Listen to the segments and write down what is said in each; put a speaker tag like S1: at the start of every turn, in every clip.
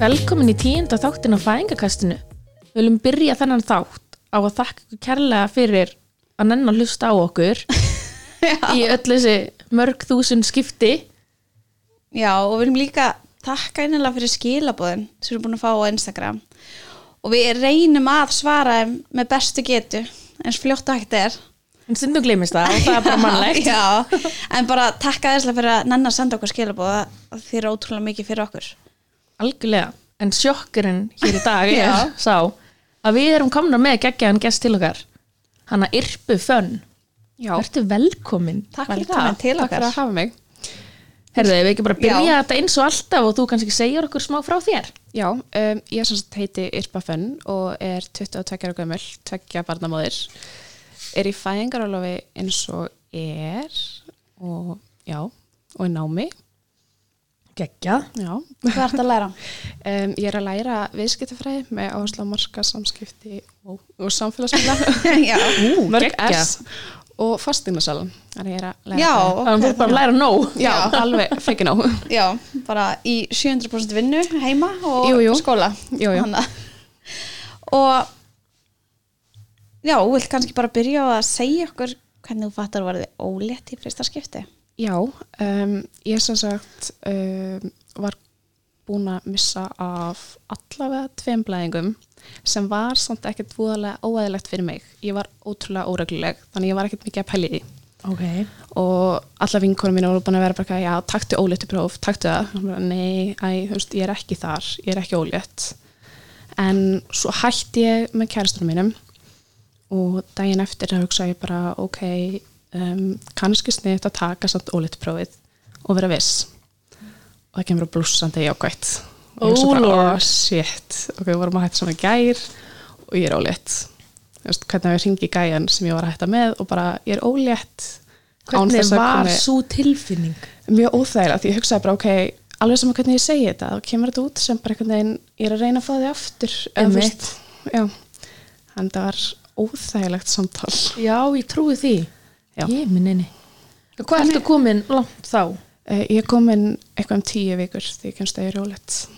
S1: Velkomin í tíunda þáttin á fæðingakastinu. Við viljum byrja þennan þátt á að þakka ykkur kærlega fyrir að nenn að hlusta á okkur í öll þessi mörg þúsund skipti.
S2: Já, og við viljum líka takka einlega fyrir skilabóðin sem við erum búin að fá á Instagram og við reynum að svara þeim með bestu getu eins fljótt og hægt er
S1: En stundum gleymist það og það er bara mannlegt.
S2: Já, en bara takka þesslega fyrir að nenn að senda okkur skilabóða þið eru ótrúlega mikið fyrir okkur
S1: Algjörlega. En sjokkurinn hér í dag er sá að við erum komna með geggjaðan gest til okkar. Hanna Irpu Fönn.
S3: Já,
S1: Vertu velkomin.
S2: Takk fyrir
S3: velkomin
S2: það,
S3: til okkar. Takk fyrir
S2: okkar
S3: að hafa mig.
S1: Herðu, ef við ekki bara byrja
S2: Já.
S1: þetta eins og alltaf og þú kannski segir okkur smá frá þér.
S3: Já, um, ég sem sagt heiti Irpa Fönn og er 22 ára gömul, tveggja barnamóðir. Er í fæðingarálofi eins og er og já, og er námi.
S1: Geggja.
S3: Já,
S2: Hvað ert að læra?
S3: um, ég er að læra viðskiptafræði með áherslu á marka samskipti og, og samfélagsmiðla,
S2: Já,
S1: Ú,
S3: mörg
S1: geggja.
S3: S og fastingnasalan. Þannig ég er að læra
S2: já,
S3: það.
S1: Þannig að þú
S2: ok
S1: er bara að læra nóg.
S3: Já, alveg feikin á.
S2: Já, bara í 700% vinnu heima og
S3: Jú, jú.
S2: skóla
S3: Jú, jú.
S2: Hanna. og já, þú vilt kannski bara byrja á að segja okkur hvernig þú fattar að verði ólétt í fyrsta skipti
S3: Já, um, ég sem sagt um, var búin að missa af allavega tveim blæðingum sem var samt ekkert voðalega óæðilegt fyrir mig. Ég var ótrúlega óregluleg, þannig ég var ekkert mikið að pæli því
S1: Okay.
S3: og alla vinkonum mínu voru búin að vera bara, eitthvað, já, taktu óléttu próf, taktu það. Og Bara, Nei, æ, þú veist, ég er ekki þar, ég er ekki ólétt. En svo hætti ég með kærastunum mínum og daginn eftir að hugsa ég bara, ok, um, kannski sniðt að taka samt óléttu prófið og vera viss. Og það kemur að blúsandi jákvætt. Og ég hugsa
S1: Oh,
S3: bara,
S1: Lord.
S3: oh shit, ok, við vorum að hætta saman í gær og ég er ólétt. Þú veist, hvernig að ég ringi gæjan sem ég var að hætta með og bara, ég er ólétt. án
S1: Hvernig
S3: þess að
S1: var
S3: komi-
S1: svo tilfinning?
S3: mjög óþægilegt, ég hugsaði bara ok alveg saman hvernig ég segi þetta, þá kemur þetta út sem bara einhvern veginn, ég er að reyna að fá þig aftur eða þú
S1: Einmitt.
S3: veist, já en það var óþægilegt samtal
S1: Já, ég trúi því.
S3: Já.
S1: Ég minni. Hvað ertu komin langt þá?
S3: Eh, ég kom inn eitthvað um tíu vikur því ég kemst að ég er rólegt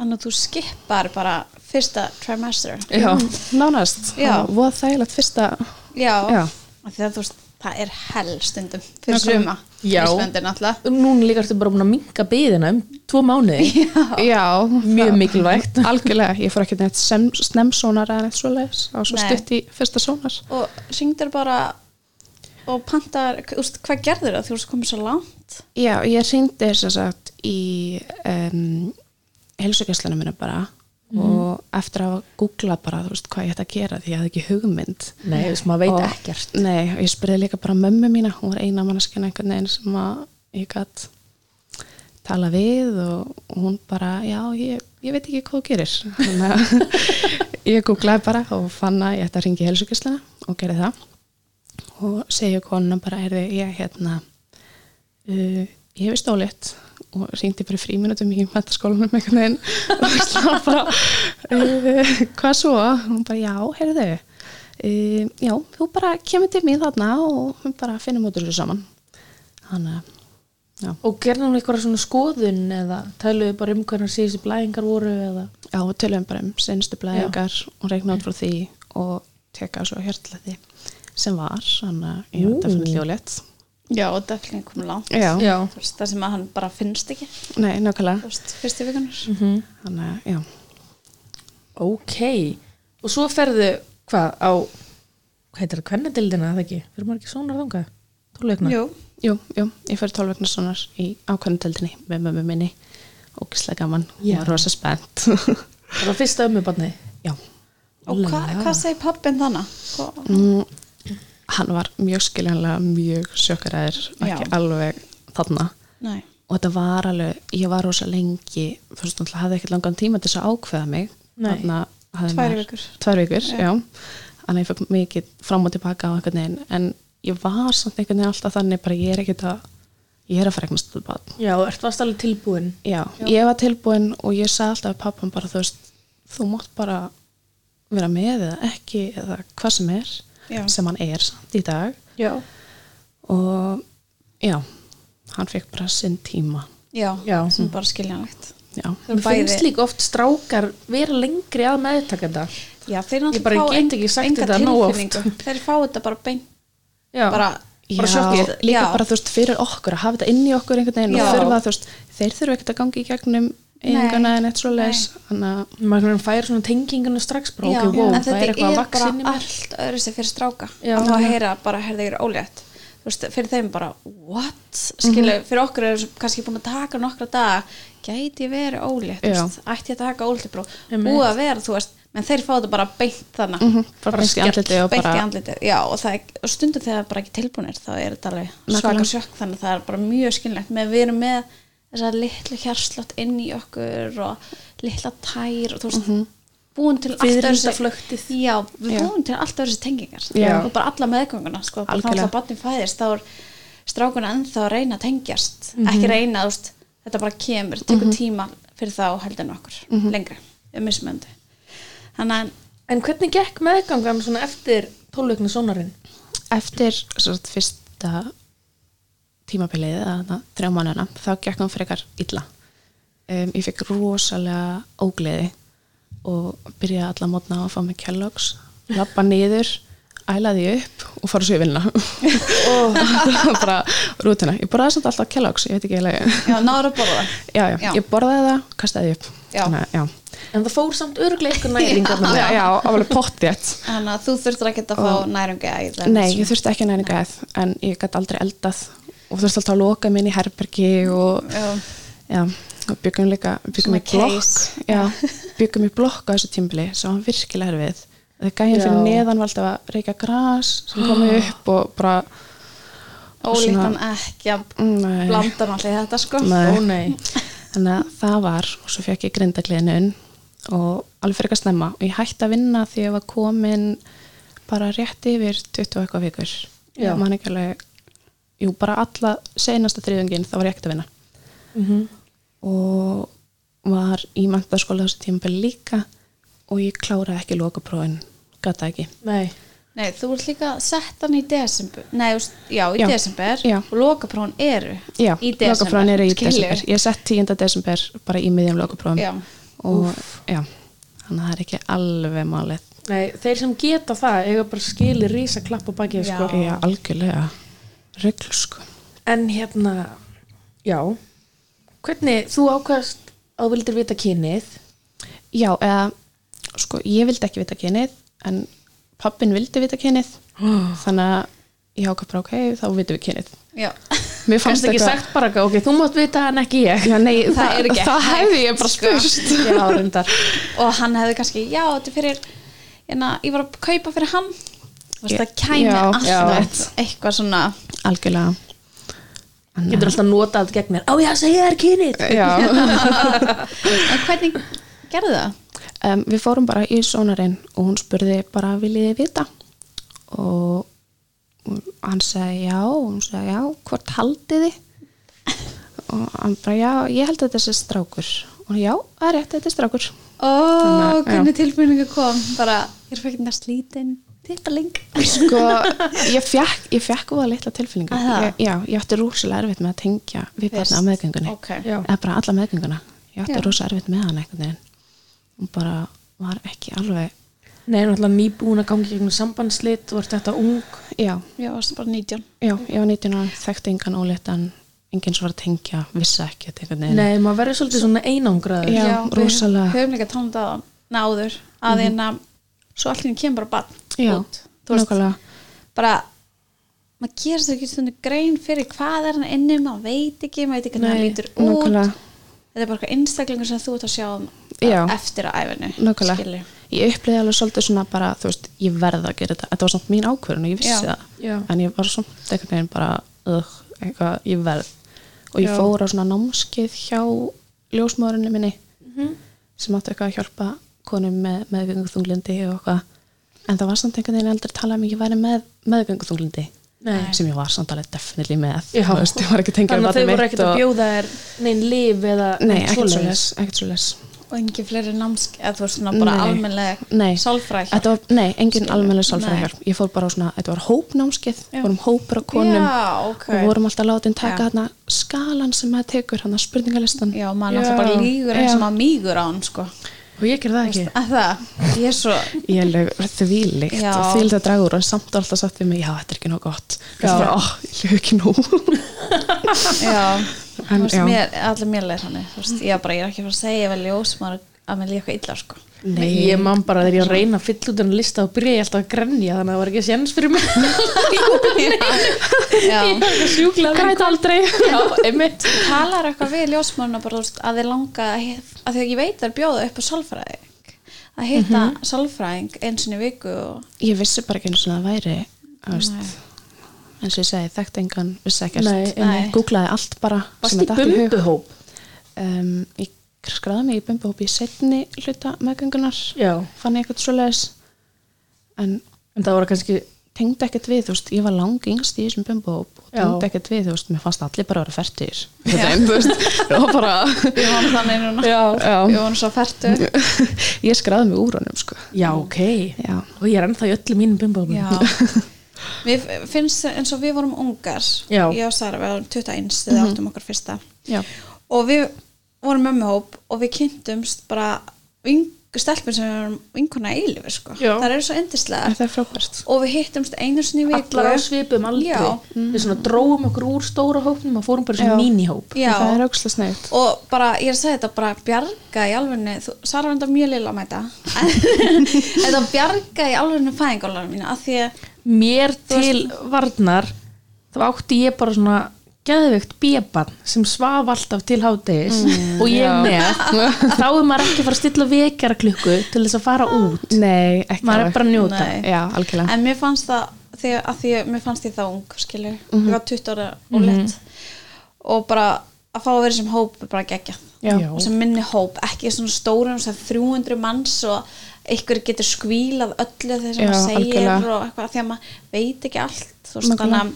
S2: þannig að þú skipar bara fyrsta trimester
S1: Já.
S3: nánast,
S2: Já.
S3: það var þægilegt fyrsta
S2: já,
S3: Já.
S2: Af því að þú veist það er hell stundum fyrir
S3: Nákvæmlega.
S2: suma
S1: Já.
S2: Íslandir náttúrulega
S1: Um, Núna líka ertu bara búin að minga byðina um tvo mánuði.
S3: já,
S1: Mjög
S3: það-
S1: mikilvægt.
S3: algjörlega, ég fór ekki neitt sem, snemsónar eða neitt svoleiðis, á svo
S2: Nei.
S3: stutt í fyrsta sónar
S2: og syngdur bara og pantar, úst, hvað gerður það þú veist komið svo langt
S3: Já, ég hringdi þess að sagt í um, helsugæslunum minna bara og eftir að googla bara, þú veist, hvað ég ætti að gera því ég hafði ekki hugmynd.
S1: Nei, þess maður veit
S3: Og-
S1: ekkert.
S3: Nei, og ég spurði líka bara mömmu mína, hún var eina manneskina einhvern veginn sem að ég gætt tala við og og hún bara, já, ég, ég veit ekki hvað þú gerir. Þannig að ég googlaði bara og fann að ég ætti að ringi helsugæsluna og gerði það og segja konuna bara, er ég hérna, uh, ég hef stólitt og ringdi bara í fríminutum í mentaskólanum einhvern veginn og slá bara uh, hvað svo? og hún bara já, heyrðu uh, já, þú bara kemur til mér þarna og við bara finnum út úr þessu saman þannig að já,
S1: Og gerði hún eitthvað svona skoðun eða tæluðu bara um hvernig síðustu blæðingar voru eða?
S3: já og tölum bara um senstu blæðingar og reikna út frá því og teka svo hjartlæði sem var, þannig að ég var definitíð ljólétt
S2: já, og döflingin komið langt
S3: já,
S1: Já.
S2: Þú veist, það sem að hann bara finnst ekki
S3: nei, nákvæmlega
S2: þú veist, fyrstu vikunar
S3: þannig að, já
S1: Mhm. Ok. Og svo ferðu, hvað, á, hvað heitir það, kvennadildina eða ekki? Fyrir maður ekki svona þangað? Tólveikna?
S2: Jú,
S3: Jú, jú, ég fyrir 12 vegna sonar í ákvæmdeldinni með mömmu minni og gíslega gaman,
S1: Já.
S3: hún var rosa spennt
S1: Það var fyrsta ömmubarnið.
S3: Já,
S2: og hva, hvað segir pappin þannig? Hva-
S3: mm, hann var mjög skiljanlega mjög sjokkaraður, ekki
S2: Já.
S3: alveg þarna
S2: Nei,
S3: og þetta var alveg, ég var rosa lengi fyrst og náttúrulega hafði ekkert langan tíma til þess að ákveða mig
S1: Nei.
S3: hafði
S2: Tvær
S3: maður-
S2: vikur.
S3: tvær vikur, já. þannig að ég fekk mikið fram og tilbaka á einhvern veginn en ég var samt einhvern veginn alltaf þannig bara ég er ekkert að, ég er að fara eitthvað stundbad
S1: Já, ert varst alveg tilbúin.
S3: Já, ég var tilbúin og ég sagði alltaf að pappan bara, þú veist, þú mátt bara vera með eða ekki eða hvað sem er,
S2: Já.
S3: sem hann er samt í dag
S1: Já.
S3: og já, hann fekk bara sinn tíma
S2: já,
S1: Já.
S2: Mm. sem er bara skiljanlegt
S3: já,
S2: Þau eru
S1: Mér finnst
S2: bæði-
S1: líka oft strákar vera lengri að meðtakenda
S2: Já, þeir
S1: Ég bara
S2: náttúrulega fá
S1: get
S2: en-
S1: ekki sagt
S2: enga
S1: þetta nógu oft.
S2: tilfinningu. Þeir fá þetta bara beint,
S1: Já,
S2: bara,
S1: Bara
S3: já
S1: sjokkið,
S3: líka
S2: já.
S3: bara þú veist fyrir okkur að hafa þetta inn í okkur einhvern veginn
S2: Já.
S3: og þurfa þú veist, þeir þurfa ekkert að gangi í gegnum einhverjana en eitt svo leis þannig að
S1: maður fær svona tenginguna strax bara,
S2: já,
S1: ok, wow,
S2: en
S1: það er eitthvað
S2: þetta er
S1: að
S2: bara
S1: vaksa inn í mér
S2: allt öðru sem fyrir stráka
S1: Já.
S2: að fá að heyra bara, herði ég er ólétt Þú veist, fyrir þeim bara, what skilu,
S1: Mhm.
S2: fyrir okkur erum við kannski búin að taka nokkra daga, gæti ég verið ólétt þú
S3: Já.
S2: veist, ætti ég að taka óléttbró
S1: Einmitt. Mhm.
S2: búið að vera, þú veist, menn þeir fá þetta bara beint þannig,
S3: bara beint í
S2: skell,
S3: andlitið og
S2: beint
S3: bara-
S2: í andlitið, já, og, það, er- og stundum þegar það er bara ekki tilbúinir, þá er þetta alveg svaka
S3: Nákvæmlega.
S2: sjokk, þannig að það er bara mjög skinnlegt með við erum með þessa litlu hjarslott inn í okkur og litla tær og þú veist, búin til allt öðru sér-
S1: Fiðrildaflöktið.
S2: já, við
S3: Mhm. Já.
S2: búum til allt öðru sér tengingar
S3: Já.
S2: og bara alla meðgönguna sko, bara þá
S3: Algjörlega.
S2: alltaf barnið fæðist þá er strákun ennþá að reyna að tengjast
S3: Mhm.
S2: ekki reyna, þú veist, þetta bara kemur tekur tíma fyrir þá heldur en okkur mm
S3: Mhm.
S2: lengra, um mismöndi þannig að,
S1: En hvernig gekk meðgangan svona eftir tólvöknu sónarinn?
S3: eftir svo, sagt, fyrsta tímabilið eða þarna þrjá mánuna, þá gekk hann frekar illa um, ég fekk rosalega ógleði og byrjaði alla mótna að fá mig Kellogg's lappa niður, ælaði ég upp og fara svo í vinna
S2: Oh.
S3: og það var bara rútina ég borðaði samt alltaf Kellogg's, ég veit ekki eiginlega
S2: já, náður að borða
S3: já, já,
S2: Já.
S3: ég borðaði það, kastaði því upp
S2: Já. Ah,
S3: Þannig að, já,
S1: En það fór samt örglega ykkur næringar
S3: Þannig að- já, alveg pottjætt
S2: þannig að þú þurftur ekki að fá næringi æð
S3: Nei, ég þurfti ekki að næringa eð en ég gæti aldrei eldað og þurfti alltaf að loka minni í herbergi og,
S2: Já.
S3: já, og byggum líka byggum
S2: Svona
S3: í blokk
S2: case.
S3: já, byggum í blokk á þessu tímbili sem var virkilega erfið þegar gæðin
S1: Já.
S3: fyrir neðan var alltaf að reykja gras sem komið upp og bara og
S2: ólítan ekki að
S3: Nei.
S2: blanda hann allir þetta sko
S3: Nei.
S1: Ó nei,
S3: þannig að það var og svo fekk ég grindakliðinun og alveg fyrir ekki að snemma og ég hætti að vinna því ég var komin bara rétt yfir 20 og eitthvað vikur
S1: Já.
S3: ég man ekki alveg jú bara alla seinasta þriðungin þá var ég ekkert að vinna
S1: Mhm.
S3: og var í mentaskóla þessu tíma líka og ég kláraði ekki lokaprófin gata ekki
S1: nei
S2: Nei, þú ert líka settan í desember Nei, þú veist, já, í
S3: Já.
S2: desember
S3: Já.
S2: og lokaprófin eru
S3: Já,
S2: í desember
S3: lokaprófin eru í
S2: skilur.
S3: desember. Ég sett 10. desember bara í miðjum lokaprófum.
S2: Já.
S3: Og já, þannig að það er ekki alveg málið.
S1: Nei, þeir sem geta það eiga bara skili rísa klapp á bakið
S2: Já.
S1: sko.
S3: Já, algjörlega. Röggl, sko.
S1: En hérna, já Hvernig, þú ákvæðast að þú vildir vita kynið
S3: Já, eða, sko, ég vildi ekki vita kynið, en pappin vildi vita kynið, þannig að ég ákvað bara, ok, þá vitum við kynið.
S2: Já,
S3: Mér
S1: Kannst ekki sagt bara, ok, þú mátt vita en ekki ég
S3: Já, nei, það,
S2: er ekki
S3: það
S2: hægt,
S3: hefði ég bara
S2: sko.
S3: spurst.
S1: Já, reyndar
S2: og hann hefði kannski já, þetta er fyrir hérna, ég var að kaupa fyrir hann Þú veist,
S3: Ég-
S2: það kæmi
S3: já,
S2: alltaf
S3: já.
S2: eitthvað svona
S3: Algjörlega. Þannig
S1: Getur alltaf notað allt gegn mér Á, já, segja þér kynið
S3: að- Já.
S2: en hvernig gerði það?
S3: um, við fórum bara í sónarinn og hún spurði bara viljið þið vita og og hann sagði já og hún sagði já, hvort haldið þið og hann bara já, ég held að þetta sé strákur og hún, já, það er rétt, þetta er strákur
S2: Ó,
S3: Þannig að-
S2: hvernig tilbúningu kom bara, ég er fækinn að slítin tippaling
S3: sko, ég fekk ég fekk úr að litla tilfinningu
S2: Aha.
S3: ég, já, ég átti rúsilega erfitt með að tengja við
S2: Fyrst,
S3: barna á meðgöngunni
S2: ok.
S1: Já.
S3: eða bara alla meðgönguna ég átti
S2: Já.
S3: rúsilega erfitt með hann einhvern veginn hún bara var ekki alveg
S1: Nei, náttúrulega nýbúin að gangi gegnum sambandslit Þú ert þetta ung
S3: já,
S2: já, varstu bara 19
S3: Já, ég var 19 ára, þekkti engan óléttan, enginn svo var að tengja, vissi ekki þetta einhvern veginn.
S1: Nei, maður verður svolítið svona einangraður
S3: Já, rosalega. Mhm.
S2: við höfum líka tónum það náður að mm svo allir kemur bara barn
S3: Já,
S2: út Þú veist,
S3: nákvæmlega.
S2: bara maður gerir sér ekki stundu grein fyrir hvað er hann inni, maður veit ekki maður veit ekki hvernig hann
S1: Nei,
S2: lítur út
S3: nákvæmlega.
S2: þetta er bara eitthvað einstaklingur sem þú ert að sjá um
S3: Já.
S2: eftir að æfinu
S3: Nákvæmlega.
S2: skilur.
S3: Ég upplýði alveg svolítið svona bara, þú veist, ég verða að gera þetta. Þetta var samt mín ákvörðun og ég vissi
S2: Já,
S3: það.
S1: já.
S3: En ég var samt einhvern veginn bara, uh, eitthvað, ég verð. Og ég
S1: Já.
S3: fór á svona námskeið hjá ljósmóðurinnu minni
S1: Mhm.
S3: sem átti eitthvað að hjálpa konum með meðgönguþunglindi og eitthvað. En það var samt einhvern veginn aldrei talað um að ég væri með meðgönguþunglindi.
S1: Nei.
S3: sem ég var samt alveg definitely með
S1: Já.
S3: Þú veist, ég var ekki að tengja
S1: Þannig að þau
S3: barnið
S1: voru
S3: mitt
S1: ekkert að
S3: og-
S1: bjóða þér neinn lif eða
S3: nei,
S1: neitt
S3: ekkert
S1: svoleiðis.
S3: svoleiðis, ekkert svoleiðis.
S2: og engin fleiri námsk eða þú veist svona bara
S3: Nei.
S2: almennilega
S3: Nei.
S2: sálfræk
S3: Þetta var, nei, engin
S2: Skilur.
S3: almennileg
S2: Nei.
S3: sálfræðhjálp. Ég fór bara á svona, þetta var hópnámskeið,
S2: Já.
S3: vorum hópur á konum
S2: Já, ok.
S3: og vorum alltaf látin taka
S2: Já.
S3: þarna skalan sem maður tekur, hann spurningalistan.
S2: já, maður
S1: Já.
S2: náttúrulega bara lígur eins og
S3: Já.
S2: maður mígur á hann sko
S1: og ég ger það ekki
S2: að það, ég er svo
S3: Ég lög þvílíkt
S2: Já.
S3: og þvílíkt að draga úr og samt alltaf satt við mig, já, þetta er ekki nóg gott. Þetta
S2: Já.
S3: er bara, ó, ég lög ekki nóg.
S2: já,
S3: En,
S2: þú veist,
S3: já.
S2: mér, allir mér leir hann þú veist, ég, bara, ég er ekki að fara að segja vel ljós maður að mér líka illa sko
S1: Ég man bara þegar ég að reyna að fylla út en lista og byrja ég alltaf að grenja þannig að það var ekki séns fyrir mig
S2: já,
S1: Ég var ekki sjúklega
S3: Græt aldrei.
S1: Já, einmitt
S2: talar eitthvað við ljósmáluna bara þú veist, að þið langa að hit- að því að ég veit þær bjóða upp á sálfræðing að hitta
S3: Mhm.
S2: mm sálfræðing eins og viku og
S3: Ég vissi bara ekki eins og það væri, þú veist, eins og ég segi, þekkt engan, vissi ekkert.
S1: Nei,
S2: einmitt.
S3: Googlaði allt bara. sem
S1: Varst í
S3: mér datt hug.
S1: bumbuhóp
S3: um, ég skráði mig í bumbahópi í setni hluta meðgöngunar
S1: Já,
S3: fann ég eitthvað svoleiðis en
S1: en það voru kannski
S3: tengdi ekkert við, þú veist, ég var lang yngst í þessum bumbahóp og
S1: Já.
S3: tengdi ekkert við, þú veist, mér fannst allir bara að vera fertir en þú veist, og bara
S2: við vonum þannig núna
S3: já,
S2: við vonum svo færtu
S3: ég skráði mig úr honum, sko
S1: Já, ok
S3: já,
S1: Og ég er ennþá í öllum mínum bumbuhópum
S2: já Mér finnst eins og við vorum ungar
S1: Já. Mhm.
S2: ég og Sara, við vorum 21 þegar við áttum okkar fyrsta
S3: já,
S2: og við vorum mömmuhóp og við kynntumst bara ving- stelpur sem við vorum vinkona eilifu sko.
S1: Já.
S2: það eru svo endislega
S3: þetta er frábært
S2: og við hittumst einu sinni í viku
S1: Allar á svipum aldrei
S2: Já.
S1: Við svona dróum okkur úr stóra hópnum og fórum bara í svona
S3: Já.
S1: mínihóp
S2: Já.
S3: það er ógstlega sneitt
S2: og bara, ég er að segja þetta bara bjarga í alvegni, þú, Sara var enda mjög lilla með þetta en þetta bjarga í alvegni fæðingálarna mína af því að,
S1: Mér til varnar þá átti ég bara svona geðveikt bíabann sem svaf alltaf til hádegis og ég með þá er maður ekki að fara að stilla vekjaraklukku til þess að fara út
S3: nei, ekki
S1: maður er
S3: alveg.
S1: bara að njóta
S2: Nei.
S3: já, algjörlega,
S2: en mér fannst það því að, því að mér fannst ég það ung, skilju
S3: Mhm.
S2: ég var 20 ára og lett og bara að fá að vera sem hóp er bara geggjað
S3: Já.
S2: og sem minni hóp, ekki svona stórum sem 300 manns og einhver getur skvílað öllu þegar sem
S3: Já,
S2: maður segir
S3: algjörlega.
S2: og eitthvað því að maður veit ekki allt þú veist,
S3: Nákvæmlega.
S2: þannig að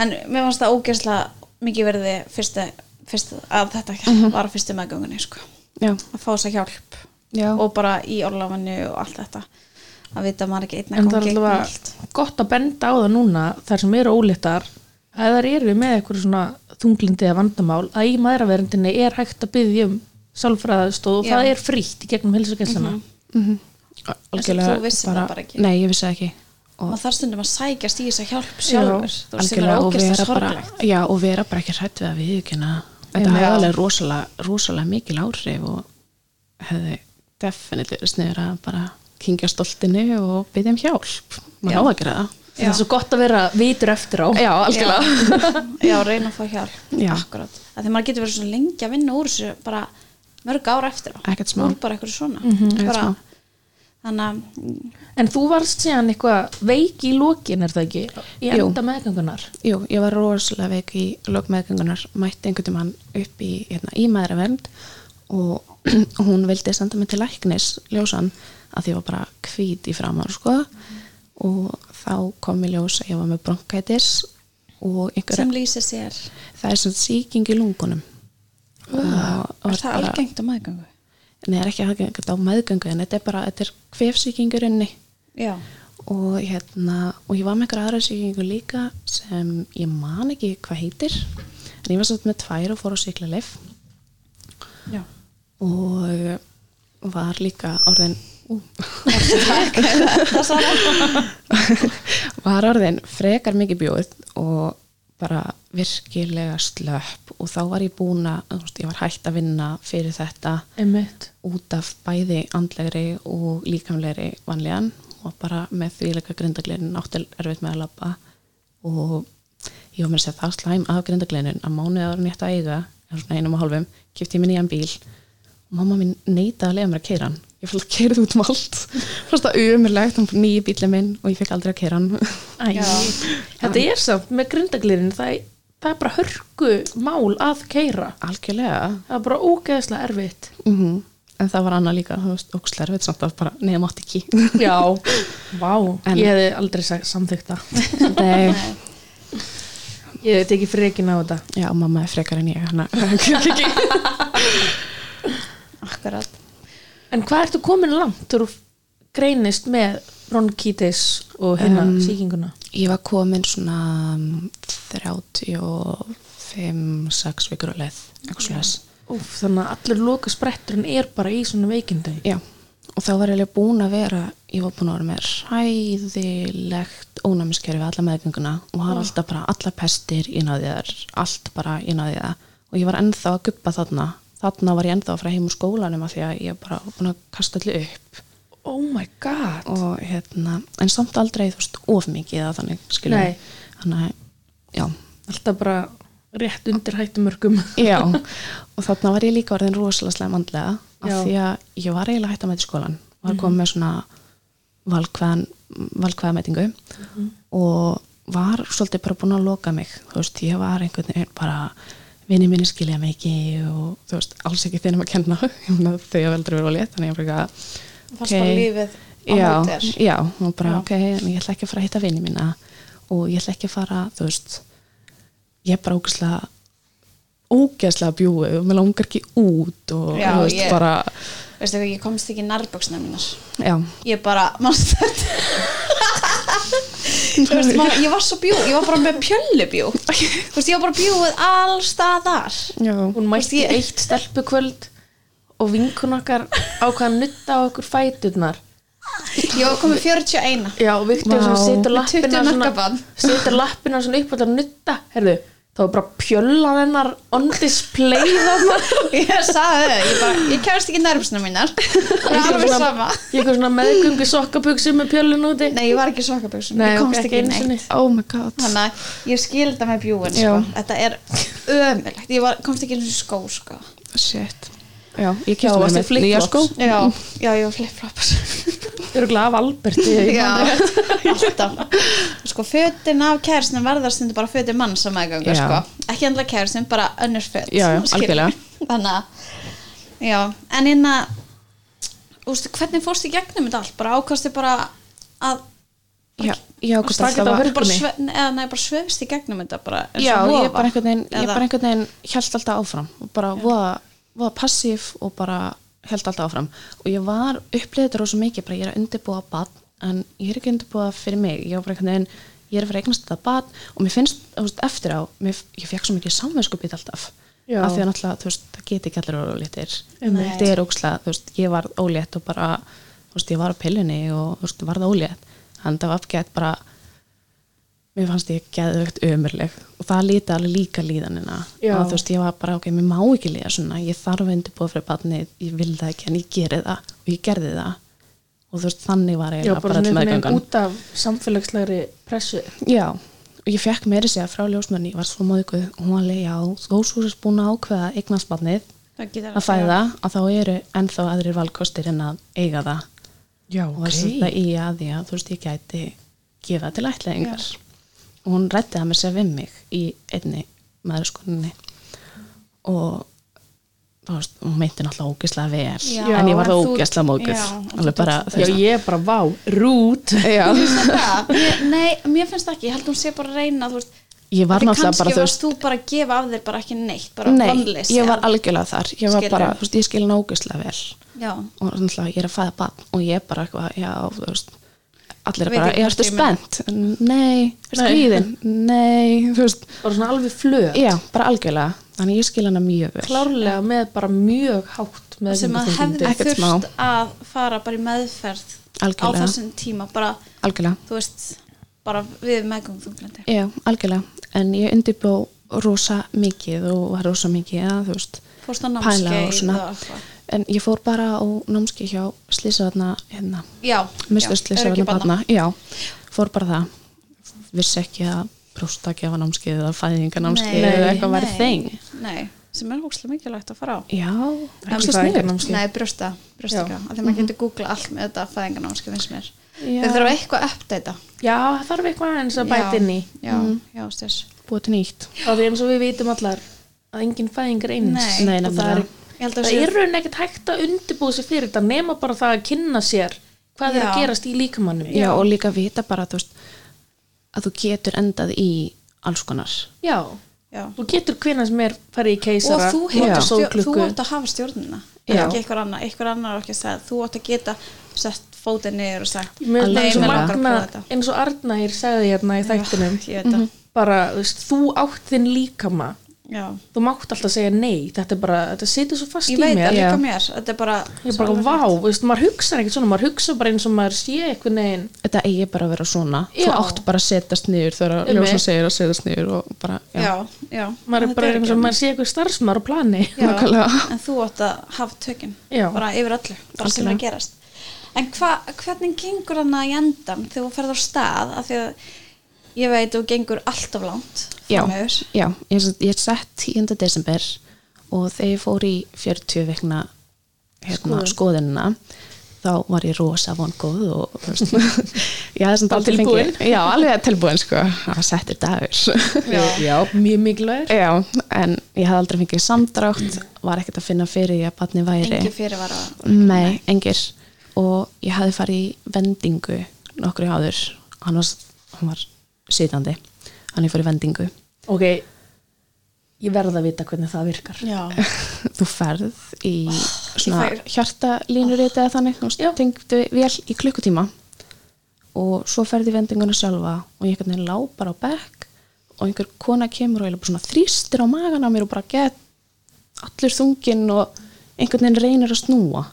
S2: en mér fannst það ógeðslega mikið verði fyrstu, fyrstu, að þetta
S3: Mhm.
S2: var á fyrstu meðgöngunni sko.
S3: já,
S2: að fá þess að hjálp
S3: já
S2: og bara í orlafinu og allt þetta að vita að maður er ekki einn að
S1: en það er
S2: gangi
S1: allavega gott að benda á það núna þar sem eru ólittar að þar eru með eitthvað svona þunglindi eða vandamál að í maðuraverndinni er hægt að byggja um sálfræðastóð og
S2: Já.
S1: það er frítt í gegnum hilsugessana
S3: Mhm. algjörlega
S2: þú vissir það bara ekki.
S3: nei, ég vissi það ekki og
S2: maður þarf stundum að sækjast í þess að hjálp
S1: Já,
S2: sjálfur þú veist sem er
S3: algjörlega og
S2: ógeðslega
S3: vera bara
S2: sorglegt
S3: já, og vera bara ekki hrætt við að viðkjöna þetta
S1: Einmitt.
S3: hefði alveg rosalega, rosalega mikil áhrif og hefði definitíð sniður að bara kingja stoltinu og byggja um hjálp
S2: Já.
S3: maður á að gera það
S1: það er svo gott að vera vitur eftir á
S3: já, algjörlega
S2: já, reyna að fá hjálp
S3: Já.
S2: akkurat, að því maður getur verið svona lengi að vinna úr þessu bara mörg ára eftir á
S3: Ekkert smá. Mhm,
S2: úr bara eitthvað svona
S3: ekkert
S2: bara,
S3: smá.
S2: þannig að mm,
S1: en þú varst síðan eitthvað veik í lokin er það ekki í
S3: Jú.
S1: enda meðgangunar
S3: Jú, ég var rosalega veik í lokmeðgöngunar, mætti einhvern tímann upp í, hérna, í maðuravernd og hún vildi senda mig til læknis ljósan að því ég var bara hvít í framar, sko og þá kom ég ljós að ég var með bronkætis og einhverja,
S2: sem lýsir sér er
S3: það er sem sagt sýking í lungunum uh,
S2: Ah, það algengt á maðgangu
S3: Nei, það er ekki algengt á meðgöngu en þetta er bara, þetta er kvefsýkingurinni
S2: já,
S3: og hérna og ég var með einhverja aðra sýkingu líka sem ég man ekki hvað heitir en ég var satt með tvær og fór á sykla leif
S2: já
S3: og var líka orðin ú,
S2: það sagði
S3: var orðin frekar mikið bjóð og bara virkilega slöpp og þá var ég búin að þú veist, ég var hægt að vinna fyrir þetta
S1: einmitt
S3: út af bæði andlegri og líkamlegri vanlíðan og bara með þvíleika grindaglinin áttil erfitt með að labba og ég var með að segja það slæm af grindaglinin að mánuðið áður en ég ætti að eiga eða svona einum og hálfum, kipti ég minni í hann bíl og mamma mín neitaði að lega mér að keira hann ég fyrir að keira það út um allt fyrst að umurlegt, hann fyrir nýju bílið minn og ég fekk aldrei að keira hann
S1: Æ,
S2: Já.
S1: þetta er samt með grindaglirin það, er- það er bara hörku mál að keira
S3: algjörlega
S1: það er bara ógeðslega erfitt
S3: mm en það var annað líka, þú veist, ókslerfið samt að bara, neða mátt ekki
S1: já, vá
S3: En-
S1: ég hefði aldrei sa- samþykkt það
S3: Nei,
S1: ég hefði tekið frekin á þetta
S3: já, mamma er frekar en ég hann
S2: akkurat
S1: En hvað ertu komin langt þegar þú greinist með bronkitis og hérna sýkinguna?
S3: Ég var komin svona um, 35-6 vikur á leið, eitthvað svona þess.
S1: Úf, þannig að allur loka spretturinn er bara í svona veikindum.
S3: Já, og þá var ég alveg búin að vera, ég var búin að vera með ræðilegt ónæmiskerfi alla meðgönguna og hann alltaf bara alla pestir ég náði þar, allt bara ég náði það og ég var ennþá að guppa þarna, þarna var ég ennþá að fara heim úr skólanum af því að ég bara var búin að kasta allir upp
S1: Oh my god.
S3: og hérna, en samt aldrei þú veist of mikið að þannig skilja
S1: Nei.
S3: þannig að, já
S1: Alltaf bara rétt undir hættumörkum.
S3: já, og þarna var ég líka orðin rosalega slæm andlega af
S1: Já.
S3: því að ég var eiginlega hætt að mæta í skólan var komið með svona valkvæðan, valkvæðamætingu
S2: Mhm.
S3: og var svolítið bara búin að loka mig þú veist, ég var einhvern veginn bara vinni minni skilja mig ekki og þú veist, alls ekki þeirnum að kenna Ég meina, þau hafa aldrei verið á létt þannig að ég bara eitthvað,
S2: Fannst bara
S3: ok,
S2: lífið á
S3: já,
S2: móti þér.
S3: já, og bara ok, en ég ætla ekki að fara að hitta vini mína og ég ætla ekki að fara, þú veist ég er bara ógæslega ógæslega bjúið og mér langar ekki út og
S2: Já,
S3: þú veist,
S2: ég-
S3: bara
S2: veistu hvað, ég komst ekki nærböksna mínar
S3: já,
S2: ég bara, mannstu þetta Þú veist, maður, ég var svo bjú, ég var bara með pjöllubjú Þú veist, ég var bara bjúið allstaðar
S3: já,
S1: Hún mætti
S2: Ég-
S1: eitt stelpukvöld og vinkun okkar ákvað að nutta á okkur fæturnar.
S2: Ég var komið 41
S1: Já, og Viktor
S3: Vá.
S1: sem setur
S2: Með 20
S1: lappina svona,
S2: nakkabann.
S1: setur lappina svona upp og það nutta, herðu, þá var bara pjöllan hennar on display þarna.
S2: Ég sagði það, ég bara, ég kemst ekki nærböksna mínar Það er alveg sama
S1: Ég kom svona meðgöngu sokkabugsi með pjöllun úti.
S2: Nei, ég var ekki sokkaböksum,
S1: Nei,
S2: ég
S1: ok,
S2: komst
S1: ekki
S2: ekki
S1: einu
S2: neitt
S1: sinni.
S3: oh my god
S2: Þannig að ég skil þetta með bjúin sko.
S3: Já.
S2: Þetta er ömulegt Ég var, komst ekki einu sinni í skó sko.
S3: shit já,
S1: Já,
S3: ég kýrst mér
S1: varstu
S3: með
S1: flip-flops?
S3: nýja sko
S2: Já, já, ég var flip-flops
S1: Þú eru glæð af Alberti.
S2: Já, alltaf Sko, fötin af kærisnum verðar stundu bara fötin mann sem aðgangur
S3: Já.
S2: sko. Ekki endla kærisnum, bara önnur föt
S3: Já, já,
S2: skilur.
S3: algjörlega.
S2: Þannig að, já, en inna Ústu, hvernig fórstu í gegnum þetta allt? Bara ákastu bara að
S3: já, ég ákvæmst
S1: Stakit á
S3: alltaf að
S1: hörpunni.
S2: bara, sve, eða, nei, bara svefst í gegnum þetta bara eins og
S3: já,
S2: vofa?
S3: ég bara einhvern veginn, ég
S2: Eða-
S3: bara einhvern veginn held alltaf áfram og bara voða, voða passíf og bara held alltaf áfram og ég var upplifið þetta rosa mikið, bara ég er að undirbúa bad, en ég er ekki að undirbúa fyrir mig, ég var bara einhvern veginn ég er að fara að eignast þetta bad og mér finnst þú veist, eftir á, mér, ég fekk svo mikið samvinskupið alltaf,
S1: Já.
S3: af því að náttúrulega þú veist, það geti ekki allir að vera ólítir
S2: Einmitt.
S3: þetta er ókslega, þú veist, ég var ólétt og bara, þú veist, ég var á pillunni og þú veist, var það ólétt, en það var uppgætt bara mér fannst ég geðvögt ömurleg og það líti alveg líka líðanina
S1: Já.
S3: og þú veist, ég var bara, ok, mér má ekki líða svona ég þarf að undirbúa fyrir barni ég vil það ekki, en ég geri það og ég gerði það og þú veist, þannig var
S1: Já,
S3: ég
S1: bara
S3: bara til
S1: svona einhvern veginn
S3: meðgangan
S1: út af samfélagslegri pressu.
S3: já, og ég fekk meiri segja frá ljósmenni, ég var svo móðguð og hún var alveg, já, þú svo sérst búin að ákveða eignasbarnið
S2: Það getur
S3: að fæða að þá eru ennþá aðrir valkostir en að eiga það
S1: Já,
S3: og var svolítið í að því að þú veist ég gæti gefa til ætlaðingar og hún rætti það með sér við mig í einni maðurskoninni og þú veist, hún meinti náttúrulega ógislega vel
S2: Já,
S3: en ég var
S2: en
S3: það
S2: þú- Já,
S3: ógislega móguð
S2: en þú
S3: alveg bara
S2: tókst
S1: Já, ég er bara, vá, rút.
S3: já.
S2: það? Mér- Nei, mér finnst það ekki, ég held hún sé bara að reyna þú veist,
S3: Ég var
S2: Því
S3: náttúrulega bara,
S2: kannski
S3: þú
S2: varst þú bara að gefa af þér bara ekki neitt, bara
S3: nei,
S2: vonleysi,
S3: ég var
S2: eða-
S3: algjörlega þar ég var
S2: Skilurðu?
S3: bara, þú veist, ég skil hana ógislega vel
S2: já,
S3: og náttúrulega ég er að fæða barn og ég er bara eitthvað, já, þú veist
S2: Veit
S3: allir er bara,
S2: ekki
S3: ég
S2: hvort
S3: ertu
S2: ég muni.
S3: spennt nei, ertu kvíðin nei, þú veist,
S1: Bara svona alveg flög.
S3: já, bara algjörlega þannig ég skil hana mjög vel
S1: Klárlega með bara mjög hátt með
S2: sem að hefði
S3: Ekkert
S2: þurft
S3: smá.
S2: að fara bara í meðferð á
S3: Algjörlega.
S2: þessum tíma bara,
S3: algjörlega,
S2: þú veist, bara við meðgum þunglindi
S3: já, algjörlega en ég undirbjó rosa mikið og var rosa mikið að, þú veist
S2: Fórstu á
S3: pæla
S2: námskeið
S3: og svona
S2: og eitthvað?
S3: en ég fór bara á námski hjá slísaðna, hérna,
S2: já,
S3: mistu
S2: já,
S3: slísaðna
S2: öryggisbarna.
S3: barna já, fór bara það vissi ekki að brústakjafa námskeið eða fæðingarnámskeið
S2: Nei,
S3: eða eitthvað væri
S2: nei,
S3: þeng
S2: nei, sem er hókslega mikilvægt að fara á
S3: Já,
S1: Ekki
S3: ekki sniður.
S1: fæðingarnámskeið.
S2: Nei, brjósta, brjósta ekki, af því að maður getur googlað allt með þetta fæðingarnámskeið finnst mér.
S3: Mhm. Já.
S2: Þau þurfa eitthvað að uppdata.
S1: Já, það þarf eitthvað eins að bæta inn í.
S2: Já,
S3: Mhm.
S2: já, stjórn.
S3: Búið til nýtt.
S1: Þá því eins og við vitum allar að enginn fæðing er eins.
S2: Nei.
S3: Nei,
S1: og það er,
S3: nefnilega.
S2: Ég held að
S1: það
S2: sé-
S1: er raun ekkert hægt að undirbúið sér fyrir þetta nema bara það að kynna sér hvað er
S2: Já.
S1: að gerast í líkamannum.
S3: Já, og líka vita bara, þú veist, að þú getur endað í alls konar.
S1: Já,
S2: já.
S1: þú getur hvenær sem er farið í
S2: og
S1: keisara
S2: þú, hefur
S1: notar
S2: stjórn, þú
S1: sólklukku.
S2: átt að hafa stjórnina
S1: Já.
S2: ekki einhver annar, einhver annar er ekki að segja þú átt að geta sett fótið niður og sagt
S1: Mér finnst
S3: Alveg
S1: eins og
S3: sammála.
S1: Magna,
S2: Langar að prófa þetta.
S1: eins og Arnær sagði hérna í þættinum Mhm.
S2: Já, ég veit það,
S1: bara, þú veist, þú átt þinn líkama
S2: já
S1: þú mátt alltaf segja nei þetta er bara, þetta situr svo fast
S2: ég
S1: í
S2: veit
S1: mér
S2: það
S3: Já.
S2: líka mér, þetta er bara
S1: ég er bara, vá, þú veist, maður hugsa ekkert svona maður hugsa bara eins og maður sé eitthvað negin
S3: þetta eigi bara að vera svona
S1: Já.
S3: þú átt bara að setjast niður þegar
S1: Einmitt.
S3: ljósan segir að setjast niður og bara, já,
S2: já, já,
S1: maður
S2: þetta
S1: er bara
S2: ekki
S1: eins og maður sé eitthvað starfsmaður á plani
S2: Já.
S3: nákvæmlega.
S2: en þú átt að hafa tökinn
S1: Já.
S2: bara yfir öllu, bara sem er að gerast en hva, hvernig gengur hann að endan þegar þú ferð á stað af því að ég veit þú gengur alltaf langt
S3: Já,
S2: framöfur.
S3: já, ég, er sem- ég er sett 10. desember og þegar ég fór í 40 vekna hérna, skoðunina þá var ég rosa vongóð og þú veist, ég hafði samt
S1: Bara
S3: aldrei
S1: tilbúin.
S3: fengið já, alveg tilbúin sko, það var settir dagur
S1: já, mjög mikilvægur
S3: já, en ég hafði aldrei fengið samdrátt var ekkert að finna fyrir því að batni væri
S2: engi fyrir var að
S3: Nei, engir og ég hafði farið í vendingu nokkru áður hann var, hann var sitandi hann ég fór í vendingu
S1: ok, ég verð að vita hvernig það virkar
S2: já,
S3: þú ferð í svona
S2: ég fær-
S3: hjartalínuriti eða þannig
S1: Já.
S3: þú tengdu vel í klukkutíma og svo ferði vendinguna sjálfa og ég einhvern veginn lápar á bekk og einhver kona kemur og ég bara svona þrýstir á magan á mér og bara get allur þunginn og einhvern veginn reynir að snúa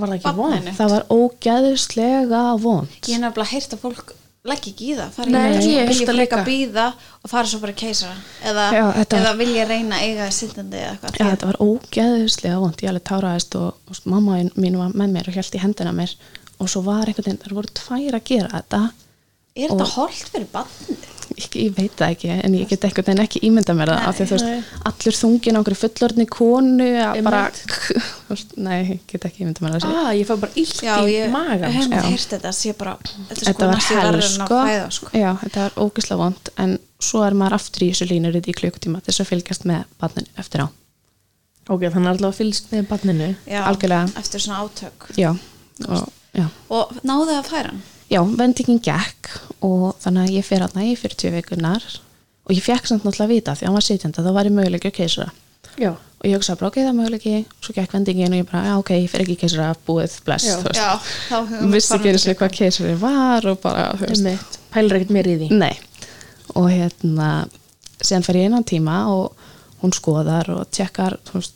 S1: var það ekki von?
S2: Barninu.
S3: það var ógeðislega vond
S2: ég hef nefnilega heyrt að fólk legg ekki í það, fara
S1: Nei,
S2: í
S1: ég hef heyrt
S2: vilja
S1: það
S2: freka
S1: líka.
S2: býða og fara svo bara keisara eða,
S3: Já, þetta
S2: eða
S3: var-
S2: vilja reyna að eiga sittandi eða
S3: Já,
S2: eitthvað
S3: þetta var ógeðislega vond, ég alveg táraðist og, og svo mamma mín var með mér og held í hendina á mér og svo var einhvern veginn, það voru tvær að gera þetta,
S2: er þetta holdt fyrir barnið?
S3: ég, ég veit það ekki en ég get einhvern veginn ekki ímynda mér það af því að þú veist, allur þungin á einhverju fullorðni konu að bara, þú veist, nei, ég get ekki ímynda mér það
S1: ah, ég fæ bara illt
S2: já,
S1: í
S2: ég
S1: magan
S2: hef
S1: sko.
S2: nefnilega heyrt þetta sé bara, þetta, er sko
S3: þetta var
S2: næstu
S3: hel,
S2: verra en að
S3: sko.
S2: fæða, sko.
S3: Já, þetta var ógeðslega vond en svo er maður aftur í þessu línurinn í klukkutíma til þess að fylgjast með barnin eftir á
S1: ok, þannig er alltaf að fylgst með barninu
S2: Já,
S3: Algjörlega.
S2: eftir svona átök
S3: Já, og, já
S2: og náðu að færa hann
S3: Já, vendingin gekk og þannig að ég fyrir hann í 40 vikunar og ég fekk samt náttúrulega að vita því að hann var sitjandi að það var í möguleiki að keisara
S1: já,
S3: og ég hugsaði bara ok, það er möguleiki svo gekk vendingin og ég bara, já ok, ég fyrir ekki í keisara búið, bless,
S1: Já.
S3: þú
S2: já,
S3: veist
S2: þá
S3: Hún vissi ekki eins og hvað keisari var og bara, þú veist
S1: einmitt, pælir ekkert mér í því
S3: Nei, og hérna síðan fer ég innan tíma og hún skoðar og tjekkar þú veist,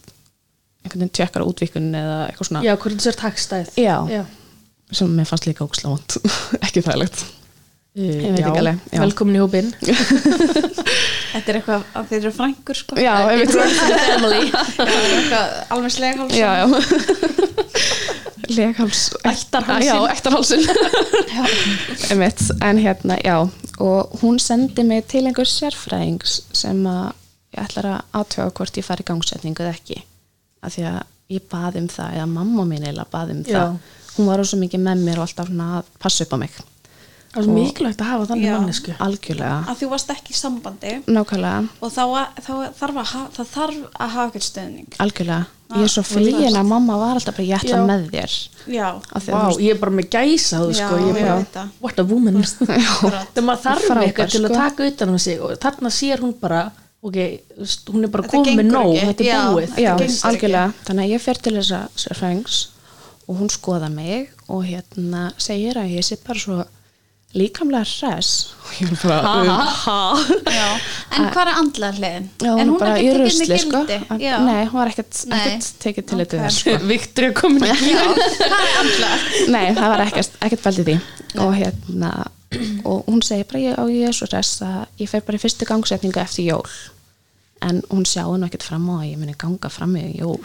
S3: einhvern veginn tjekkar útvikun eða eitthvað svona
S1: já, hvort þú sér takstæð
S3: Já.
S1: já.
S3: sem mér fannst líka ókslavond ekki þægilegt
S1: Ég
S3: veit ekki alveg, já.
S1: Eh, Velkomin í hópin
S2: þetta er eitthvað að þeir eru frængur sko
S3: Já, ég veit
S1: Family
S2: það er eitthvað alveg slegháls
S3: já, já legháls
S1: Ættarhálsinn.
S3: já, ættarhálsin Einmitt, en hérna, já og hún sendi mig til einhver sérfræðings sem að ég ætlar að aðtöga hvort ég fari í gangsetningu eða ekki af því að ég baði um það eða mamma mín eða baði um
S1: Já.
S3: það hún var rosa mikið með mér og alltaf svona að passa upp á mig
S1: Það er svo mikilvægt að hafa þannig
S2: Já.
S1: mannesku
S3: algjörlega,
S2: að þú varst ekki í sambandi
S3: nákvæmlega
S2: og þá, þá þarf að ha- það þarf að hafa eitthvað stöðning
S3: algjörlega, ég er svo fegin að mamma var alltaf bara ég ætla
S1: Já.
S3: með þér
S2: já,
S3: af því að
S1: Vá, ég er bara með gæsa þú sko
S2: Já,
S1: Ég
S2: ég
S1: bara,
S2: veit það.
S1: what a woman
S2: akkurat.
S1: Þegar maður þarf
S3: Frábær,
S1: eitthvað til að
S3: sko.
S1: taka utan um sig og þarna sér hún bara ok, þú veist, hún er bara
S2: Þetta
S1: komin með
S2: gengur
S1: nóg
S2: ekki.
S1: þetta er
S2: Já.
S1: búið
S3: Já,
S2: gengur ekki.
S3: algjörlega. Þannig að ég fer til þessa sérfræðings og hún skoða mig og hérna segir að ég sé bara svo líkamlega hress og ég er bara um,
S2: já. en hvað er andlega hliðin?
S3: Já,
S2: en
S3: hún er bara í
S2: ekki
S3: rusli sko.
S2: gildi
S3: Að-
S2: já.
S3: Nei, hún var ekkert,
S2: Nei.
S3: ekkert tekið til þetta
S2: Ok.
S3: þess sko.
S1: Viktor er komin í
S2: Já, hvað er andlega?
S3: Nei, það var ekkert, ekkert fælt í því og hérna, og hún segir bara ég, og ég er svo hress að ég fer bara í fyrstu gangsetningu eftir jól en hún sjáði nú ekkert fram á að ég muni ganga fram í jól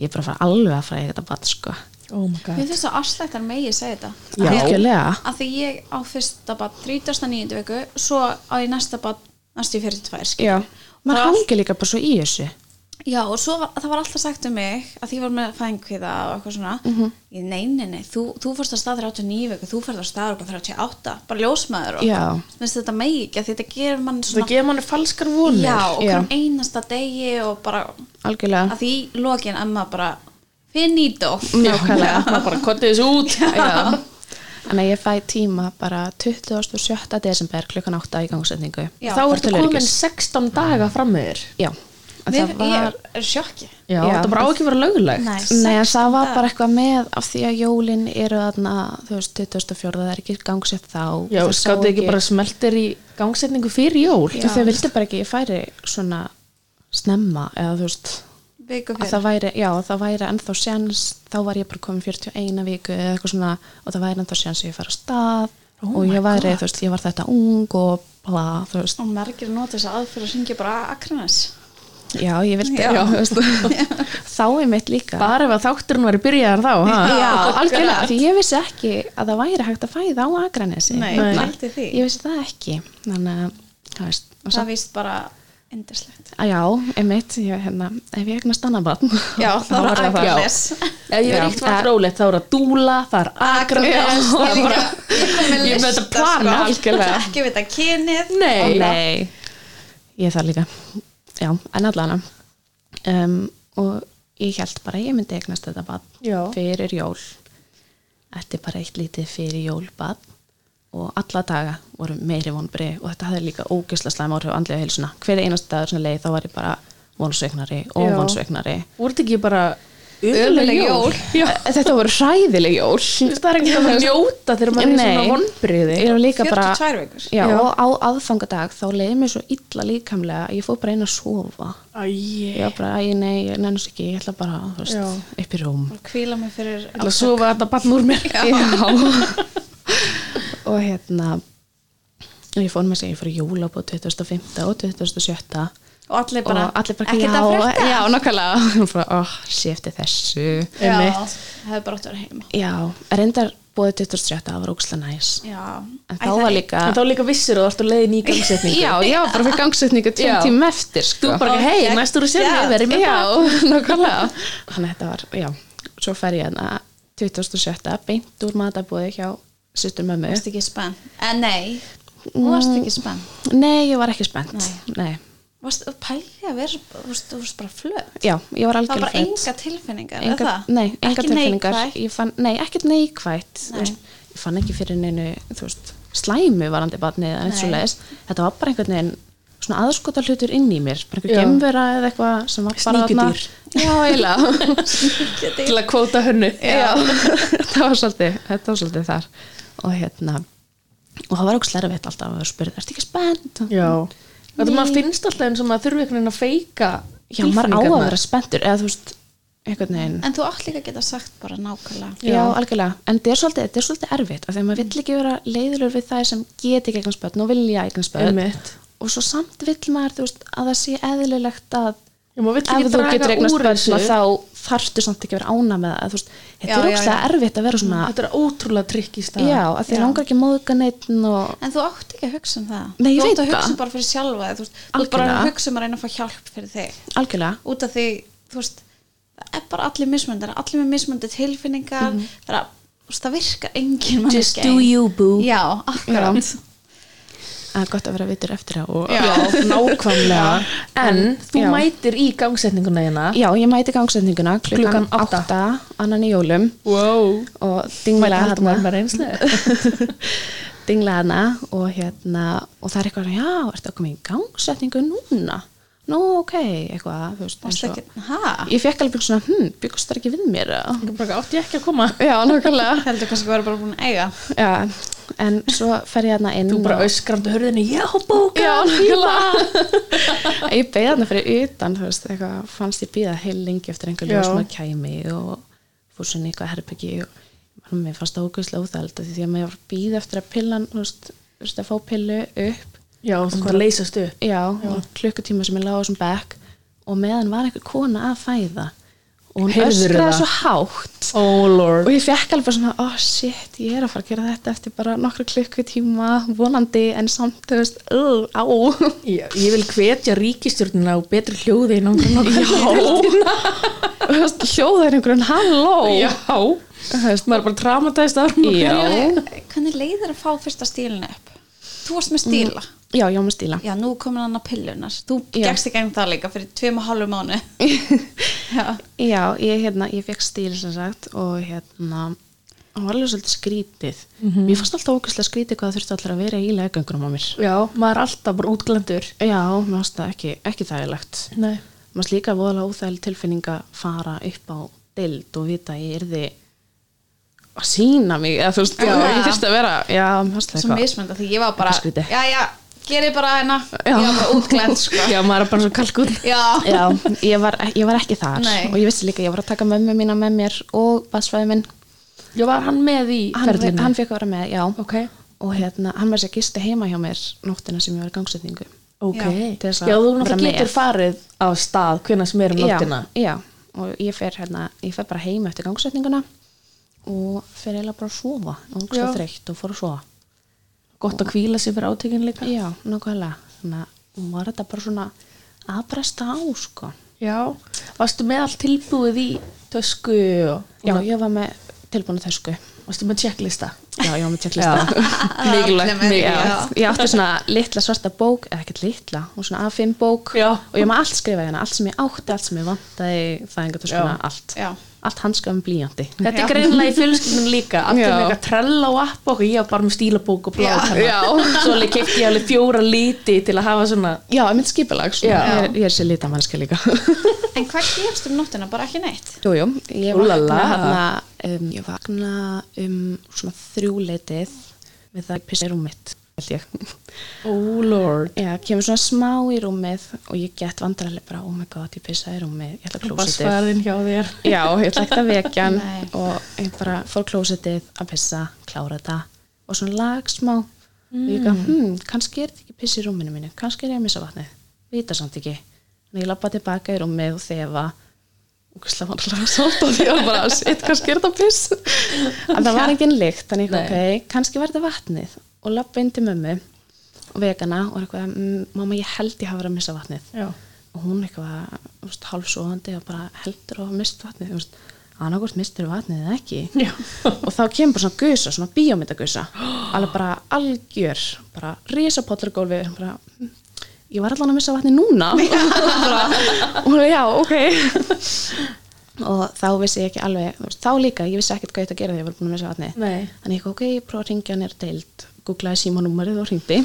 S3: ég er bara að fara alveg að fræða þetta bat sko
S1: Oh my god
S2: Mér finnst það afslættar megi að segja þetta
S3: Já. Algjörlega.
S2: Af því ég á fyrsta bad 39. viku Svo á ég næsta bad næstu í 42 skilur.
S3: Já, maður
S2: Það-
S3: hangi líka bara svo í þessu
S2: Já, og svo var, það var alltaf sagt um mig að því ég var með fængkviða og eitthvað svona
S3: Mhm.
S2: ég, nei, nei, nei, þú, þú fórst að stað 39 viku, þú fórst að stað okkur 38 bara ljósmaður og
S3: Já.
S2: minnst þetta megi ekki að þetta gerir mann
S1: Það
S2: svona
S1: gefa manni falskar vonir
S2: já, og hverjum
S3: Já.
S2: einasta degi og bara að
S3: algjörlega
S2: því í lokin að maður bara finito
S3: Nákvæmlega.
S1: Það bara kotið þessu út
S3: Já. Þannig að ég fæ tíma bara 27. desember klukkan 8 í gangsetningu.
S2: Já,
S1: þá ertu
S3: til öryggis.
S1: komin 16 daga fram með þér
S3: Já. En
S2: Mér,
S3: það var,
S2: Ég er sjokki
S1: já,
S3: Já.
S1: þetta bara á ekki að vera löglegt
S2: Nei.
S3: Nei, en það var
S2: Sextán.
S3: bara eitthvað með af því að jólin eru þarna, þú veist, 24. það er ekki gangsett þá.
S1: já,
S3: Það sá
S1: skáttu ekki bara smeltir í gangsetningu fyrir jól
S3: Já, þau vildi bara ekki, að ég færi svona snemma, eða þú veist,
S2: Viku
S3: að
S2: fyrir
S3: það væri, já, að það væri ennþá sjans, þá var ég bara komin 41 viku eða eitthvað svona og það væri ennþá sjans að ég fara að stað
S1: Oh
S3: og
S1: my
S3: ég væri,
S1: God.
S3: þú veist, ég var þetta ung og bla, þú veist,
S2: Og margir nota þess aðfyrir að syngja bara Akranes
S3: já, ég vildi,
S2: Já.
S3: já, þú veist, þá er mitt líka.
S1: bara ef að þátturinn væri byrjaðar þá ha?
S2: Já,
S3: algjörlega, því ég vissi ekki að það væri hægt að fæða á Akranesi. Hérna,
S2: Nei,
S1: Nei.
S2: pældi því
S3: Ég vissi það ekki, þannig að, þú veist, og
S2: Það
S3: samt,
S2: víst bara indislegt
S3: að já, einmitt, ég, hérna, ef ég eignast annað barn.
S2: Já, það var
S1: það.
S2: Akranes
S1: ef ég
S3: Já.
S1: er eitt var rólegt þá er að dúla það er
S2: Akranes
S1: agranes Ég er
S2: Ég líka- ég kom með
S1: með
S2: lista,
S1: þetta plan,
S2: sko.
S1: algjörlega.
S2: Ekki vita kynið
S1: Nei.
S3: Nei, ég það líka Já, en allan um, Og ég held bara að ég myndi eignast þetta
S1: Já.
S3: bad fyrir jól Þetta er bara eitt lítið fyrir jól bad og alla daga voru meiri vonbri og þetta hafði líka ógisla slæm áhrif á andlega heilsuna hver einast dagur sem leið þá var ég bara vonsveiknari og
S1: Já.
S3: vonsveiknari
S1: voru þetta ekki bara
S2: Ömurleg
S1: ömuleg
S2: jól.
S1: já,
S3: Þetta voru hræðileg jól
S1: það er ekki að fara að njóta þegar maður er í svona vonbriði
S3: Ég var líka bara
S2: 42 vikur.
S3: Já,
S1: Já.
S3: og á aðfangadag þá leiði mér svo illa líkamlega að ég fór bara inn að sofa Ég
S1: æj
S3: var bara, æ, nei, ég nennast ekki, ég ætla bara, þú
S1: Já.
S3: veist, upp í rúm.
S2: Kvíla mig fyrir
S1: Ég ætla að sofa þetta bann úr mér
S3: Já. og hérna, og ég fór með sig, ég fór í jólabóð 2005 og 2007
S2: Og allir bara,
S3: og allir bara,
S2: "Ekkert að frétta?"
S3: já, nokkulega. Og ég bara, oh, séfti þessu.
S2: Já,
S1: Einmitt.
S2: það hefur bara átt að vera heima
S3: Já, reyndar bóðið 2007, það var óksla næs.
S2: Já,
S3: En
S2: Æ,
S3: þá
S2: það
S3: var
S2: er-
S3: líka,
S1: en þá líka vissir og þú ert að leiðin í gangsetningu
S3: já, já, bara fyrir gangsetningu tveim
S1: Já.
S3: tíma eftir, sko.
S1: þú bara,
S2: Ó,
S1: hei,
S2: gegn-
S1: næstur að sér
S2: Já.
S1: ég verið með
S3: Já,
S1: það
S3: nákvæmlega Þannig að þetta var, já, svo fer ég hérna 2007, beint úr matabóði hjá sýstur mömmu
S2: varst ekki spenn En nei,
S3: Mm.
S2: hún varst ekki spenn
S3: Nei, ég var ekki spennt Nei.
S2: Varst þú pæli að vera, þú veist, þú varst bara flöð
S3: Já, ég var
S2: Það var
S3: algjörlega
S2: bara enga tilfinningar, er það?
S3: Nei, enga
S2: Ekki
S3: tilfinningar
S2: neikvætt.
S3: Ég fann, nei, ekkert neikvætt þú
S2: Nei.
S3: veist, Ég fann ekki fyrir neinu, þú veist, slæmu varandi barnið eða neitt
S2: Nei.
S3: svo leiðis Þetta var bara einhvern veginn svona aðskota hlutur inn í mér bara einhver
S1: Já.
S3: gemvera eða eitthvað sem var bara þarna-
S1: Sníkjudýr.
S3: Já, eiginlega
S2: Geti-
S1: til að kvóta hönnu
S3: Já, þetta var svolítið, þetta var svolítið þar og hérna og það var okkur slerfitt alltaf að vera spurði, ertu ekki spennt?
S1: þetta maður finnst alltaf eins og maður þurfi einhvern veginn að feika
S3: Já, maður á að
S1: tilfinningarnar.
S3: vera spenntur eða þú veist, einhvern veginn
S2: En þú átt líka að geta sagt bara nákvæmlega
S3: Já, algjörlega, en þetta er svolítið, þetta er svolítið erfitt af því að maður vill ekki vera leiðilur við þær sem geti ekki eignan spönn og vilja eignan spönn
S1: Einmitt.
S3: og svo samt vill maður, þú veist, að það sé eðlilegt að
S1: Já, maður vill
S3: ef
S1: ekki
S3: þú getur
S1: draga
S3: eignan
S1: úr þessu
S3: spönn þá þarftu samt ekki að vera ána með það þú veist, þetta
S2: Já,
S3: er
S2: já,
S3: ókslega
S2: já.
S3: erfitt að vera svona
S1: þetta er ótrúlega trikk í stað
S3: já, að því
S2: Já.
S3: langar ekki að móðga neittn og
S2: En þú átt ekki að hugsa um það
S3: Nei, ég
S2: Þú átt
S3: veit
S2: að hugsa
S3: það.
S2: bara fyrir sjálfa þig, Þú veist, þú átt bara
S3: Algjörlega.
S2: að hugsa um að reyna að fá hjálp fyrir þig
S3: algjörlega
S2: út af því, þú veist það er bara allir mismöndar, allir með mismöndi tilfinningar, mm
S3: Mhm.
S2: -hmm. það, þú veist, það virkar engin manneskja
S1: Just
S2: ein.
S1: do you, boo.
S2: Já, akkurat
S3: að gott að vera vitur eftir það og...
S1: Já, nákvæmlega en þú
S3: Já.
S1: mætir í gangsetninguna hérna
S3: já, ég mæti gangsetninguna klukkan
S1: Klukkan átta.
S3: 8 annan í jólum
S1: wow
S3: og hérna.
S1: Mætti
S3: dinglaði
S1: haldum að
S3: hana
S1: vera einslega
S3: dinglaði hana og hérna og það er eitthvað, já, ertu að koma í gangsetningu núna nú, ok, eitthvað þú veist,
S2: Varst
S3: eins og-
S2: ekki, hæ?
S3: ég fekk alveg svona, hm, byggust það ekki við mér eða?
S1: átti ég ekki að koma
S3: já, nákvæmlega
S2: Heldur kannski að vera bara búin að eiga
S3: já, en svo fer ég hana inn
S1: þú bara
S3: og-
S1: öskrandu hörðinni, já, bóka
S3: Já, nákvæmlega Ég beði hann fyrir utan, þú veist, eitthvað, fannst ég býða heil lengi eftir einhver
S1: Já.
S3: ljós maður kæmi og fór svona í eitthvað herbyggi og mann, mér fannst það ógæslega óþæld því að maður var býð eftir að pillan, þú veist, þú veist, að fá pillu upp
S1: já, þú bara leysast upp
S3: já, já. klukkutíma sem ég lág á sem bekk og meðan var einhver kona að fæða og hún
S1: Heyrðirðu
S3: öskraði
S1: það?
S3: svo hátt
S1: oh lord
S3: og ég fekk alveg svona, oh shit, ég er að fara að gera þetta eftir bara nokkra klukkutíma vonandi en samt, þú veist, uh, á
S1: ég, ég vil hvetja ríkistjórnina á betri hljóði en ángrun já,
S3: Þú veist, hljóða er einhverjum halló
S1: já þú veist, maður er bara traumatæst að hún
S3: Já.
S2: Hvernig leiðir að fá fyrsta stílinu upp? Þú varst með stíla
S3: já, já, með stíla
S2: Já, nú komin hann að pillunar Þú
S3: Mhm. Já.
S2: gegst ekki um það líka fyrir tveim og hálfu mánu Já,
S3: já, ég, hérna, ég fekk stíl sem sagt og hérna hann var alveg svolítið skrítið
S1: Mhm.
S3: mér fannst alltaf ógæslega skrítið hvað það þurfti allir að vera í leggöngunum á mér
S1: já, maður er alltaf bara útglendur
S3: já, mér fannst það ekki, ekki þægilegt
S1: Nei.
S3: mér fannst líka voðalega óþægileg tilfinning að fara upp á deild og vita að ég yrði að sína mig eða þú veist, já,
S2: Já.
S3: ég þurfti að vera já, mér fannst það
S2: svo mismönda því ég var bara
S3: Eitthvað skrítið.
S2: já, já, gerir bara hérna
S3: Já.
S2: ég var bara útglænt sko.
S1: já, maður er bara svo kalkun
S2: já,
S3: Já, ég var, e, ég var ekki þar
S2: Nei.
S3: og ég vissi líka, að ég var að taka mömmu mína með mér og basfæði minn
S1: já, var hann með í
S3: hann,
S1: ferlinu
S3: hann fekk að vera með, já
S1: ok,
S3: og hérna, hann var sér gisti heima hjá mér nóttina sem ég var í gangsetningu
S1: ok
S2: Já,
S3: til þess að
S1: já, þú
S3: vera
S1: náttúrulega
S3: með.
S1: getur farið á stað hvena sem er um nóttina
S3: já, já, og ég fer hérna ég fer bara heima eftir gangsetninguna og fer eiginlega bara að sofa
S1: Já.
S3: og svo þreytt og fór að sofa
S1: gott að kvíla sig fyrir átökin líka
S3: já, nákvæmlega þannig að var þetta bara svona að bresta á, sko
S1: já, varstu með allt tilbúið í tösku og
S3: já, ég var með tilbúinu þessku
S1: varstu með checklista
S3: já, ég var með tjekklista
S1: mikilvægt,
S2: Allir með,
S1: mikilvægt
S3: ég átti svona litla svarta bók eða ekkert litla, hún svona A5 bók
S1: Já.
S3: og ég maður allt skrifaði hérna, allt sem ég átti allt sem ég vantaði, fæðingatöskuna,
S1: Já.
S3: allt
S2: Já.
S3: allt handskafum blíjandi
S1: Þetta er
S2: Já.
S1: greinlega í fjölskyldunum líka Allir
S3: Já.
S1: með eitthvað trella og app og okkur Ég var bara með stílabók og
S3: Já.
S1: bláðpenna Svo alveg kefti ég alveg fjóra líti til að hafa svona
S3: Já, ég mynd skipalag,
S1: Já.
S3: svona, ég er, ég er sér lita mannska líka
S2: en hvað gerst um nóttina, bara ekki neitt
S3: Jú, jú, ég
S1: Úlala.
S3: vakna hana, um, ég vakna um svona þrjúleitið við það pissa í rúmitt, held ég
S1: Oh lord
S3: Já, kemur svona smá í rúmið og ég get vandrarlega bara, oh my god, ég pissa í rúmið ég ætla að
S1: Bara
S3: klósitið
S1: svarðin hjá þér
S3: Já, ég ætla ekki að vekja hann
S2: Nei.
S3: og ég bara fór klósetið að pissa, klára þetta og svona lag smá og ég gaf, hm, kannski er þetta ekki piss í rúminu mínu, kannski er ég að missa vatnið, vita samt ekki en ég lappa tilbaka í rúmið og þefa og hverslega vanlega sátt og því að bara, shit, kannski er þetta piss en það var engin lykt, þannig
S1: Nei.
S3: ok, kannski var þetta vatnið og lappa inn til mömmu og vegana og er eitthvað, "Mm, mamma, ég held ég hafa verið að missa vatnið
S1: Já.
S3: og hún eitthvað þú veist, hálfsofandi og bara heldur og mist vatnið þú veist, annarkvort mistur vatnið eða ekki
S1: Já.
S3: og þá kemur bara svona gusa, svona bíómyndagausa alveg bara algjör bara risapottur gólfi bara, "Mm, ég var allan að missa vatnið núna bara, og hún, já, ok og þá vissi ég ekki alveg þú veist, þá líka, ég vissi ekkert hvað ég ætti að gera þegar ég var búin að missa vatnið
S1: Nei.
S3: þannig ég ok, ég prófa að ringja nér deild googlaði símanúmerið og ringdi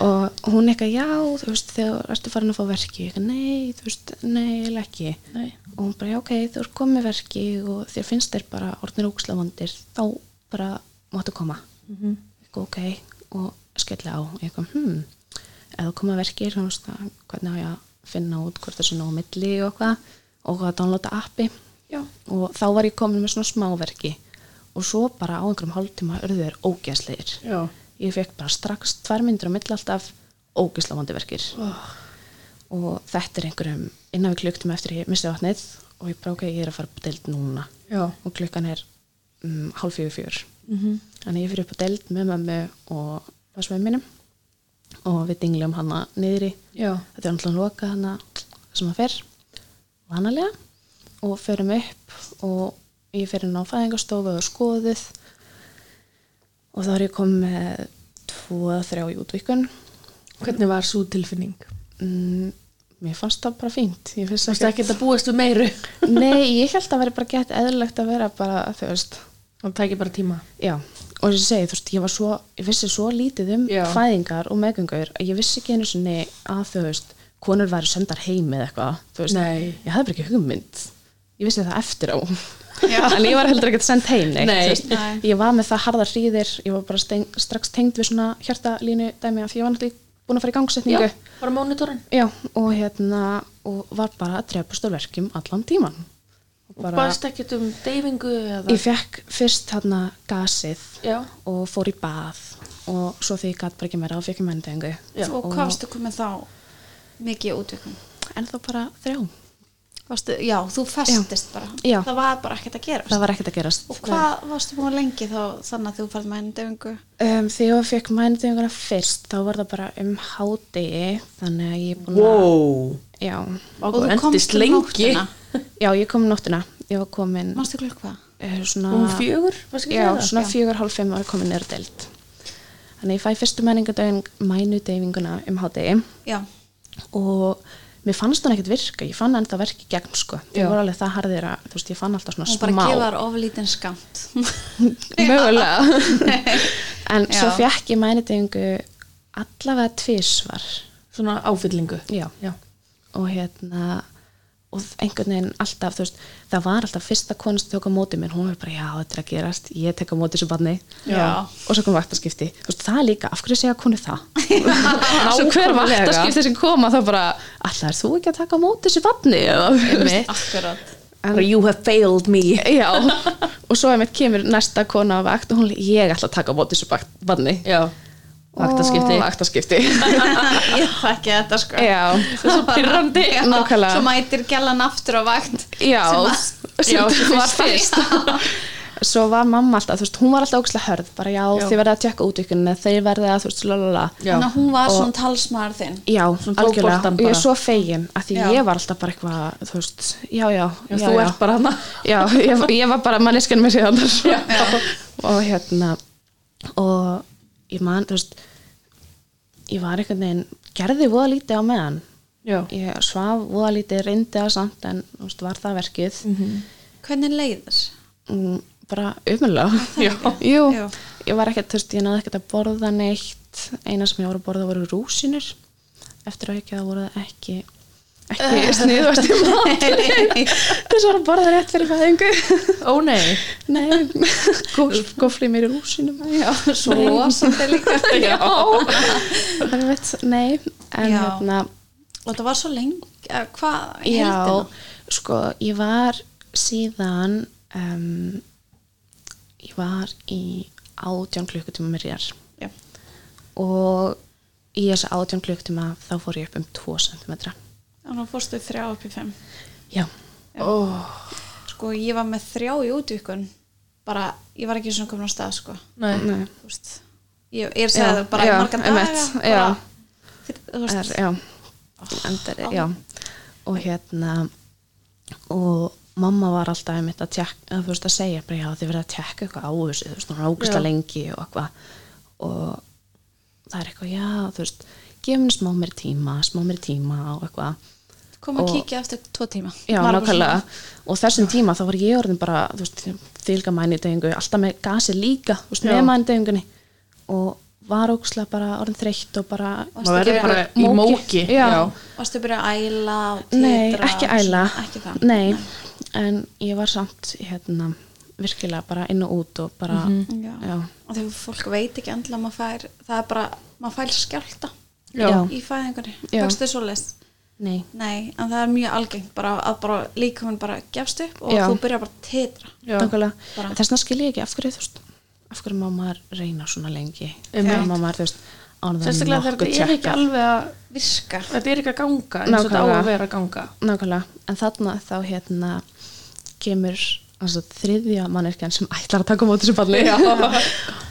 S3: og hún eitthvað já, þú veist, þegar ertu farin að fá verki ég eitthvað nei, þú veist, nei, eiginlega ekki
S1: Nei.
S3: og hún bara já, ok, þú ert komið verki og þér finnst þér bara orðnir ógslavandir þá bara máttu koma mm
S1: Mhm.
S3: -hmm. ok, og skelli á ég eitthvað, hmm eða koma verkir, þú veist, að- hvernig á ég að finna út hvort þessu nóg á milli og hvað og hvað að downloada appi
S1: Já.
S3: og þá var ég komin með svona smáverki og svo bara á einhverjum hálftíma urðu þeir ógeðslegir
S1: Já.
S3: ég fekk bara strax tvær myndir á milli alltaf ógeðslavandi verkir og þetta er einhverjum innan við klukktum eftir ég misti vatnið og ég bara ok, ég er að fara upp á deild núna
S1: Já.
S3: og klukkan er um, hálf fjögur fjör
S1: Mhm.
S3: þannig ég fyrir upp á deild með mömmu og basveið minnum og við dinglum hana niðri
S1: Já.
S3: þetta er náttúrulega loka hana sem að fer vanalega og förum upp og ég fer inn á fæðingarstofu og er skoðuð og þá er ég kom með tvo að þrjá í útvikun
S1: Hvernig var svo tilfinning?
S3: mm, mér fannst það bara fínt ég finnst
S1: Varstu
S3: ekki
S1: ekki að búast við meiru?
S3: nei, ég held að vera bara gett eðlilegt að vera bara, þú veist,
S1: Það tæki bara tíma
S3: já og þess að segja, þú veist, ég var svo ég vissi svo lítið um
S1: Já.
S3: fæðingar og meðgöngur að ég vissi ekki einu sinni að þú veist, konur væri sendar heim eða eitthvað, þú veist,
S1: Nei.
S3: ég hafði bara ekki hugmynd ég vissi það eftir á
S2: Já.
S3: en ég var heldur ekkert sendt heim neitt,
S1: Nei.
S3: þú veist.
S2: Nei.
S3: ég var með það harðar hríðir ég var bara steng, strax tengd við svona hjartalínu dæmi af því ég var náttúrulega búin að fara í gangsetningu
S1: bara mónitorinn
S3: Já, og hérna og var bara að drefast á verkjum allan tíman og
S1: Bara... Baðst ekkert um deyfingu eða...
S3: ég fekk fyrst hérna gasið
S1: Já.
S3: og fór í bað og svo því ég gæti bara ekki meira og fekk ég menningu
S1: Já.
S2: og hvað varstu komið þá mikið útvikun
S3: en þá bara þrjá
S2: varstu, já, þú festist bara
S3: Já.
S2: það var bara ekkert að gerast
S3: það var ekkert að gerast
S2: og hvað varstu búin lengi þá þannig að þú færð með henni döfingu
S3: Um, þegar ég fekk mæninguna fyrst þá var það bara um hádegi þannig að ég er búin að
S1: Wow
S3: já.
S1: Og þú endist
S2: um
S1: lengi
S3: já, ég kom um nóttina ég var komin
S2: Mástu klukk hvað?
S3: uh, svona,
S1: Hún Um fjögur, varstu ekki
S3: já,
S1: að segja það?
S3: svona
S2: Já.
S3: fjögur, hálf fimm var ég komin nýra deild þannig að ég fæ fyrstu mæninguna mænudeyfinguna um hádegi
S2: Já,
S3: og mér fannst hún ekkert virka, ég fann enda verki gegn sko,
S1: Já.
S3: ég voru alveg það harðir að þú veist, ég fann alltaf svona
S2: hún bara
S3: smá
S2: gefa þar oflítinn skamt
S3: mögulega en svo
S2: Já.
S3: fekk ég mænitingu allavega tvísvar
S1: svona áfyllingu
S3: já.
S1: Já.
S3: og hérna og einhvern veginn alltaf, þú veist það var alltaf fyrsta konan sem tók á móti mér hún var bara, já, þetta er að gerast, ég tek á móti þessu barni
S2: Já.
S3: og svo kom vaktaskipti þú veist, það líka, af hverju segja konu það svo hver
S1: Nákvæmlega.
S3: vaktaskipti sem koma þá bara, alltaf er þú ekki að taka á móti þessu barni eða, þú veist,
S2: akkurat
S1: Bara, you have failed me
S3: Já, og svo einmitt kemur næsta kona á vakt og hún, ég ætla að taka á móti þessu bak- barni
S1: já, vaktaskipti
S3: Ó, Vaktaskipti
S2: ég þekki þetta sko
S3: Já,
S2: það er svo
S3: pirrandi. Nákvæmlega.
S2: svo mætir gælan aftur á vakt
S3: Já,
S2: Sem
S3: sem
S1: Já, sem
S3: var
S2: fyrst.
S3: fyrst Svo var mamma alltaf, þú veist, hún var alltaf ógæslega hörð bara já,
S1: Já.
S3: þið verða að tjekka útvikkunni þeir verða að, þú veist, lalala
S1: já.
S2: þannig að hún var svona talsmaður þinn
S3: Já,
S1: Svona tók
S3: algjörlega,
S1: boltann
S3: og ég er
S1: bara.
S3: svo fegin að því
S2: Já.
S3: ég var alltaf bara eitthvað, þú veist, já, já, já,
S1: þú ert bara hana
S3: Já, ég, ég var bara manneskan með síðan og hérna og ég man, þú veist ég var einhvern veginn gerði voða lítið á meðan
S1: já,
S3: ég svaf voða lítið, reyndi að samt en þú veist, var það verkið
S2: hvernig leiðir?
S3: mm, bara umlega
S1: Já.
S3: Jú,
S2: Já.
S3: ég var ekkert, þú veist, ég náði ekkert að borða neitt eina sem ég voru að borða voru rúsinur eftir að ekki það voru það ekki ekki sniðvast í matli þess var að borða rétt fyrir fæðingu
S1: ó nei
S3: nei, gofli mér í rúsinum
S2: já, svo losandi líka
S1: já,
S3: það er veit, nei en
S2: Já.
S3: hérna,
S2: og það var svo lengi, eða hvað í
S3: já
S2: heildina?
S3: sko, ég var síðan um, ég var í átján klukkutíma með rér
S2: já,
S3: og í þessu átján klukkutíma þá fór ég upp um 2 cm
S2: þannig að fórstu þrjá upp í fimm
S3: já,
S1: ó,
S2: sko ég var með þrjá í útvikun bara, ég var ekki svona komin á stað sko
S1: nei
S3: nei
S2: þú veist ég ég er að segja
S3: Já,
S2: það bara í
S3: já,
S2: marga daga
S3: einmitt, já.
S2: bara, þér- þú
S3: er,
S2: veist,
S3: já, endar, já og hérna og mamma var alltaf einmitt að, tjekk, að, þú veist, að segja bara, já, þið verið að tjekka eitthvað á þessu þú veist, hún er ógæsla
S1: Já.
S3: lengi og eitthvað og það er eitthvað, já, þú veist gefum henni smá mér tíma, smá mér tíma og eitthvað,
S2: kom að
S3: og-
S2: kíkja eftir tvo tíma
S3: já,
S2: Var bara
S3: nákvæmlega og þessum tíma þá var ég orðin bara þú veist, þylga mænidegingu, alltaf með gasi líka, þú veist,
S1: Já.
S3: með mænidegingunni og var ógæsla bara orðin þreytt og bara,
S2: Varstu
S1: maður verður
S2: ekki
S1: bara
S3: í
S1: í
S3: móki.
S1: móki
S3: Já.
S2: svona, varstu að byrja að æla og titra
S3: Nei, ekki
S2: og
S3: æla
S2: svona, ekki það
S3: Nei, en ég var samt hérna, virkilega bara inn og út og bara,
S2: já.
S3: Mm. já,
S2: og þegar fólk veit ekki andla maður fær það er bara, maður fær skjálta
S1: Já.
S3: Já.
S2: í fæðingunni,
S3: Já.
S2: fækstu svo les
S3: nei
S2: nei, en það er mjög algengt bara að bara líkaminn bara gefst upp og
S3: Já.
S2: þú byrja bara að titra
S1: Já.
S3: Nákvæmlega.
S2: Bara-
S3: þess vegna skil ég ekki af hverju þú veist af hverju má maður reyna svona lengi
S1: Einmitt.
S3: Af hverju má maður, þú veist, ánum
S1: sérstaklega þegar þetta er ekki alveg að
S2: virka
S1: þetta er ekki að ganga eins og þetta á
S3: Nákvæmlega.
S1: að vera að ganga
S3: Nákvæmlega, en þarna þá hérna kemur altså, þriðja mannirkjan sem ætlar að taka á móti þessu balli
S1: Já.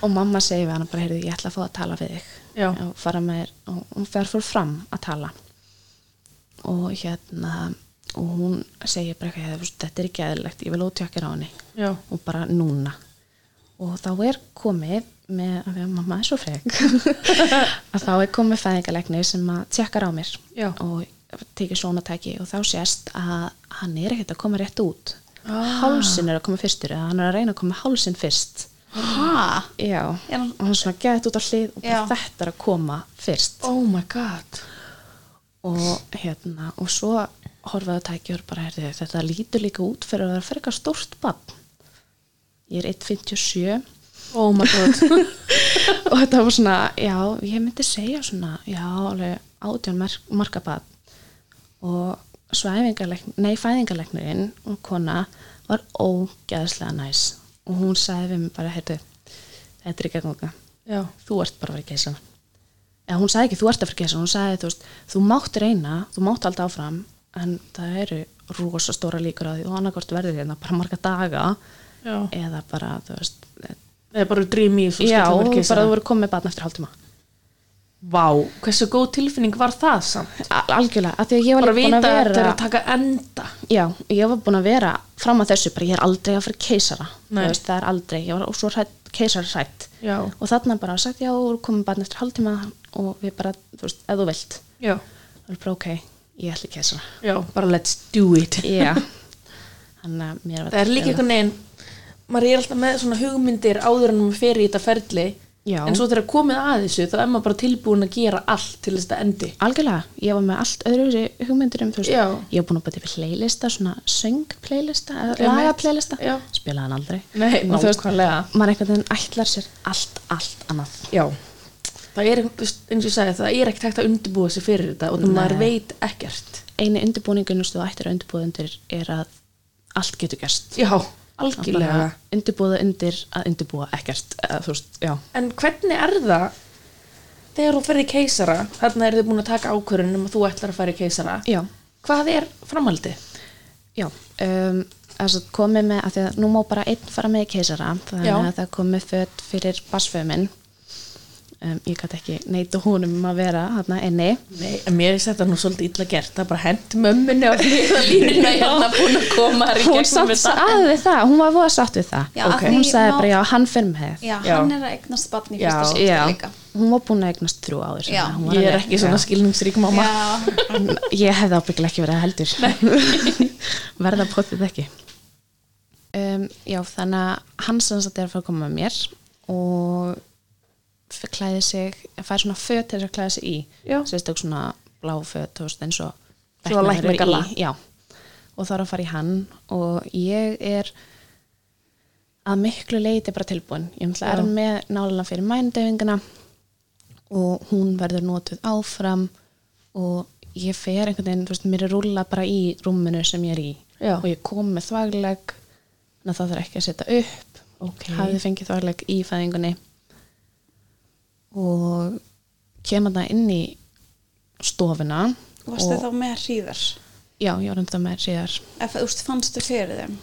S3: og mamma segir við hann bara, heyrðu, ég ætla að fá að tala við þig
S1: Já.
S3: og fara með þér og hún fer fór fram að tala og hérna og hún segir bara eitthvað, "Þú veist, þetta er ekki eðlilegt, ég vil ótjökkir á henni
S1: já,
S3: og bara núna og þá er komið með, af því að mamma er svo frek að þá er komið fæðingalegni sem að tjekkar á mér
S1: Já.
S3: og tekið svona tæki og þá sést að hann er ekkert að koma rétt út ah. hálsin er að koma fyrstur eða hann er að reyna að koma hálsin fyrst
S2: hæ?
S3: já,
S2: Er hann-
S3: og hann er svona gett út á hlið og bara
S2: Já.
S3: þetta er að koma fyrst
S1: oh my god
S3: og hérna, og svo horfaðu tækjur bara, herði, þetta lítur líka út fyrir að vera frekar stórt bann ég er 1,57
S1: oh my god
S3: og þetta var svona, já, ég myndi segja svona, já, alveg átján mark, markabat og svæfingarleikn, nei, fæðingarleiknurinn og kona var ógeðslega næs og hún sagði við mig bara, heyrðu, þetta er ekki að ganga,
S1: já,
S3: þú ert bara að vera geisa eða hún sagði ekki, þú ert að vera geisa hún sagði, þú veist, þú mátt reyna þú mátt alltaf áfram, en það eru rosa stóra líkur á því og annarkort verður hérna bara marga daga
S1: já
S3: eða bara, þú veist,
S1: eða bara dream í svo
S3: já,
S1: skellum við
S3: bara
S1: keisara.
S3: þú voru komið með batn eftir hálftíma
S1: vá, hversu góð tilfinning var það samt
S3: Al- algjörlega, af því að ég var
S1: bara
S3: líka búin
S1: vita
S3: að
S1: að þetta er
S3: vera
S1: að taka enda
S3: já, ég var búin að vera fram að þessu, bara ég er aldrei að fara í keisara Þú
S1: Nei.
S3: veist, það er aldrei, ég var svo hrætt keisara hrætt
S1: já,
S3: og þarna bara sagt já, komum bara eftir hálftíma og við bara, þú veist, ef þú vilt
S1: já,
S3: það er bara ok, ég ætla ekki þess
S1: já, bara let's do it
S3: að já þannig að mér var
S1: það er líka einhvern veginn maður er alltaf með svona hugmyndir áður en maður fer í þetta ferli
S3: Já.
S1: en svo þegar komið að þessu þá er maður bara tilbúin að gera allt til þess að þetta endi
S3: algjörlega, ég var með allt öðru hugmyndir um þú veist,
S1: Já.
S3: ég var búin að bæta yfir playlista svona söng playlista
S1: Einmitt.
S3: eða laga playlista,
S1: Já.
S3: spilaði hann aldrei
S1: Nei,
S3: Og þú veist,
S1: nákvæmlega.
S3: maður einhvern veginn ætlar sér allt, allt annað
S1: já það er, þú veist, eins og ég sagði, það er ekkert hægt að undirbúa sig fyrir þetta og það maður veit ekkert
S3: eini undirbúningunum sem þú ættir að undirbúða undir er að allt getur gerst
S1: já,
S3: Að
S1: algjörlega
S3: bara undirbúða undir að undirbúa ekkert eða, þú veist, já
S1: En hvernig er það þegar þú ferði keisara, þarna er þið búin að taka ákvörðun um að þú ætlar að fara í keisara.
S3: Já.
S1: Hvað er framhaldið?
S3: Já, um, þess að komið með að því að nú má bara einn fara með í keisara þannig
S1: Já.
S3: að það komið fött fyrir basföminn um, ég gæti ekki neita húnum um að vera hérna inni
S1: Nei, en mér er þetta nú svolítið illa gert. Það er bara hent mömmunni á hlýðalínuna hérna búin að koma þar í
S3: hún
S1: gegnum
S3: satt að við það, hún var voða satt við það
S2: Já, af
S1: Ok.
S2: því
S3: hún sagði
S2: má-
S3: bara já, hann fyrir með
S2: Já,
S1: Já.
S2: hann er að eignast barn í
S1: Já.
S2: fyrsta skipti líka
S3: hún var búin að eignast þrjú áður
S2: Já.
S3: þannig að hún var
S1: Ég er
S3: alveg-
S1: ekki svona
S3: Já.
S1: skilningsrík mamma.
S2: Já,
S3: ég hefði ábyggilega ekki verið heldur verða potið ekki um, já þannig að hann sem sagt er að fara að koma með mér og f- klæði sig fær svona föt til þess að klæði sig í
S1: Já.
S3: sérstök svona blá föt þú veist, eins og
S1: Svona
S3: læknar eru í.
S1: læknagalla.
S3: já og þá er að fara í hann og ég er að miklu leiti bara tilbúin ég náttúrulega
S1: Já.
S3: er með nálega fyrir mændöfinguna og hún verður notuð áfram og ég fer einhvern veginn, þú veist, mér er rúla bara í rúminu sem ég er í
S1: Já.
S3: og ég kom með þvagleg þannig að það þarf ekki að setja upp
S1: Ok.
S3: hafði fengið þvagleg í fæðingunni og kemur það inn í stofuna
S2: varstu
S3: og,
S2: þá með hríðar
S3: já, ég var enda með síðar
S2: Ef þú veist, fannstu fyrir þeim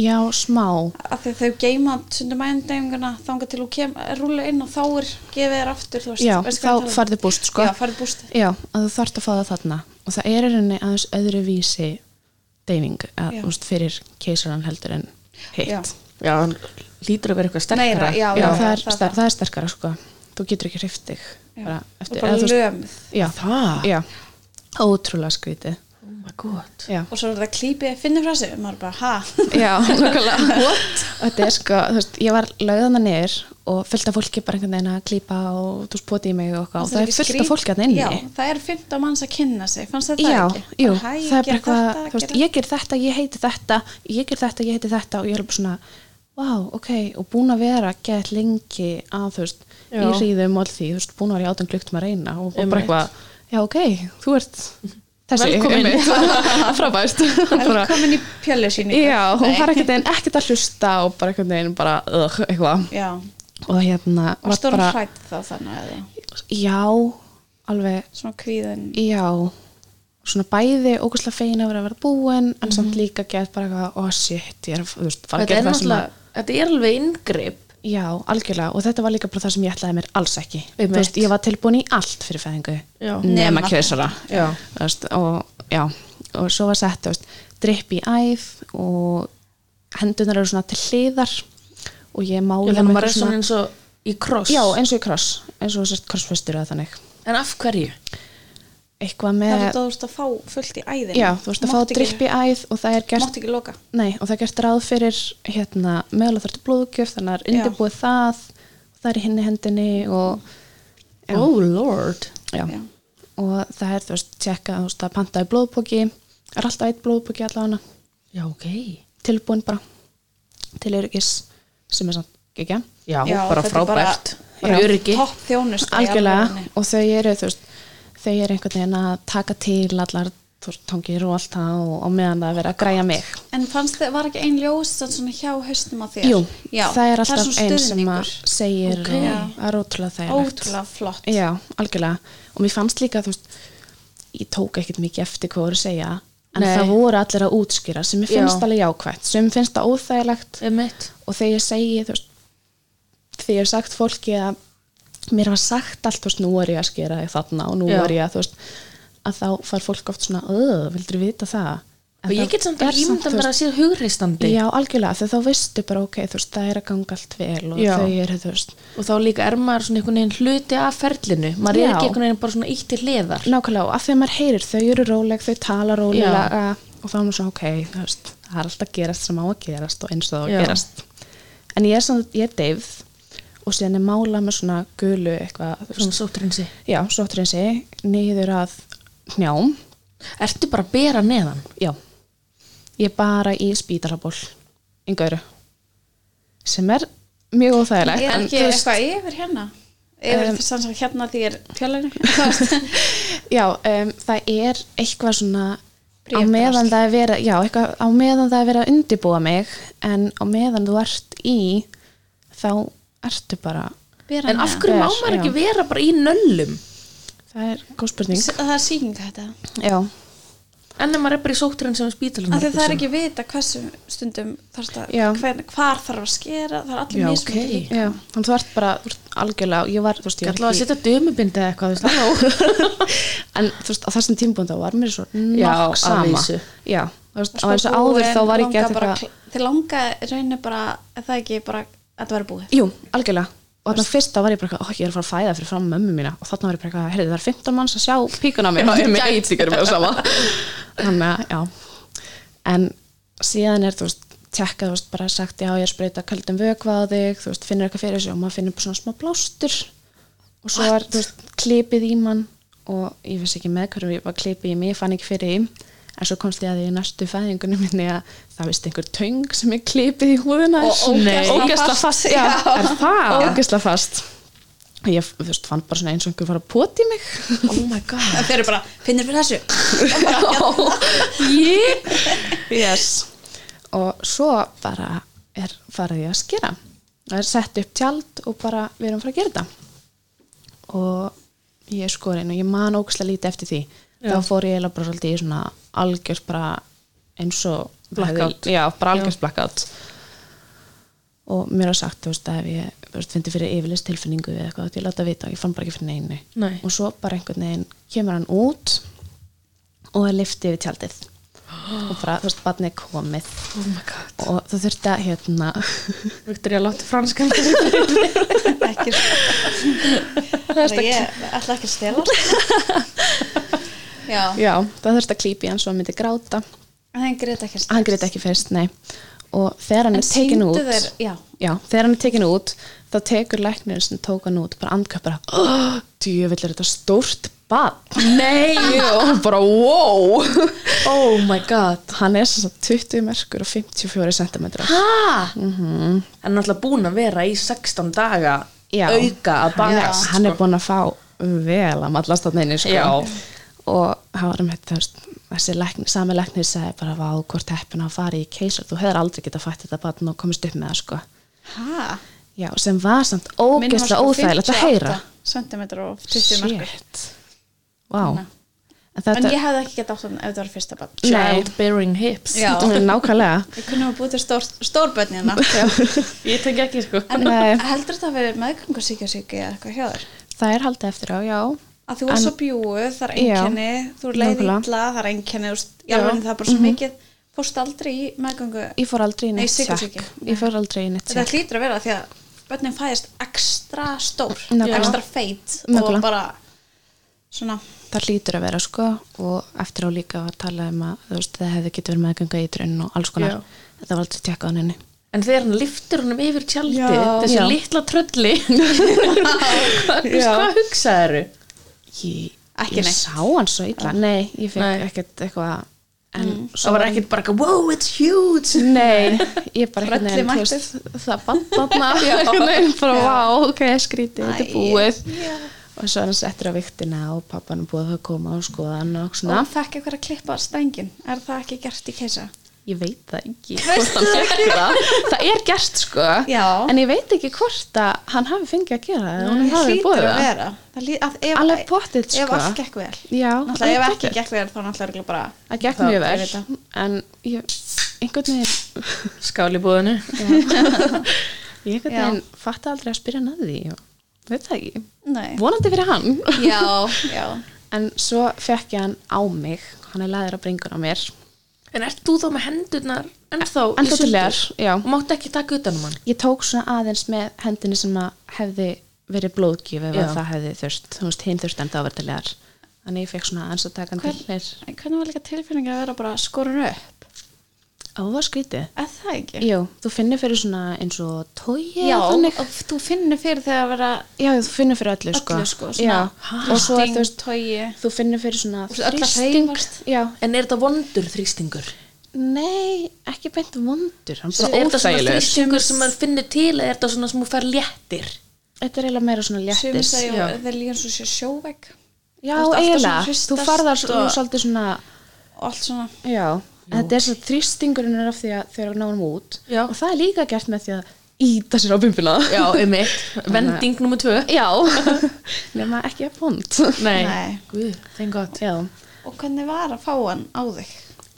S3: já, smá,
S2: Af því að þau geima sundum ændæfinguna þangað til þú kem, rúla inn og þá er gefið þér aftur þú veist,
S3: já,
S2: veist hvað ég tala
S3: þá
S2: um?
S3: farði búst sko
S2: Já, farði búst
S3: Já, að þú þarft að fá það þarna og það er í rauninni aðeins öðru vísi deyfing að,
S2: Já.
S3: þú veist, fyrir keisaran heldur en hitt
S2: Já.
S1: Já, hann lítur að vera eitthvað
S2: Meira,
S1: sterkara.
S2: já,
S3: Já, það, er,
S2: það-
S3: það, það er sterkara sko þú getur ekki hrift þig bara
S2: og
S3: eftir,
S2: bara
S3: eða þú veist-
S2: lömuð
S3: já,
S1: Það?
S3: já, ótrúlega skrítið
S1: Oh my god.
S3: já,
S2: og svo er það klípið finnir frá sig og maður bara, ha,
S3: já nokkulega þetta er sko, þú veist, ég var lögðana niður og fullt af fólki bara einhvern veginn að klípa og þú veist, poti í mig og, eitthvað og það
S2: ekki
S3: er fullt
S2: skrít-
S3: af fólki að inni
S2: já, það er 15 manns að kynna sig fannst þetta
S3: Já,
S2: ekki?
S3: jú,
S2: Bara, hæ,
S3: það er bara
S2: gera
S3: eitthvað,
S2: þetta,
S3: þú veist,
S2: gera-
S3: ég ger þetta, ég heiti þetta, ég ger þetta, ég heiti þetta og ég er bara svona, vá, ok, og búin að vera gett lengi að, þú veist,
S1: Já.
S3: í ríðum og allt því, þú veist, búin að vera í átján klukktum að reyna og, og bara
S1: Einmitt.
S3: eitthvað, já, ok, þú ert þessi,
S1: Velkomin.
S3: einmitt, frábært, bara,
S2: velkomin í pjölu sínu
S3: já, hún var ekkert einn, ekkert að hlusta og bara einhvern veginn bara, ugh, eitthvað,
S2: já,
S3: og hérna,
S2: og
S3: var
S2: stórum
S3: bara,
S2: hrætt þá þannig að það
S3: já, alveg,
S2: svona kvíðin
S3: Já, svona bæði ógustlega fegin að vera að vera búin en samt líka gett bara eitthvað, oh shit, ég er að, þú veist, fara að
S1: Mhm. Þetta er
S3: gera það sem að
S1: náttúrulega, þetta er alveg inngrip.
S3: Já, algjörlega, og þetta var líka bara það sem ég ætlaði mér alls ekki.
S1: Einmitt.
S3: Þú veist, ég var tilbúin í allt fyrir fæðingu,
S1: Já.
S3: nema
S2: Nema.
S3: kjöðsara.
S1: Já.
S3: Þú veist, og já, og svo var sett, þú veist, dripp í æð og hendunar eru svona til hliðar og ég mála
S1: Þannig að
S3: með
S1: maður er
S3: eitthvað
S1: svona eins og í kross.
S3: Já, eins og í kross, eins og sérst krossfestur eða þannig.
S1: En af hverju?
S3: Eitthvað
S2: það
S3: með,
S2: er þú veist að fá fullt í æðin
S3: já, þú veist að fá dripp í æð og það er gert
S2: mátt ekki loka
S3: Nei, og það er gert ráð fyrir hérna, mögulega þarftu blóðgjöf, þannig að það er undirbúið það, það er í hinni hendinni og, Já.
S1: Oh lord.
S3: já.
S2: Já.
S3: og það er, þú veist, tjekka, þú veist, að pantaði blóðpóki, er alltaf eitt blóðpóki allavega,
S1: Já, ok.
S3: tilbúin bara, til öryggis, sem er samt, ekki,
S1: Já,
S2: Já,
S1: bara
S2: þetta er bara-
S1: frábært. Bara
S3: Já.
S1: öryggi.
S2: topp þjónust
S3: algjörlega, og þau eru, þú veist, þau eru einhvern veginn að taka til allar, þú veist, tangir og allt það og, og meðan það er verið að græja mig.
S2: en fannst þið, var ekki ein ljós sem svona hjá höstum á þér
S3: Jú,
S2: já,
S3: það er alltaf
S2: svona
S3: einn sem að
S2: stuðningur.
S3: segir
S2: Ok.
S3: og það er ótrúlega þægilegt.
S2: ótrúlega flott
S3: Já, algjörlega. Og mér fannst líka, þú veist, ég tók ekkert mikið eftir hvað voru að segja, en
S1: Nei.
S3: það voru allir að útskýra sem mér finnst
S1: Já.
S3: alveg jákvætt, sem mér finnst það óþægilegt
S1: Emmett.
S3: og þegar ég segi, þú veist, þegar ég hef sagt fólki að mér var sagt allt, þú veist, nú er ég að skera þig þarna og nú
S1: Já.
S3: er ég að, þú veist, að þá far fólk oft svona, öð, vildur vita það?
S1: og ég get samt að ímynda mér að það sé hugreistandi
S3: Já, algjörlega, því þá veistu bara, ok, þú veist, það er að ganga allt vel og
S1: Já.
S3: þau eru, þú veist,
S1: og þá líka er maður svona einhvern veginn hluti af ferlinu maður er
S3: Já.
S1: ekki einhvern veginn bara svona ítti hliðar
S3: nákvæmlega, og af því að maður heyrir, þau eru róleg, þau tala rólega og þá er maður svona, ok, þú veist, það er alltaf að gerast sem á að gerast og eins og það á
S1: Já.
S3: að gerast. En ég er svona, ég er deyfð og síðan er mála með svona gulu eitthvað, þú veist,
S1: svona sóttrinsi
S2: Mm.
S3: já, sóttrinsi, niður að hnjám,
S1: ertu bara að bera neðan
S3: já, ég er bara í spítarhaból, yngauru, sem er mjög óþægilegt.
S2: er
S3: en
S2: ekki
S3: þú veist-
S2: eitthvað yfir hérna yfir um, þess að hérna því er fjallarinn
S3: Já, um, það er eitthvað svona á
S2: Bréfdrast.
S3: meðan það er verið já, eitthvað, á meðan það er verið að undirbúa mig en á meðan þú ert í þá ertu bara
S2: Bera
S1: en af
S2: hana.
S1: hverju má
S3: Ber,
S1: maður ekki
S3: já.
S1: vera bara í nöllum
S3: það er góð spurning
S2: S- það er sýking þetta
S3: Já,
S1: en ef maður er bara í sóttrinsi um spítalum
S2: Af því það er ekki vita hversu stundum þarst að,
S3: Mm. Já.
S2: hver, hvar þarf að skera það er allir
S1: Já,
S2: mismunandi
S1: ok.
S2: líka.
S3: já, þannig þú ert bara þú ert algjörlega, ég var, þú veist, ég
S1: allavega
S3: var
S1: að setja dömubindi eða eitthvað þú veist, halló.
S3: en þú veist, á þessum tímpun þá var mér svo
S1: Já, að
S3: nokk sama
S1: vísu.
S3: Já, þú veist, sko,
S2: Og svo
S3: á þessu áður
S2: búin,
S3: þá var ég
S2: langar
S3: gert
S2: bara
S3: eitthvað
S2: kl- þið langa raunir bara er það ekki bara að þetta verður búið
S3: Jú, algjörlega og þannig fyrst þá var ég bara eitthvað, ó, ég er að fara að fæða fyrir fram mömmu mína og þannig var ég bara eitthvað, heyrðu það er 15 manns að sjá píkuna mér og ég gæti ekki að vera sama þannig að, já en síðan er, þú veist, tjekkað þú veist, bara sagt, já, ég er spreita kaldum vökva á þig, þú veist, finnur eitthvað fyrir sig og maður finnur bara svona smá blástur og svo er, þú veist, klipið í mann og ég vissi ekki með hverjum ég bara klipið í mig, ég fann ekki fyrir því en svo komst ég að því í næstu fæðingunum minni að það vist einhver töng sem er klipið í húðuna
S2: Og ógeðslega
S3: ógæsla
S2: fast.
S3: fast, já,
S2: Já.
S3: er það ógæsla fast og ég, þú veist, fann bara svona eins og einhver var að poti mig
S1: oh my god
S2: en þeir eru bara, finnir fyrir þessu
S1: yeah.
S3: yes og svo bara er farið ég að skera það er sett upp tjald og bara við erum að fara að gera þetta og ég er skorin og ég man ógæsla lítið eftir því þá fór ég eiginlega bara svolítið í svona algjörst bara eins og
S1: Blackout.
S3: já, bara algjörst blackout og mér var sagt, þú veist, að ef ég þú veist, fyndi fyrir yfirlist tilfinningu eða eitthvað, þá ég láta vita og ég fann bara ekki fyrir neinu
S1: Nei.
S3: og svo bara einhvern veginn kemur hann út og er lifti yfir tjaldið og bara, þú veist, barnið er komið
S1: oh my god
S3: og það þurfti að, hérna
S1: Viktoria látti franskan
S2: ekki það ég ætla ekki að stela já,
S3: já, það þurfti að klípi hann svo hann myndi gráta
S2: hann greit ekki að stela
S3: hann greit ekki fyrst, nei og þegar hann
S2: en
S3: er tekin
S2: sýndu
S3: út
S2: þeir, já
S3: já, þegar hann er tekin út þá tekur læknirinn sem tók hann út bara andkjöp bara, oh, djövill er þetta stórt barn
S1: nei
S3: og bara, wow
S1: oh my god
S3: hann er sem sagt 20 merkur og 54 cm
S1: ha? Mm -hmm. en náttúrulega búin að vera í 16 daga
S3: Já.
S1: auka að sko. bakast
S3: hann
S2: Sko.
S3: er búinn að fá vel að mallast þarna inni sko.
S1: Já.
S3: og hann var um þetta þessi lækni, sami læknir sagði bara vá hvort heppin að fara í keisar þú hefur aldrei getað fætt þetta barn og komist upp með það sko.
S2: hæ,
S3: já, sem var samt ógeðslega óþægilegt að heyra
S2: centimeter sko og 20 markur
S3: shit wow. en þetta
S2: en ég hefði ekki gett átt hann ef það var fyrsta barn
S1: child bearing hips
S2: Já.
S3: nákvæmlega
S2: Við kunnum að búið til stór, stórbönnina
S1: ég tengi ekki sko
S2: En
S3: Nei.
S2: heldur þetta að vera meðgangarsíkjasíki eða eitthvað hjá þér?
S3: það er haldið eftir á, já
S2: Að þú er
S3: En-
S2: svo bjúið, það er einkenni þú er leið
S3: Nákvæmlega.
S2: illa, það er einkenni já, en það er bara svo mikið fórst aldrei í meðgangu
S3: ég fór aldrei í
S2: Nei,
S3: neitt
S2: sykursýki.
S3: sjekk ég fór aldrei í neitt
S2: Þetta
S3: sjekk
S2: hlýtur að vera því að börnin fæðist ekstra stór,
S3: Nákvæmlega.
S2: ekstra feit
S3: Nákvæmlega.
S2: og bara svona
S3: það hlýtur að vera sko og eftir á líka var talað um að þú veist, það hefði getið verið meðgönga í drunn og alls konar
S1: Já.
S3: þetta var aldrei tjekkað á henni
S1: en þegar hann liftur honum yfir tjaldi
S2: Já.
S1: þessu
S3: Já.
S1: litla trölli hvað, hvað hugsaðu
S3: ég,
S2: Ekki
S3: ég
S2: neitt.
S3: sá hann svo illa nei, Mm. ég fekk
S1: Nei.
S3: ekkert eitthvað en
S1: það var ekkert bara eitthvað, wow it's huge
S3: nei, ég bara
S2: Trölli
S3: einhvern veginn, þú
S2: mættur.
S3: veist, það bandanna bara vá, ok, skrítið, þetta er
S2: Æ,
S3: búið
S2: já.
S3: og svo er hann settur á viktina og pappan er búið að koma og skoða hann og svona,
S2: og fekk eitthvað að klippa stængin er það ekki gert í keisa?
S3: ég veit það ekki
S2: Veistu
S3: hvort hann
S2: það
S3: fekk það það er gert sko
S2: Já.
S3: en ég veit ekki hvort að hann hafi fengið að gera það eða honum
S2: Það
S3: hafi verið
S2: hlýtur
S3: boðið
S2: að
S3: það.
S2: vera Það lí- að ef-
S3: Alveg pottþétt,
S2: Ef
S3: sko.
S2: allt gekk vel
S3: Já,
S2: Náttúrulega
S3: alveg
S2: ef ekki
S3: pottþétt.
S2: gekk vel þá náttúrulega örugglega bara
S3: það gekk
S1: Já,
S3: mjög
S2: ég veit
S3: vel en ég, einhvern veginn
S1: skáli búðinu
S3: ég einhvern
S2: Já.
S3: veginn fatta aldrei að spyrja hann að því og veit það ekki,
S2: Nei
S3: vonandi fyrir hann
S2: Já, já
S3: en svo fekk ég hann á mig hann er laður á bringun á mér
S1: En ert þú þá með hendurnar ennþá í
S3: Ennþá til
S1: sundur?
S3: legar, já.
S1: Og mátt ekki taka utan um hann?
S3: ég tók svona aðeins með hendinni sem að hefði verið blóðgjöf ef
S1: Já.
S3: að það hefði þurft, þú veist, hinn þurft enda ávertilegar þannig ég fekk svona aðeins að taka hann til
S2: Hvern-
S3: leir
S2: En hvernig var líka tilfinningin að vera bara skorun upp?
S3: á það var skrítið
S2: Eða það ekki?
S3: Jú, þú finnir fyrir svona eins og tói
S2: Já,
S3: þannig.
S2: og þú finnir fyrir þegar að vera
S3: já, þú finnir fyrir öllu sko,
S2: öllu sko,
S3: já,
S2: svona
S3: og svo er þú veist
S2: veist, tói
S3: þú finnir fyrir svona
S2: Og svo öll að hreyfast.
S3: já,
S1: En er þetta vondur þrýstingur?
S3: nei, ekki beint vondur hann
S1: Er
S3: bara
S1: þetta svona
S3: óþægilegur
S1: þrýstingur sem maður finnir til eða er þetta svona sem hún fær léttir?
S3: þetta er eiginlega meira svona
S2: Sumi
S3: léttis
S2: segja,
S1: já.
S2: það er líka eins og sé sjóvegg
S3: já,
S2: Þú ert alltaf svona
S3: eiginlega,
S2: hristast
S3: þú farðar
S2: og-
S3: og... svolítið svona
S2: og allt svona
S3: Já, þetta er svo þrýstingurinn er af því að þau eru að ná hann út
S1: Já.
S3: og það er líka gert með því að íta sér á bumbuna
S1: Já, um eitt. Vending nummer tvö.
S3: Já. nema ekki að pont
S1: Nei.
S2: Nei.
S1: Guð, þeim gott.
S3: Já,
S2: og hvernig var að fá hann á þig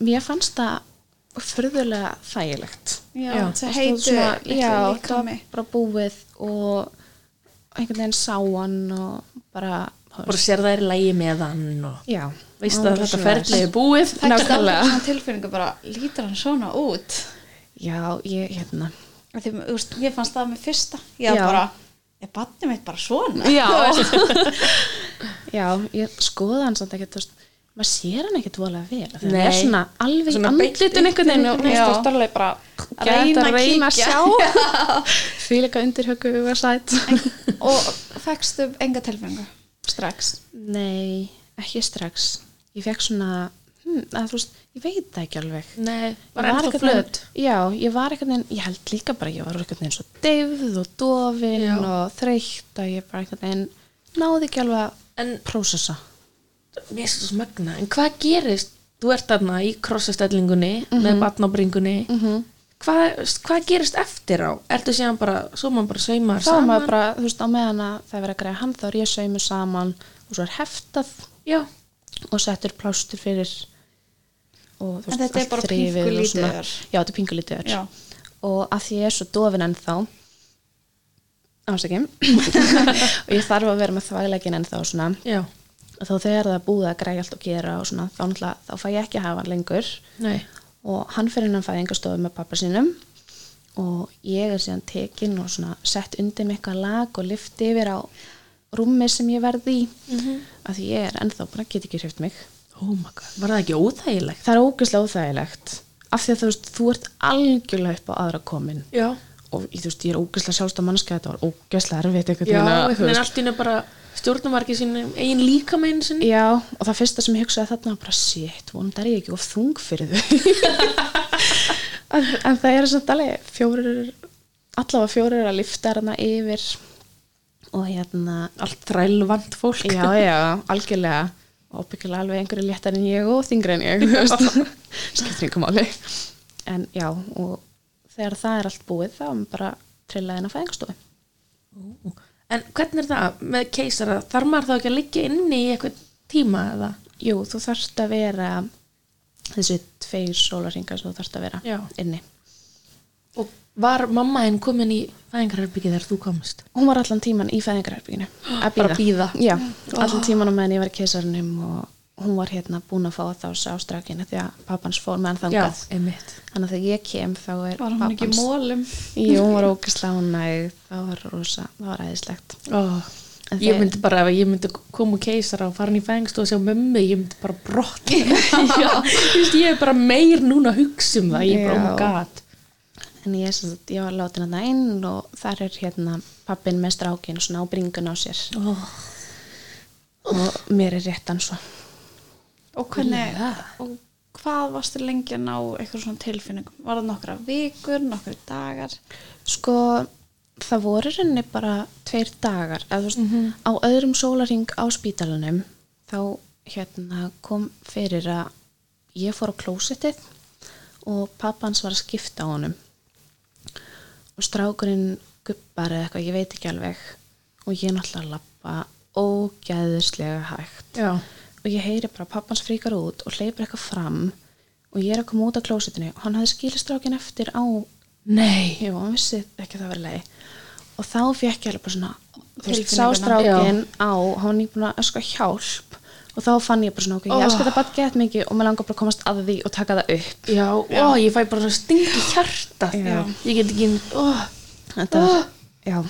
S3: mér fannst það fyrðulega þægilegt
S2: já,
S1: Já,
S2: það
S3: Og stóð
S2: heitu
S3: svona- Já,
S2: já,
S3: það var bara búið og einhvern veginn sá hann og bara,
S1: Bara sér það er í lægi með hann og
S3: já
S1: veist
S3: og
S1: að
S3: bara
S1: þetta
S3: svoleiðis.
S1: ferli er búið.
S3: Nákvæmlega.
S2: svona tilfinningu bara lítur hann svona út
S3: Já, ég, hérna
S2: Af því, þú veist, ég fannst það með fyrsta ég
S3: Já.
S2: já. bara, ég banni mitt bara svona
S3: Já Já, ég skoða hann samt ekkert þú veist, maður sér hann ekkert voðalega vel af því að hann er
S1: Nei.
S3: svona alveg í
S1: Svona beint
S3: andlitin einhvern veginn
S2: Já.
S3: og þú veist, alveg bara
S2: Reyna að kíkja.
S3: sjá því líka undirhöku huga sæt
S2: og fækstu enga tilfinningu strax
S3: Nei, ekki strax ég fekk svona hm, að, þú veist, ég veit það ekki alveg
S1: Nei,
S3: Ég
S1: bara ennþá
S3: einhvern veginn-
S1: flöð.
S3: Já, ég var einhvern veginn, ég held líka bara ég var einhvern veginn svo deyfð og dofin
S1: Já.
S3: og þreytt að ég bara einhvern veginn náði ekki alveg að
S1: En
S3: prósessa
S1: mér finnst það smagna en hvað gerist, þú ert þarna í krossastellingunni
S3: Mhm.
S1: með batnabringunni hvað, hvað gerist eftir á ertu síðan bara, svo maður bara saumar
S3: þá er
S1: saman
S3: maður bara, þú veist, á meðan að það er verið að greiða hann, þá er ég saumur saman og svo er heftað
S1: já,
S3: og settur plástur fyrir og þú
S2: En þetta er bara
S3: þrifið og
S2: pínkulítið
S3: svona-
S2: ör.
S3: já, þetta er pingulítið ör
S2: Já.
S3: og að því ég er svo dofin ennþá ásækjum og ég þarf að vera með þvæglegin ennþá og svona,
S1: já,
S3: og þá þegar það er búið að greiða allt og gera og svona, þá, náttúrulega- þá fæ ég ekki að hafa hann lengur
S1: nei
S3: og hann fyrir innan fæðingastofu með pappa sínum og ég er síðan tekin og svona sett undir mig eitthvað lag og lifti yfir á rúmi sem ég verði í
S1: Mhm.
S3: af því ég er ennþá bara get ekki hreift mig
S1: oh my god, var það ekki óþægilegt
S3: það er ógeðslega óþægilegt af því að þú veist, þú ert algjörlega upp á aðra komin
S1: já,
S3: og ég, þú veist, ég er ógeðslega sjálfstá mannska þetta var ógeðslega erfitt einhvern
S1: já,
S3: veginn að, þú
S1: einhvern veginn
S3: veist,
S1: allt í hennu bara stjórnumarki sínum, eigin líkamein sinni
S3: já, og það fyrsta sem ég hugsaði þarna var bara, shit, vonum það er ég ekki of þung fyrir þau en, en það er samt alveg fjórir allavega fjórir að lifta hana yfir og hérna
S1: allt þrælvand fólk
S3: já, já, algjörlega og ábyggilega alveg einhverju léttar en ég og þingri en ég þú veist. skiptir einhver máli en já, og þegar það er allt búið þá er maður bara trillaði inn á fæðingastofu
S1: en hvernig er það með keisara þarf maður þá ekki að liggja inni í eitthvað tíma eða
S3: jú, þú þarft að vera þessi tveir sólarringar sem þú þarft að vera
S1: Já.
S3: inni
S1: og var mamma henn komin í fæðingarherbyggið þegar þú komst
S3: hún var allan tíman í fæðingarherbygginu að
S1: Bara
S3: bíða.
S1: að bíða.
S3: Já, allan tíman á meðan ég var í keisarinnum og hún var hérna búin að fá að þá sá strakinu því að pappans fór meðan þangað
S1: einmitt
S3: þannig að þegar ég kem þá er
S2: var hann ekki í
S3: pappans
S2: mólum
S3: Jú, hún var ógislega hún næg það var rosa, það var æðislegt
S1: Oh,
S3: En
S1: ég
S3: þeir-
S1: myndi bara ef ég myndi koma úr keisara og fara hann í fængst og sjá mömmu, ég myndi bara brott ég er bara meir núna að hugsa um það, ég er bara oh my
S3: Já.
S1: god
S3: en ég, sem sagt, ég var látin að það inn og þar er hérna pappin með strákin svona á bringun á sér
S1: oh,
S3: og mér er réttan svo
S2: og hvernig
S1: Ja.
S2: og hvað varstu lengi að ná eitthvað svona tilfinningum var það nokkra vikur, nokkra dagar
S3: sko það voru henni bara tveir dagar eða, þú veist, á öðrum sólaring á spítalanum þá hérna kom fyrir að ég fór á klósettið og pappans var að skipta á honum og strákurinn gubbar eða eitthvað, ég veit ekki alveg og ég náttúrulega lappa ógæðislega hægt
S1: já,
S3: og ég heyri bara að pappans fríkar út og hleypur eitthvað fram og ég er að koma út af klósettinu og hann hafði skilistrákin eftir á
S1: nei
S3: Jú, hann vissi ekki að það var leið og þá fekk ég alveg bara svona þú veist,
S2: Tilfinninguna.
S3: sástrákin á, hann var nýbúin að öskra sko, hjálp og og þá fann ég bara svona, ok, ég
S1: Oh.
S3: elska þetta bara gett mikið og mér langar bara að komast að því og taka það upp
S1: já, ó, ég fæ bara stingi hjarta
S3: Já.
S1: ég get ekki ó,
S3: þetta var, já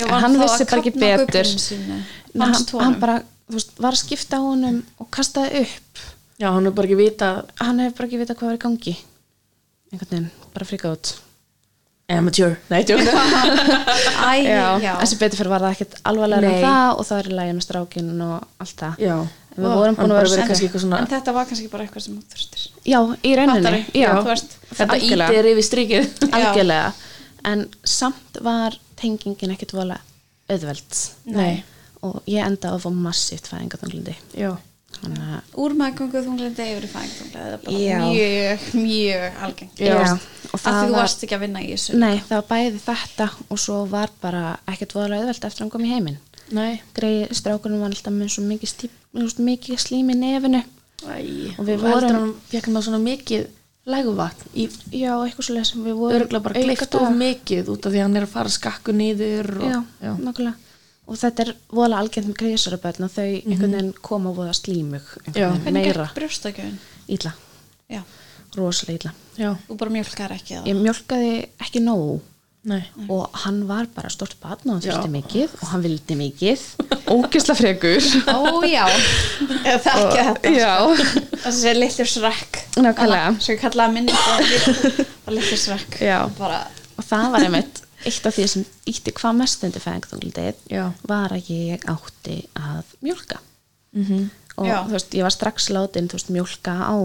S2: Ég
S3: En
S2: var
S3: hann
S2: þá að
S3: vissi bara ekki
S2: klofna á
S3: betur
S2: guflinu sínu.
S3: En hann,
S2: Fannst honum.
S3: hann bara, þú veist, var að skipta á honum og kastaði upp
S1: já, hann er bara ekki vita
S3: hann hefur bara ekki vitað hvað var í gangi einhvern veginn, bara fríkað út
S1: amateur, nei, tjók
S2: Æ, Eh, já.
S3: en sem betur fyrir var það ekkert alvarlega
S1: Nei.
S3: en það og það er í lagi með strákinn og allt það
S1: já,
S3: En við vorum búin að
S1: Hann bara
S3: vera-
S1: verið
S2: en,
S1: kannski eitthvað svona
S2: en þetta var kannski bara eitthvað sem þú þurftir
S3: já, í rauninni
S2: Fattari, þú veist.
S1: þetta
S3: algjörlega,
S1: ítir yfir strikið
S3: algjörlega. en samt var tengingin ekkert vola auðveld
S1: nei,
S3: og ég endaði að fá massíft fæðingatunglindi
S1: já
S3: þannig að
S2: úr maðgöngu þunglindi yfir í fæðingþunglindi það er bara
S3: Já.
S2: mjög, mjög algengt
S3: Já.
S2: og
S3: Og
S2: það því
S3: það
S2: þú
S3: var-
S2: varst ekki að vinna í þessu
S3: Nei, það var bæði þetta og svo var bara ekkert voðalega auðvelt eftir að hann kom í heiminn.
S1: nei,
S3: Greið strákunum var alltaf með svo mikið, stíp, svo mikið slím í nefinu.
S1: Æ,
S3: Og við
S1: og vorum
S3: vorum-
S1: hann fekk hann svona mikið læguvatn í
S3: Já, eitthvað svo sem við vorum
S1: örgla bara gleift of mikið út af því að hann er að fara skakku niður og,
S3: Já, já. nokkulega. Og þetta er voðalega algengt með greiðsaraböðn og þau einhvern veginn koma voða slímug,
S1: Já.
S3: einhvern veginn
S2: hvernig
S3: meira
S2: gekk brjóstakjöfun?
S3: illa,
S2: Já,
S3: rosalega illa.
S1: já,
S2: þú bara mjölkar ekki það
S3: Ég mjölkaði ekki nóg
S1: nei
S3: og hann var bara stort batn og hann
S1: Já.
S3: þurfti mikið og hann vildi mikið. Ógisla frekur.
S2: Ó já, ég þekki þetta
S3: Já.
S2: Það sem sé litlu srekk
S3: Nákvæmlega.
S2: Svo ég kallaði minni það litlu srekk
S3: Já.
S2: Bara,
S3: og það var einmitt eitt af því sem ítti hvað mest undir fæðingþunglindið
S1: Já.
S3: var að ég átti að mjólka
S1: mm
S3: og
S2: Já.
S3: þú veist, ég var strax látin þú veist, mjólka á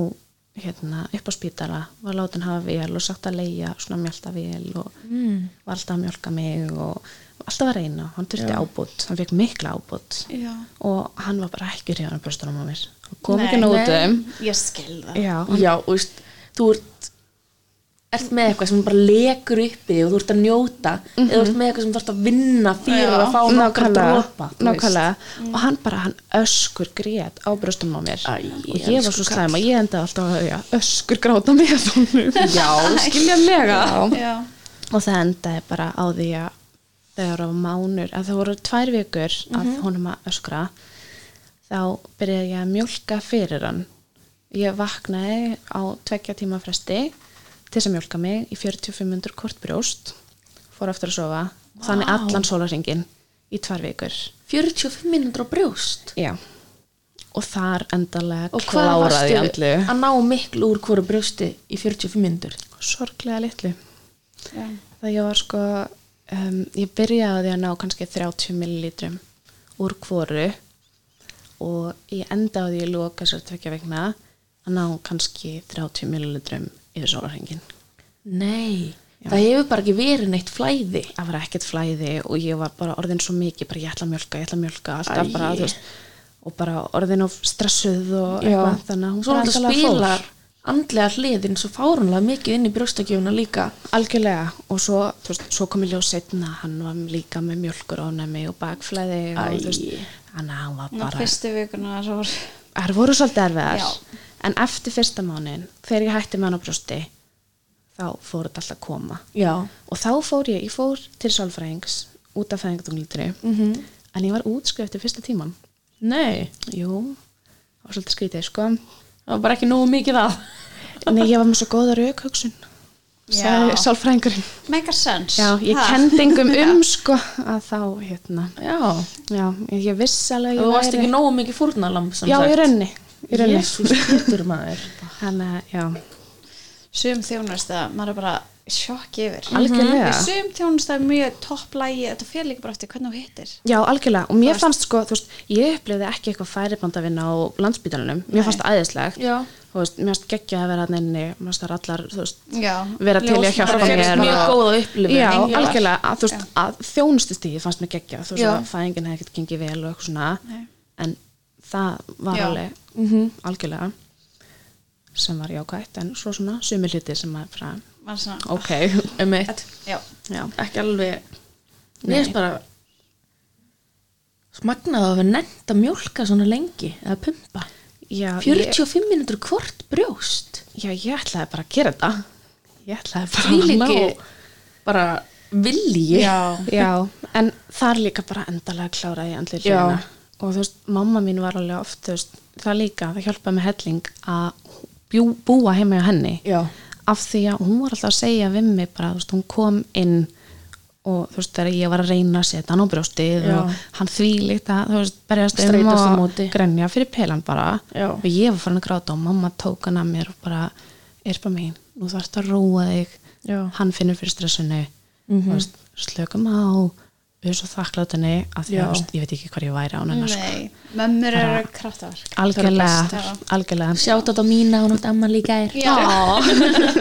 S3: hérna, upp á spítala, var látin hafa vél og sagt að leia svona mjölta vél og
S1: Mm.
S3: var alltaf að mjólka mig og alltaf að reyna, hann þurfti ábútt hann fekk mikla ábútt
S2: já
S3: og hann var bara ekki hrjáðan bröstunum á mér hann kom
S2: Nei,
S3: ekki
S2: nei,
S3: nótum
S2: Ég skil það
S3: já,
S1: já, og veist, þú ert ert með eitthvað sem bara lekur uppi og þú ert að njóta eða þú ert með eitthvað sem þú ert að vinna fyrir
S2: Já.
S1: að fá nokkra dropa þú veist.
S3: nákvæmlega. og hann bara, hann öskur grét á bröstum á mér
S1: Æ,
S3: og ég var
S1: elsku
S3: svo
S1: kall.
S3: slæm að ég endaði alltaf að já, öskur gráta með honum
S1: já, skiljanlega já,
S2: Já,
S3: og það endaði bara á því að þegar á mánur, að það voru tvær vikur
S1: Mhm.
S3: að honum að öskra þá byrjaði ég að mjólka fyrir hann ég vaknaði á tvekja tíma fresti til þess að mjólka mig í 45 minnur kort brjóst fór aftur að sofa þannig allan sólaringin í tvær vikur
S1: 45 mínútur á brjóst
S3: Já. Og þar endarlega
S1: og hvað
S3: kláraði
S1: varstu
S3: andlu.
S1: að ná miklu úr hverju brjósti í 45 mínútur
S3: Sorglega litlu.
S2: já
S3: Það ég var sko, um, ég byrjaði á því að ná kannski 30 millilítrum úr hvoru og ég endaði á því að lóka þessar tvekja vegna að ná kannski 30 millilítrum yfir sólarhengin.
S1: nei, það hefur bara ekki verið neitt flæði
S3: Það var ekkert flæði og ég var bara orðin svo mikið, bara ég ætla að mjölka, ég ætla að mjölka, alltaf
S1: Æi.
S3: bara, þú veist, og bara orðin of stressuð og
S1: Já.
S3: eitthvað, þannig að hún
S1: Svo
S3: bara
S1: náttúrulega
S3: endanlega fór.
S1: spilar andlega hliðin svo fárunlega mikið inn í brjóstakjöfuna líka
S3: Algjörlega og svo, þú veist, svo kom í ljós setna hann var líka með mjölkur ónæmi og bakflæði
S1: Æ.
S3: og þú veist, hann hann var
S2: Ná
S3: bara,
S2: fyrstu vikuna svo var
S3: það voru svolítið erfiðar
S2: Já.
S3: en eftir fyrsta mánin, þegar ég hætti með hann á brjósti þá fór þetta alltaf að koma
S1: já,
S3: og þá fór ég, ég fór til sálfræðings út af fæðingatunglítri
S1: Mhm.
S3: en ég var útskrift eftir fyrsta tíman
S1: nei
S3: jú, það var svolítið skrítið sko
S1: það var bara ekki nógu mikið að
S3: nei, ég var með svo góða raukhugsun sagði
S2: Já.
S3: sálfræðingurinn
S2: Make a sense
S3: Já, ég
S2: Ha.
S3: kenndi engum um sko að þá, hérna,
S1: já,
S3: já, ég ég vissi alveg að
S1: þú
S3: ég
S1: varst ekki nógu mikið fórnalamb sem
S3: Já,
S1: sagt.
S3: í raunni, í raunni.
S1: Jesús, getur maður
S3: Þannig að, já,
S2: Sum þjónust að maður er bara í sjokki yfir
S3: Mhm. algjörlega.
S2: Í Sum þjónust að mjög topplægi Þetta fyrir líka bara eftir hvernig þú hittir
S3: Já, algjörlega, og mér fannst sko, þú veist, ég upplifði ekki eitthvað færibandavinna á landsbytalanum, mér fannst það æðislegt,
S1: Já.
S3: þú veist, mér fannst geggja að vera hann inni, mér fannst það allar, þú veist,
S2: Já
S3: vera til í að hjálpa
S1: Bara
S2: Ljósmæður.
S1: fékkst
S3: mér
S1: mjög
S3: og-
S1: góða upplifun.
S3: já,
S1: Já.
S3: algjörlega, að, þú veist, að þjónustustíði fannst mér geggja þú veist
S1: Já.
S3: að fæðingin hefði ekkert gengið vel og eitthvað svona
S2: Nei.
S3: en það var
S2: Já.
S3: alveg
S1: Mhm.
S3: algjörlega sem var jákvætt en svo svona sumir hluti sem maður bara,
S2: Maður svona
S3: ok
S1: um eitt,
S2: Já,
S3: já,
S1: ekki alveg mér finnst bara smagnaði að við nefnt að mjólka svona lengi eða pumpa
S3: já, ég,
S1: 45 mínútur hvort brjóst
S3: já, ég ætlaði bara að gera þetta ég ætlaði bara
S1: því
S3: að
S1: líki
S3: ná
S1: bara vilji
S2: já.
S3: já, en þar líka bara endalega kláraði ég andlir
S1: Já.
S3: hlutina og þú veist, mamma mín var alveg oft þú veist, það líka, það hjálpaði með helling að bjú, búa heima hjá henni
S1: Já.
S3: af því að hún var alltaf að segja við mig bara, þú veist, hún kom inn og þú veist, þegar ég var að reyna að setja hann á brjóstið
S1: Já.
S3: og hann þvílíkt að, þú veist, berjast um
S1: Streitast á
S3: og
S1: móti.
S3: grenja fyrir pelan bara
S1: Já.
S3: og ég var farin að gráta og mamma tók hann að mér og bara, er bara mín nú þarfst að róa þig
S1: Já.
S3: hann finnur fyrir stressinu mm
S2: Mhm.
S3: -hmm. slökum á við erum svo þakklátinni að því
S1: Já.
S3: að þú veist, ég veit ekki hvað ég væri á hennar sko.
S2: Nei, mömmur eru kraftar
S3: algjörlega,
S2: bestar.
S3: algjörlega
S1: Sjátt á mína, hún átt amma líka er
S2: Já,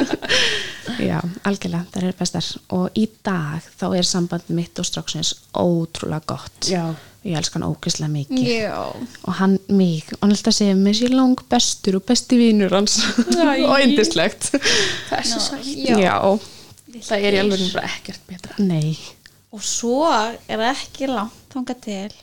S3: Já, algjörlega, það er bestar og í dag þá er samband mitt og stróksins ótrúlega gott
S1: Já.
S3: ég elska hann ógislega mikið
S2: já.
S3: og hann mig, og hann er alltaf að segja mér sé lang bestur og besti vinur hans
S1: Æ.
S3: og indislegt
S1: Það er svo
S2: Nó,
S1: sætt
S2: já.
S1: Það er í alveg bara ekkert betra
S3: nei
S2: Og svo er það ekki langt þangað til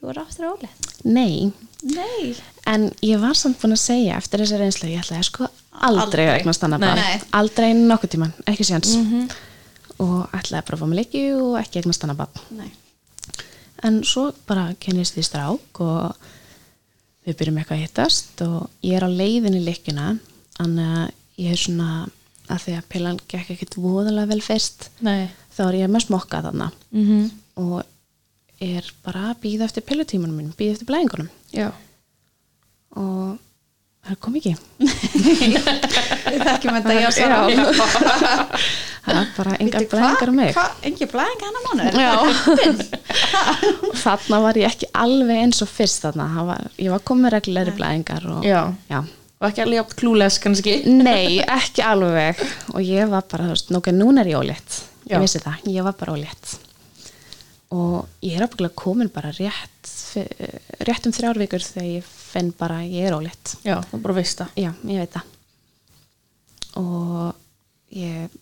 S2: Þú er aftur ólega
S3: nei,
S2: Nei,
S3: en ég var samt búin að segja eftir þessa reynslu, ég ætlaði sko aldrei að
S2: Aldrei.
S3: eignast annað
S1: Nei.
S2: Nei.
S3: barn aldrei nokkuð tíman, ekki séans og ætlaði bara að fá mig leiki og ekki eignast annað barn
S2: nei
S3: en svo bara kennist ég strák og við byrjum eitthvað að hittast og ég er á leiðinni leikjuna en ég er svona að því að pilan gekk ekkit voðalega vel fyrst
S1: Nei
S3: þá er ég með smokka þarna
S1: mm -hmm.
S3: og er bara að býða eftir pilutímanum minn, býða eftir blæðingunum
S1: Já
S3: og það kom ekki
S2: Við þekkjum þetta, já, svo
S3: það er bara engar blæðingar um mig
S2: Engi blæðingar hann á mánu
S3: Já. og þarna var ég ekki alveg eins og fyrst þarna, Það var, ég var komið reglulegri blæðingar og
S1: Já.
S3: já.
S1: Og ekki alveg jafn klúles kannski
S3: Nei, ekki alveg og ég var bara, þú veist, ok, núna er ég ólétt
S1: Já.
S3: ég vissi það, ég var bara ólétt og ég er ábyggulega komin bara rétt fyr- rétt um þrjár vikur þegar ég finn bara að ég er ólétt
S1: Já, það er bara að veist það
S3: já, ég veit það og ég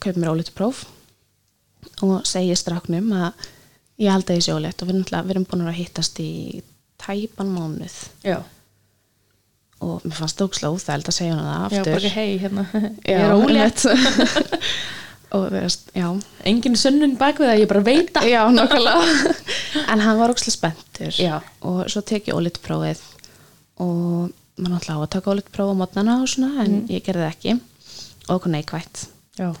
S3: kaup mér óléttu próf og segi stráknum að ég held að ég sé ólétt og við, náttúrulega- við erum búin að hittast í tæpan mánuð
S1: Já,
S3: og mér fannst það ókslega óþæld að segja hana það
S1: já
S3: aftur
S1: bara ekki hei hérna
S3: Já,
S1: Ég er ólétt
S3: einmitt. og þú veist, já
S1: Engin sönnun bak við það, ég bara veit það
S3: já, nokkulega en hann var ókslega spenntur
S1: Já.
S3: og svo tek ég ólitt prófið og maður náttúrulega á að taka ólitt prófið á mótnana og svona,
S1: Mm.
S3: en ég gerði það ekki og okkur neikvætt
S1: Já,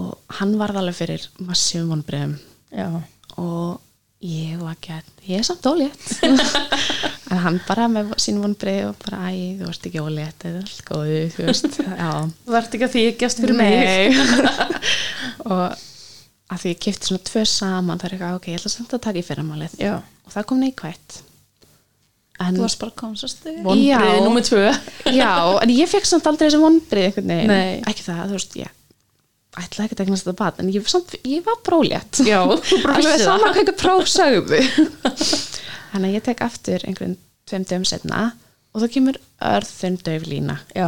S3: og hann varð alveg fyrir massífum vonbreyfum
S1: já
S3: og ég var ekki að ég er samt ólétt en hann bara með sín vonbreyf og bara, æ, þú ert ekki ólétt eða allt góðu, þú veist, já
S1: Þú ert ekki að því ekki fyrir mig
S3: Nei Og að því ég kipti svona tvö saman Það er eitthvað, ok, ég ætla samt að taka í fyrramálið
S1: Já.
S3: Og það kom neikvætt en,
S2: Þú varst bara að koma svo stuð
S1: Vonbreiði
S3: Já.
S1: nummer tvö
S3: Já, en ég fekk samt aldrei þessi vonbrið einhvern veginn
S1: Nei.
S3: Ekki það, þú veist, ég ætla ekki að tekna þetta bat En ég, samt, ég var brólétt
S1: Já, þú bara
S3: Alveg
S1: vissi það.
S3: saman hvað einhver próf sagði Þannig að ég tek aftur einhvern tveim dögum setna Og þá kemur örðun dauf lína
S1: Já,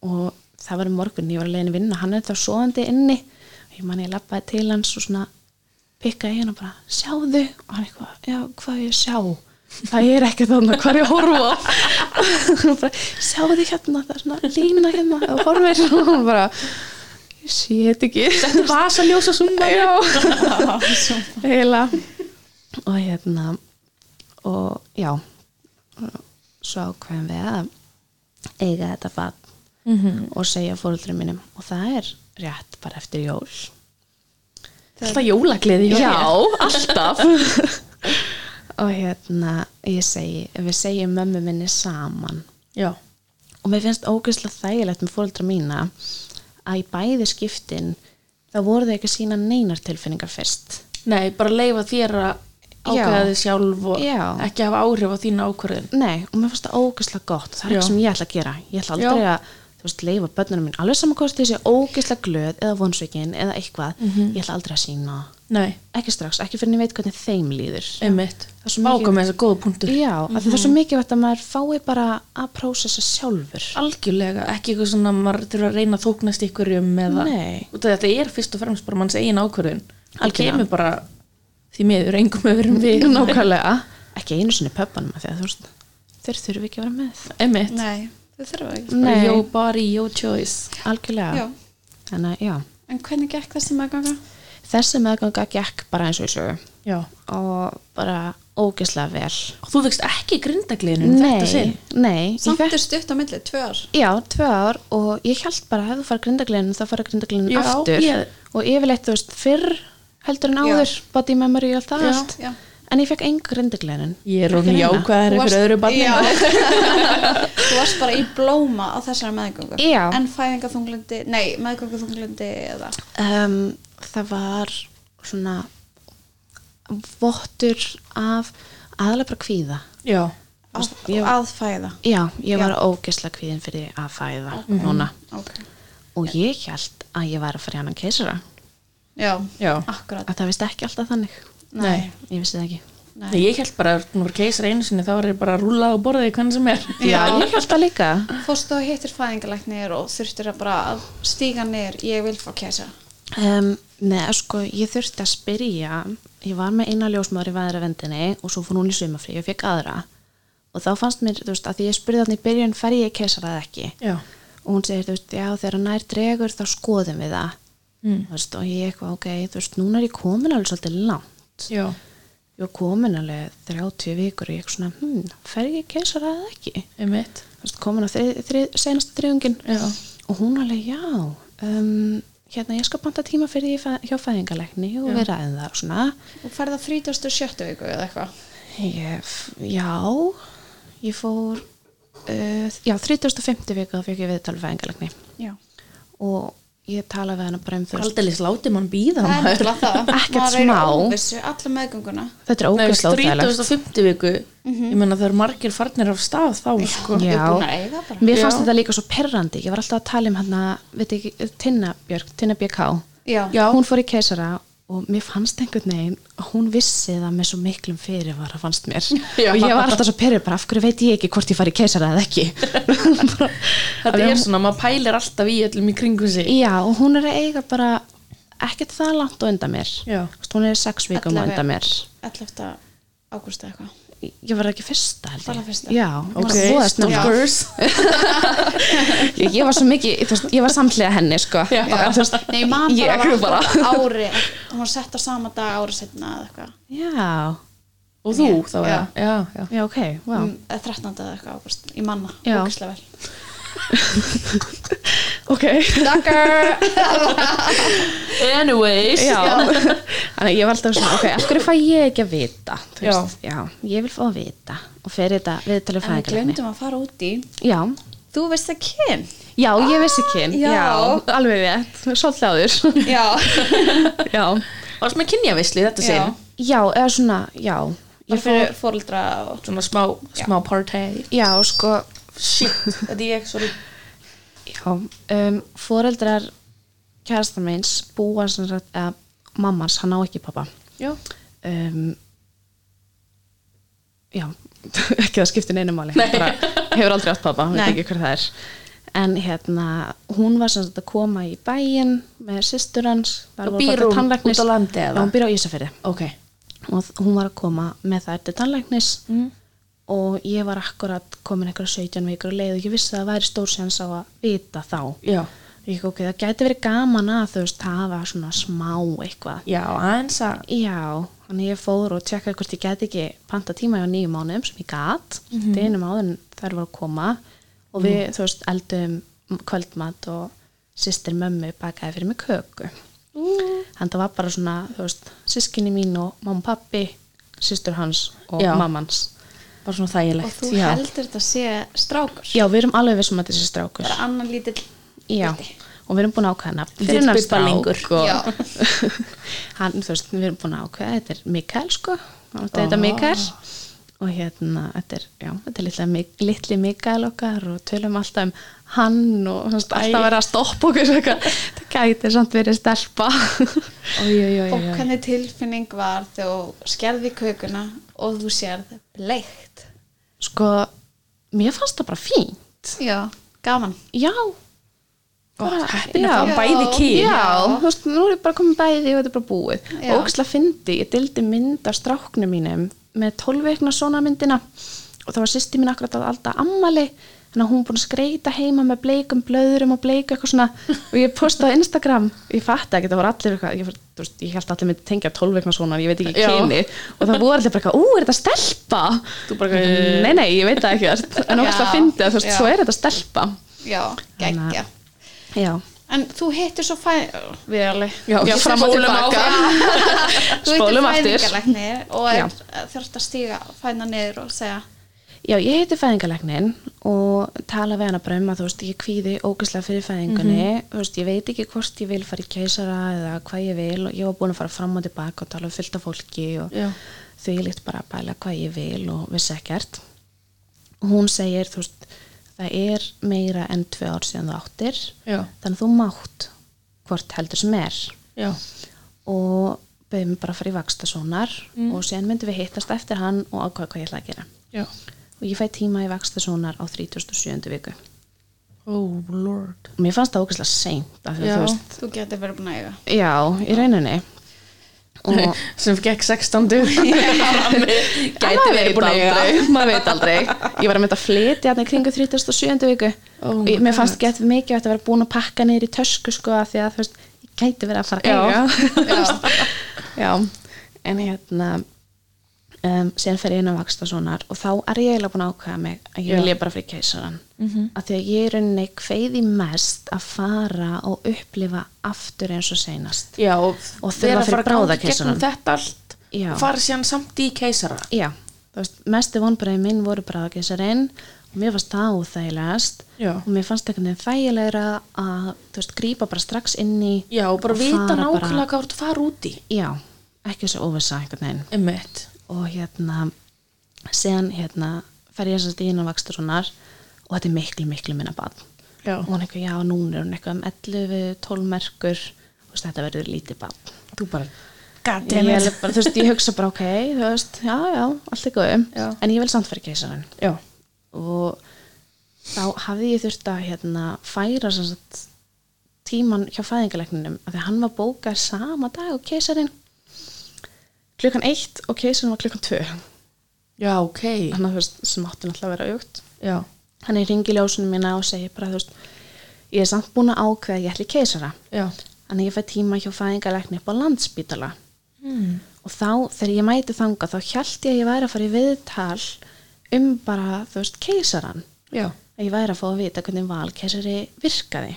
S3: og það var um morgun, ég var alveg að vinna hann er þá svoðandi inni og ég man ég lappaði til hans og svona pikkaði hérna og bara, sjáðu og hann eitthvað, já, hvað á ég að sjá það er ekki þannig, hvað er ég að horfa á og bara, sjáðu hérna það er svona lína hérna og horfir og hann bara, ég sé þetta ekki
S1: þetta er vasa ljósa summa
S3: já, heila og hérna og já svo ákveðum við að eiga þetta fatt og segja fóröldrum mínum og það er rétt bara eftir jól
S1: Alltaf jólagleði hjá þér.
S3: alltaf og hérna ég segi, við segjum mömmu minni saman
S1: Já,
S3: og mér finnst ógeðslega þægilegt með fóröldra mína að í bæði skiptin þá voru þau ekki að sína neinar tilfinningar fyrst
S1: nei, bara leifa þér að ákveða
S3: Já.
S1: þig sjálf og
S3: Já.
S1: ekki hafa áhrif á þína ákvörðin
S3: Nei, og mér finnst það ógeðslega gott það er
S1: Já.
S3: ekki sem ég ætla að gera ég ætla aldrei
S1: Já.
S3: að þú veist, leifa börnunum mín alveg samankosti þessi ógeðslega glöð eða vonsveikin eða eitthvað
S1: Mhm.
S3: ég ætla aldrei að sína það.
S1: Nei,
S3: ekki strax, ekki fyrir en ég veit hvernig þeim líður
S1: einmitt
S3: Það er svo mikið-
S1: Váka með þessa góða punktu
S3: Já, mm það
S1: Mhm.
S3: er svo mikilvægt að maður fái bara að prósessa sjálfur
S1: Algjörlega, ekki eitthvað svona að maður þurfa að reyna að þóknast ykkurjum eða
S3: Nei.
S1: Út af þetta er fyrst og fremst bara manns eigin ákvörðin Það
S3: Algjörlega.
S1: kemur bara því miður engum öðrum við
S3: Nákvæmlega Ekki einu sinni pöppanum að því að þú veist þeir þurfi ekki að vera með
S1: Einmitt,
S2: Nei, þau þurfa ekki
S1: bara
S3: Nei.
S1: your body, your choice
S3: Algjörlega
S2: Já,
S3: Þannig að já
S2: en hvernig gekk þessi meðganga?
S3: Þessi meðganga gekk bara eins og í sögu
S1: Já,
S3: og bara ógeðslega vel
S1: Og þú veikst ekki grindagliðinu þetta sinn
S3: nei, ég
S2: Samt
S3: fekk-
S2: er stutt á milli, tvö ár
S3: Já, tvö ár og ég held bara að ef þú fara grindagliðinu þá fara grindagliðinu
S1: Já,
S3: aftur
S1: ég-
S3: og yfirleitt þú veist fyrr heldur en
S2: Já.
S3: áður, body memory og allt það
S1: Já.
S3: allt
S2: Já.
S3: en ég fekk enga grindagliðinu
S1: Ég er hún
S3: Ekki reyna.
S1: jákvæðari
S2: Þú
S1: fyrir öðru barni
S2: Já. Þú varst bara í blóma á þessari meðgöngu
S3: Já.
S2: En fæðingaþunglundi, nei, meðgönguþunglundi eða
S3: um, Það var svona vottur af aðlega bara kvíða
S1: Já,
S2: að,
S3: ég-
S2: að fæða
S3: Já, ég var
S2: Já.
S3: ógeðslega kvíðin fyrir að fæða
S1: Mhm.
S3: núna
S2: okay.
S3: og ég held að ég var að fara í annan keisara
S2: Já,
S1: já
S2: akkurat
S3: að það vist ekki alltaf þannig
S1: Nei.
S3: ég vissi það ekki
S2: Nei.
S1: Nei, Ég held bara að hún var keisar einu sinni þá var ég bara að rúla og borða því hvernig sem er
S3: Já, ég held það líka
S2: Fórstu og hittir fæðingalæknir og þurftir að bara að stíga niður, ég vil fá kæsa
S3: Um, nei, sko, ég þurfti að spyrja ég var með eina ljósmaður í veðravendinni og svo fór hún í sumafrí og ég fekk aðra og þá fannst mér, þú veist, að því ég spurði hann í byrjun fer ég keisara eða ekki
S1: Já,
S3: og hún segir, þú veist, já, þegar hann nær dregur þá skoðum við það
S1: Mm.
S3: þú veist, og ég eitthvað, ok, þú veist, núna er ég komin alveg svolítið langt
S1: já,
S3: ég var komin alveg 30 vikur og ég eitthvað svona, hm, fer ég keisara eða ekki
S1: einmitt
S3: Þú veist, komin á þrið, þrið, senasta þriðungin
S1: Já.
S3: og hún alveg já um, hérna ég skal banta tíma fyrir því fæ- hjá fæðingalækni og við ræðum það og svona
S2: Og færða 37. viku eða eitthvað
S3: ég, f- já ég fór uh, já 35. vika þá fekk ég viðtal við fæðingalækni
S2: Já
S3: og ég talaði við hana bara um þú veist,
S1: Aldeilis láti mann býða
S2: Það er
S1: maður
S2: náttúrulega það
S3: Ekkert
S2: Maður er í
S3: smá.
S2: óvissu, alla meðgönguna
S3: þetta er
S1: Nei,
S3: ógæsla óþægilegt
S1: 3050 viku Ég meina það eru margir farnir af stað þá sko.
S2: Ég er
S3: Já.
S2: búin að eiga bara
S3: mér fannst
S1: Já.
S3: þetta líka svo perrandi ég var alltaf að tala um hann veit ekki, Tinna Björk, Tinna BK
S2: Já,
S1: Já.
S3: hún fór í keisara og mér fannst einhvern veginn að hún vissi það með svo miklum fyrirvara fannst mér
S1: Já.
S3: og ég var alltaf svo perrið bara af hverju veit ég ekki hvort ég fari í keisara eða ekki bara,
S1: Þetta er svona, maður pælir alltaf í öllum í kringu sig
S3: já og hún er að eiga bara ekkert það langt á undan mér
S1: Já.
S3: Þú veist, hún er sex vikum á
S2: Ellefu.
S3: undan mér
S2: 11. ágústa eitthvað
S3: ég var ekki fyrsta held ég
S2: Bara fyrsta.
S3: já,
S1: Ok,
S3: okay.
S1: of
S3: ég,
S1: course
S3: ég var svo mikið þú veist, ég var samhlega henni sko
S1: Já.
S3: Bara, þú veist,
S2: Nei, ég man
S3: ég
S2: bara,
S3: ekki
S2: var
S3: bara
S2: ári Hún var sett á sama dag ári setna eða eitthvað
S3: já,
S1: Og þú þá er
S2: Já.
S1: það Já, já
S3: já ok wow.
S2: Mm, eða 13. eða eitthvað ágúst Ég manna,
S3: Já.
S2: ógislega vel
S3: ok
S2: Daggar
S1: Anyways
S3: Já, þannig að ég var alltaf svona, ok, af hverju fæ ég ekki að vita? Þú
S1: Já.
S3: veist, já, ég vil fá að vita og fer þetta viðtalið
S2: En við
S3: fæðingarlegni.
S2: glemdum að fara út í
S3: Já,
S2: Þú veist það kyn
S3: já, ég vissi kyn,
S2: Já.
S3: alveg rétt, svolítið áður,
S2: Já,
S3: já,
S1: Varst með kynjavisli þetta
S2: Já.
S1: sinn
S3: já, eða svona, já,
S2: Bara
S3: ég fór,
S2: fyrir fóreldra og
S1: Svona smá, smá party
S3: já, sko,
S1: Shit, þetta er ég sorry
S3: já, um, foreldrar kærasta meins búa sem sagt, eða mammas, hann á ekki pappa.
S1: Já
S3: um, já, ekki það skipti neinu máli bara hefur aldrei átt pappa, veit
S2: Nei.
S3: ekki hver það er en hérna, hún var sem sagt að koma í bæinn með systur hans þar
S1: Og
S3: voru bara
S1: býr
S3: til
S1: hún
S3: tannlæknis.
S1: út á landi eða?
S3: Já, hún býr á Ísafirði
S1: Ok
S3: og þ- hún var að koma með það til tannlæknis
S1: Mm.
S3: og ég var akkurat komin einhverja 17 vikur og leið og ég vissi að það væri stór séns á að vita þá
S1: Já
S3: ég, sko, ok, það gæti verið gaman að þú veist hafa svona smá eitthvað
S1: Já, aðeins að
S3: Já, þannig ég fór og tjekkaði hvort ég geti ekki panta tíma hjá nýju mánuðum sem ég gat, mm -hmm. deginum áður en þær voru að koma og við, þú veist, eldum kvöldmat og sýstir mömmu bakaði fyrir mig köku. Mm. En það var bara svona, þú veist, sískinni mín og mamma og pappi, sýstur hans og
S1: Já.
S3: mammans.
S1: Bara svona þægilegt
S2: Og þú
S1: Já.
S2: heldur þetta sé strákur
S3: Já, við erum alveg vissum að þessi strákur.
S2: Bara annan lítill
S3: Já, Sko. og við erum búin að ákveða nafn
S1: Lítill
S3: fyrir hennar
S1: bibbalingur.
S3: strák og
S2: Já.
S3: hann, þú veist, við erum búin að ákveða þetta er Mikael sko, hann átti að þetta Mikael og hérna, þetta er já, þetta er litla, Mik- litli Mikael okkar og tölum alltaf um hann og þú veist, alltaf verið að stoppa okkur svo eitthvað. það gæti samt verið stelpa
S1: Oj, oj, oj,
S2: Og
S1: oj, oj.
S2: hvernig tilfinning var þegar þú skerði kökuna og þú sérð bleikt
S3: sko, mér fannst það bara fínt
S2: Já, gaman
S3: já,
S1: Gott,
S3: bara-
S1: heppin
S3: já.
S1: að fá bæði kyn
S3: Já, þú veist, nú er ég bara komin bæði og þetta er bara búið.
S2: Já.
S3: Og ógislega fyndi, ég dildi mynd af stráknum mínum með 12 veikna svona myndina og það var sýsti mín akkurat að alltaf ammali þannig að hún búin að skreita heima með bleikum blöðurum og bleiku eitthvað svona og ég postaði á Instagram, ég fatti ekki það voru allir eitthvað, ég, fór- þú veist, ég held allir myndi tengja 12 eitthvað svona, ég veit ekki
S1: Já.
S3: kyni og það voru allir bara eitthvað, ú, er þetta stelpa?
S1: Þú bara eitthvað,
S3: Mm, nei, nei, ég veit það ekki en ógæslega
S2: Já,
S3: fyndi að þú veist,
S2: já.
S3: svo er þetta stelpa
S2: já, geggja
S3: já,
S2: en þú hittir svo fæ við alveg
S3: já,
S1: Já,
S3: fram og
S1: spólum
S3: tilbaka
S2: þú hittir
S3: Spólum aftur.
S2: fæðingalæknir og
S3: Já.
S2: er, þurft að stíga fæna niður og segja
S3: Já, ég heiti fæðingalegnin og tala við hana bara um að þú veist, ég kvíði ógæslega fyrir fæðingunni,
S1: Mhm.
S3: þú veist, ég veit ekki hvort ég vil fara í keisara eða hvað ég vil og ég var búin að fara fram og tilbaka og tala við fylgta fólki og
S1: Já.
S3: því ég líkt bara að bæla hvað ég vil og vissi ekkert. Og hún segir, þú veist, það er meira enn tvö ár síðan þú áttir,
S1: Já.
S3: þannig að þú mátt hvort heldur sem er
S1: já,
S3: og beðið mig bara að fara í vakstasónar
S1: Mhm.
S3: og síðan myndum við hittast eftir hann og ákvæða hvað ég ætla að gera
S1: já
S3: og ég fæ tíma í vakstasónar á 37. viku
S1: oh lord
S3: og mér fannst það ógæslega seint af því
S1: Já.
S3: að þú veist
S2: þú getur verið búin að eiga
S3: já, í rauninni og
S1: sem gekk 16 dug gæti
S3: Maður
S1: verið
S3: veit
S1: búin að eiga
S3: aldrei, maður veit aldrei ég var að mynda að flytja þarna í kringu 37. viku
S1: Oh
S3: og
S1: my
S3: ég, mér fannst gett mikið að þetta vera búin að pakka niður í tösku sko af því að þú veist, ég gæti verið að fara að eiga já. en hérna um, síðan fer ég inn á vaksta svonar og þá er ég eiginlega búin að ákveða mig að
S1: Já.
S3: ég vilja bara fyrir keisaran
S1: Mhm.
S3: -hmm. af því að ég er rauninni kveði mest að fara og upplifa aftur eins og seinast
S1: já, og
S3: Og þurfa
S1: vera að fara
S3: fyrir
S1: að ganga í
S3: bráðakeisarann.
S1: gegnum þetta allt
S3: Já.
S1: og fara síðan samt í keisara
S3: Já, þú veist, mestu vonbreið minn voru bráðakeisarinn og mér fannst það óþægilegast
S1: Já.
S3: og mér fannst eitthvað þægilegra að, þú veist, grípa bara strax inn í
S1: já, og bara vita
S3: fara
S1: nákvæmlega hvað þú ert að fara út í
S3: Já, ekki svo óvissa einhvern veginn
S1: einmitt
S3: og hérna, síðan hérna fer ég þess að inn á vakstarunar og þetta er miklu, miklu minna bad
S1: Já.
S3: og hún eitthvað, já, núna er hún eitthvað um 11, 12 merkur þú veist, þetta verður lítið bad
S1: þú bara,
S3: Ég,
S1: gæti
S3: er bara, þú veist, ég hugsa bara, ok, þú veist, já, já, allt er góðum
S1: Já.
S3: en ég vil samt fyrir keisarinn
S1: já,
S3: og þá hafði ég þurft að hérna, færa sem sagt, tíman hjá fæðingalegninum af því að hann var bókað sama dag og keisarinn klukkan eitt og keisarinn var klukkan tvö þannig
S1: já, ok
S3: að þú veist, sem átti náttúrulega að vera aukt
S1: já,
S3: hann er ringi ljósunum mína og segir bara þú veist, ég er samt búin að ákveða að ég ætli í keisara
S1: já,
S3: þannig að ég fæ tíma hjá fæðingalegni upp á landspítala
S1: mm.
S3: og þá þegar ég mæti þanga þá hjælt ég að ég væri að fara í viðtal um bara, þú veist, keisaran
S1: já.
S3: að ég væri að fá að vita hvernig valkesari virkaði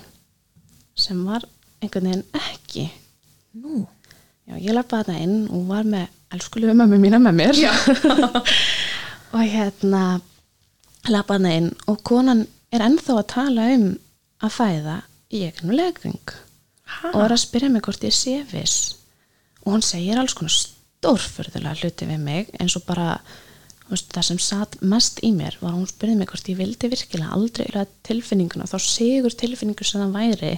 S3: sem var einhvern veginn ekki
S1: nú
S3: já, ég lappaði þetta inn og var með elskulegu mömmu mína með mér og hérna lappaði þetta inn og konan er ennþá að tala um að fæða í egnum legring
S1: Ha?
S3: og er að spyrja mig hvort ég sé viss og hún segir alls konar stórfurðulega hluti við mig eins og bara þú veist, það sem satt mest í mér var að hún spurði mig hvort ég vildi virkilega aldrei yrða tilfinninguna, þá sigur tilfinningu sem það væri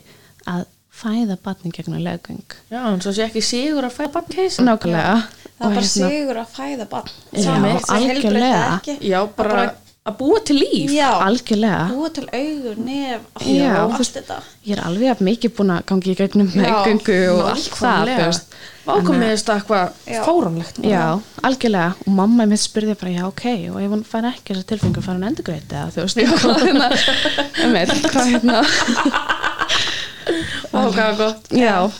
S3: að fæða batning gegnum leggung
S1: já, en svo sé ekki sigur að Mm. fæða bann keisara
S3: Nákvæmlega
S2: það er
S3: Og
S2: bara
S3: hérna-
S2: sigur að fæða barn
S3: Já,
S2: Sama, það er heilbrigt eða
S3: algjörlega.
S2: ekki.
S1: já, bara að búa til líf
S2: já,
S3: Algjörlega
S2: búa til augur, nef
S3: Já,
S2: já,
S3: þú
S2: allt
S3: veist,
S2: þetta
S3: Ég er alveg að mikið búin að gangi í gegnum meðgöngu og allt það þú veist.
S1: Vákomið er þetta eitthvað
S2: Já.
S1: fáramlegt
S3: Já, algjörlega og mamma mitt spurði bara, já ok og ef hún fær ekki þessar tilfengur fær hún endurgreiti eða þú veist hvað hérna, emir, hvað hérna
S1: Vá, hvað er gott
S3: já,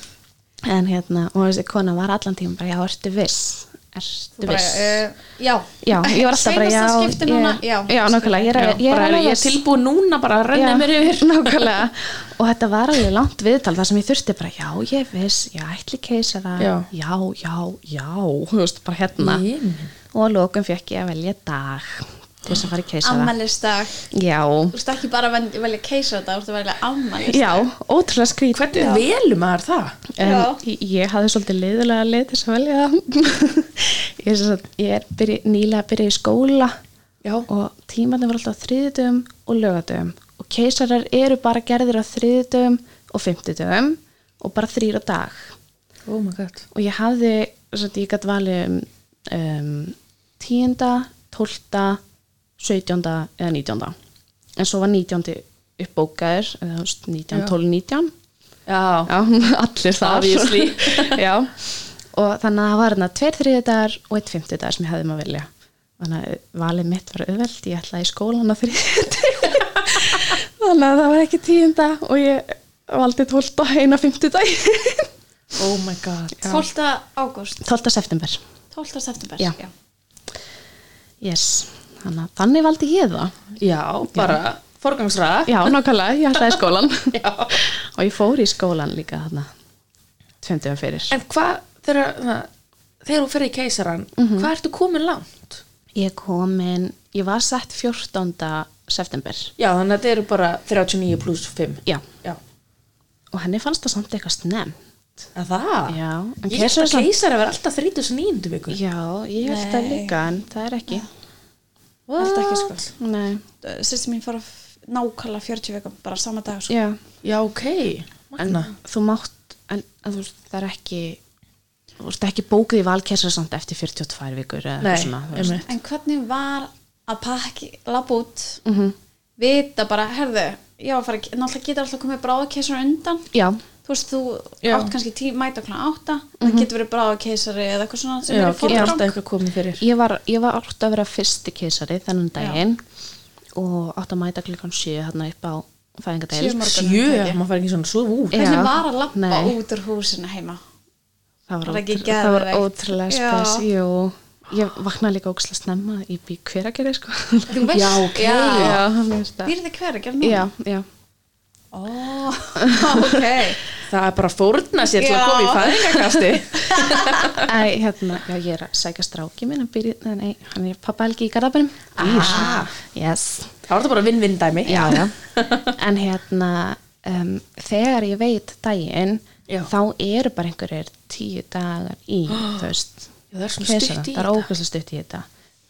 S3: en hérna og þessi kona var allan tíma bara, já, ertu viss ertu
S2: bara,
S3: viss
S2: uh, já,
S3: Já, ég var alltaf bara, já,
S2: Seinasta skipti núna,
S3: ég, já,
S2: já.
S3: nákvæmlega, ég er,
S1: Já,
S3: ég er
S1: bara er
S3: alveg
S1: ég
S3: viss.
S1: tilbúin núna bara að renna
S3: Já,
S1: mér yfir
S3: nákvæmlega og þetta var alveg langt viðtal þar sem ég þurfti bara já, ég viss, já, ætli keisara
S1: Já.
S3: já, já, já, þú veist bara hérna
S1: Jiminn.
S3: og að lokum fekk ég að velja dag til þess að fara í keisara
S2: ammælisdag
S3: já,
S2: þú veist ekki bara að ven- velja keisa þetta, þú veist að velja ammælisdag
S3: já, ótrúlega skrít
S1: Hvernig velum maður það?
S3: en
S2: Já.
S3: ég- ég hafði svolítið liðulega lið til þess að velja það ég er, sem sagt, ég er byrj, nýlega byrjað í skóla
S1: Já.
S3: og tímanir voru alltaf þriðutum og lögatum og keisarar eru bara gerðir á þriðutum og fymtutum og bara þrýr á dag
S1: Oh my god
S3: og ég hafði sem sagt, ég gætt valið um, um, tíunda, tólta sautjónda eða nítjónda en svo var nítjóndi uppbókaður eða, þú veist, 19,
S1: Já.
S3: 12, 19
S1: Já,
S3: já, allir þar
S1: Obviously.
S3: já, og þannig að það var hérna tveir þriðdagar og eitt fimmtudagar sem ég hefði maður vilja þannig að valið mitt var auðveld ég ætlaði í skólan á þriðdagar þannig að það var ekki tíunda og ég valdi 12. eina 50 dag
S1: Oh my god
S2: 12. ágúst,
S3: 12. september
S2: 12. september
S3: Já. yes. þannig, að þannig valdi ég það
S1: Já, bara forgangsraða
S3: já, nákvæmlega, ég ætlaði í skólan
S1: Já.
S3: og ég fór í skólan líka þarna 20 fyrir
S1: En hvað, þegar na, þegar þú ferði í keisaran hvað ertu komin langt?
S3: ég komin, ég var sett 14. september
S1: Já, þannig að þetta eru bara 39 pluss 5
S3: já,
S1: Já,
S3: og henni fannst það samt eitthvað snemt
S1: að það?
S3: Já, en
S1: Ah. Ég held að
S3: keisarasamt-
S1: keisara verði alltaf 39. viku
S3: já, ég held það
S2: Nei.
S3: líka en það er ekki
S1: Ah.
S2: Allt ekki sko
S3: nei,
S2: Sýstum mín fór að f- nákvæmlega 40 vikum bara sama dag sko.
S3: já
S1: Já, ok
S3: en
S1: Magna.
S3: þú mátt en, en þú veist, það er ekki þú veist ekki bókið í valkersarsamt eftir 42 vikur eða
S1: Nei,
S3: eitthvað svona, þú veist.
S1: einmitt.
S2: En hvernig var að pakki labba út vita bara, herðu já, fara, að- náttúrulega getur alltaf komið bráðakeisar undan
S3: já,
S2: þú veist, þú
S1: Já.
S2: átt kannski tí, mæta okkur átta, það getur verið bráðakeisari eða eitthvað svona sem
S1: Já,
S2: er í
S1: getur alltaf
S2: fórgang
S1: eitthvað komið fyrir
S3: ég var, ég var átt að vera fyrsti keisari þennan daginn og átt að mæta klukkan 7 hérna upp á
S2: Sjö
S3: fæðingadeil
S2: morgun.
S1: Sjö, maður fari ekki svona svo út
S3: Já.
S2: Hvernig var að labba
S3: Nei.
S2: út úr húsinu heima?
S3: það
S2: Var
S3: var,
S2: ekki
S3: ótrú- það var
S2: geðveikt?
S3: ótrúlega
S2: Já.
S3: spes jú. ég vaknaði líka ókslega snemma ég bý hver að gera sko
S2: Þú veist?
S1: Já, ok.
S2: Já.
S3: já, mér finnst það
S2: Býrði hver ekki alveg?
S3: já, já,
S2: Ó, ok.
S1: Það er bara að fórna sér til að
S2: Já.
S1: koma í fæðingakasti
S3: Æ, hérna, já, ég er að sækja stráki minn að byrja, nei, nei, hann er pappa Helgi í Garðabænum
S1: Ah.
S3: yes
S1: Það var þetta bara vinn-vinn dæmi
S3: já, já. en hérna um, þegar ég veit daginn
S1: Já.
S3: þá eru bara einhverjir tíu dagar í þú veist,
S1: Já, það er svona
S3: keisara.
S1: stutt í
S3: það er
S1: þetta.
S3: ókvæmst stutt í þetta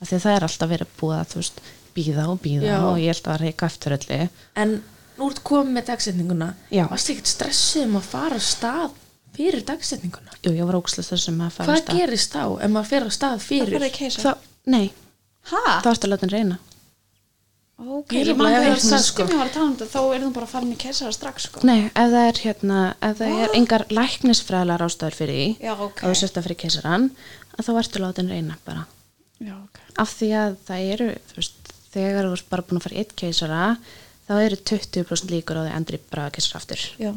S3: af því að það er alltaf verið búið að þú veist, býða og býða
S1: Já.
S3: og ég held að reyka eftir öllu
S1: En nú ertu komið með dagsetninguna
S3: Já.
S1: Varstu ekkert stressið um að fara af stað fyrir dagsetninguna?
S3: jú, ég var ókvæmst þessum að fara
S1: Hvað gerist þá ef maður fer af stað
S2: Það
S1: fyrir?
S2: fyrir keisa.
S3: það? Nei,
S2: Hæ?
S3: þá ertu að láta hann reyna
S2: Ok,
S1: Ég
S2: ég
S1: nefnilega
S2: man
S1: hef
S2: þegar
S1: heyrt það, sko.
S2: sýstum ég var að tala um þetta, þá er þú bara að fara með keisara strax, sko.
S3: Nei, ef það er hérna, ef það er engar læknisfræðlar ástæður fyrir því
S2: Já, ok.
S3: að þú sérst að fyrir keisaran að þá ertu látin reyna bara
S2: Já, ok.
S3: af því að það eru, þú veist, þegar þú ert bara búin að fara í eitt keisara þá eru 20% líkur á því að endri bara keisara aftur
S2: Já.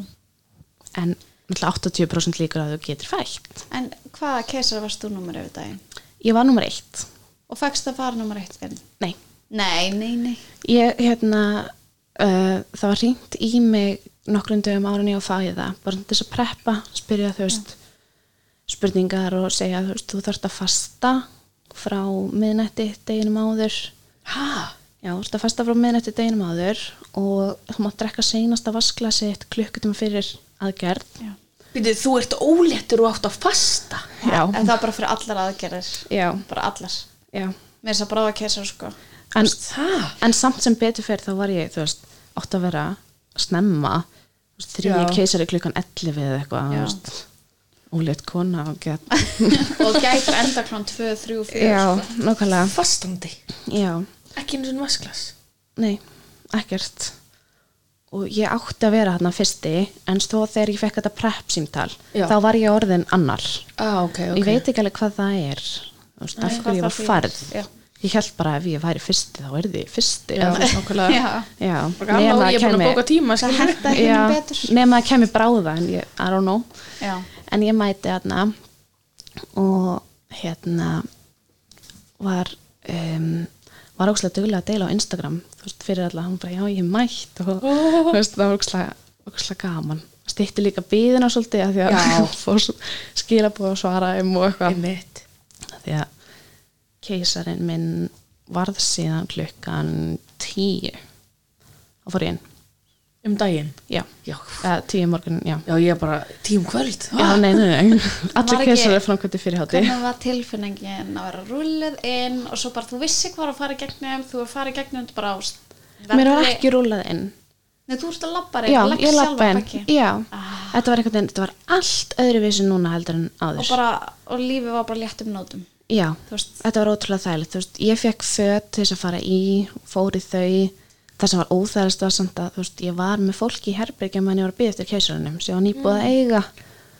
S3: en náttúrulega 80% líkur á því að þú getur fætt
S2: En hvaða keisara varst þú nummer yfir daginn?
S3: Ég var nummer eitt,
S2: Og fækst það fara nummer eitt inn?
S3: nei
S2: Nei, nei, nei.
S3: Ég, hérna, uh, það var hringt í mig nokkrum dögum árun ég á fæða, bara til þess að preppa, spyrja, þú veist, spurningar og segja, þú veist, þú þarft að fasta frá miðnætti deginum áður,
S1: Hæ?
S3: já, þú þarft að fasta frá miðnætti deginum áður og þú mátt drekka seinasta vasklasitt klukkutum fyrir aðgerð.
S2: Já.
S1: Býtið, þú ert óléttur og átt að fasta
S3: Já,
S2: En það er bara fyrir allar aðgerðir.
S3: já,
S2: Bara allar.
S3: já.
S2: Mér er þess að bráða keisara, sko.
S3: En,
S1: Það?
S3: en samt sem betur fyrir þá var ég, þú veist, átt að vera snemma, þú veist,
S1: Já.
S3: þrýja keisari klukkan 11 eða eitthvað, þú
S2: Já.
S3: veist, ólétt kona og get,
S2: Og gætur enda klán 2, 3, 4.
S3: já, nákvæmlega,
S1: Fastandi
S3: já,
S1: Ekki einu svona vasklas
S3: nei, ekkert. Og ég átti að vera þarna fyrsti, en stóð þegar ég fekk þetta prep símtal,
S1: Já.
S3: þá var ég orðin annar.
S1: ah, okay,
S3: Ég veit ekki alveg hvað það er, þú veist, af
S2: Nei, hvað
S3: hverju ég
S2: það
S3: var
S2: þýðir.
S3: farð.
S2: Já.
S3: Ég held bara að ef ég væri fyrsti, þá er þið fyrsti.
S1: Já,
S3: eða-
S1: nákvæmlega.
S2: Já.
S3: já.
S1: Bara gaman
S3: nema
S1: og ég er búin að
S3: kæmi-
S1: bóka tíma
S2: Það
S1: skilurðu.
S2: henda ekki
S3: Já,
S2: betur.
S3: nema að kemur bráða en ég, I don't know
S2: Já.
S3: en ég mæti hérna og hérna var um, var ókslega duglega að deila á Instagram þú veist, fyrir alla, hann bara, já, ég hef mætt og þú veist, það var ókslega, ókslega gaman stýtti líka bíðina svolítið af því
S1: Já.
S3: að fór skilabúð og svara um og eitthvað
S1: Einmitt.
S3: Af því að keisarinn minn varð síðan klukkan tíu og fór ég inn,
S1: Um daginn
S3: já,
S1: Já,
S3: eða tíu morgun, já
S1: já ég er bara tíum kvöld Ah.
S3: Já, nei, nei, nei. Allir
S2: ekki-
S3: keisar er framkvæmdi fyrir hátti.
S2: Hvernig var tilfinningin að vera rúlið inn og svo bara þú vissi hvað var að fara í gegnum, þú var að fara í gegnum þetta bara á
S3: Mér var ekki rúlað inn.
S2: Nei, þú ert að labba reynd,
S3: Já,
S2: leggst
S3: ég lappa
S2: sjálfa
S3: inn.
S2: bakki.
S3: Já, þetta var einhvern veginn, þetta var allt öðruvísi núna heldur en
S2: Ah. Og
S3: áður.
S2: bara, og lífið var bara létt um nótum.
S3: Já,
S2: Þú veist,
S3: þetta var ótrúlega þægilegt. Þú veist, ég fekk föt til þess að fara í, fór í þau. Það sem var óþægilegt var samt að, þú veist, ég var með fólki í herbergja meðan ég var að byggja eftir keisarunum, sem ég var nýbúið
S2: Mm.
S3: að eiga.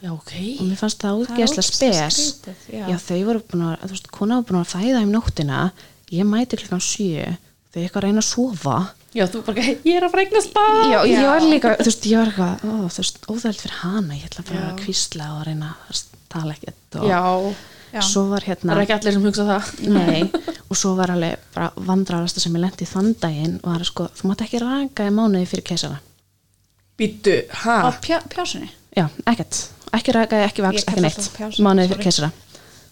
S1: Já, ok
S3: Og mér fannst það
S2: er
S3: útgeðslega
S2: ógeðslega
S3: spes.
S2: skrítið,
S3: Já.
S2: já.
S3: þau voru búin að, þú veist, kona var búin að fæða um nóttina, ég mæti klukkan sjö, þau eitthvað að reyna að sofa.
S1: Já, þú bara, ég er að fræknast bara
S3: Já, ég var líka, þú veist, ég var eitthvað ó, þú veist, óþægild fyrir hana, ég ætla bara að kvísla og reyna að þú veist, tala ekkert og
S2: Já.
S3: svo var hérna
S1: það er ekki allir sem hugsa það
S3: Nei, og svo var alveg bara vandrarasta sem ég lendi þann daginn og það er sko, þú mátt ekki raka í mánuði fyrir keisara
S1: Býttu, hæ?
S2: á pjá, pjásunni
S3: Já, ekkert, ekki raka, ekki
S2: Ég kalla
S3: vaks, ekki
S2: alltaf
S3: neitt
S2: pjásu,
S3: mánuði fyrir
S2: sorry.
S3: keisara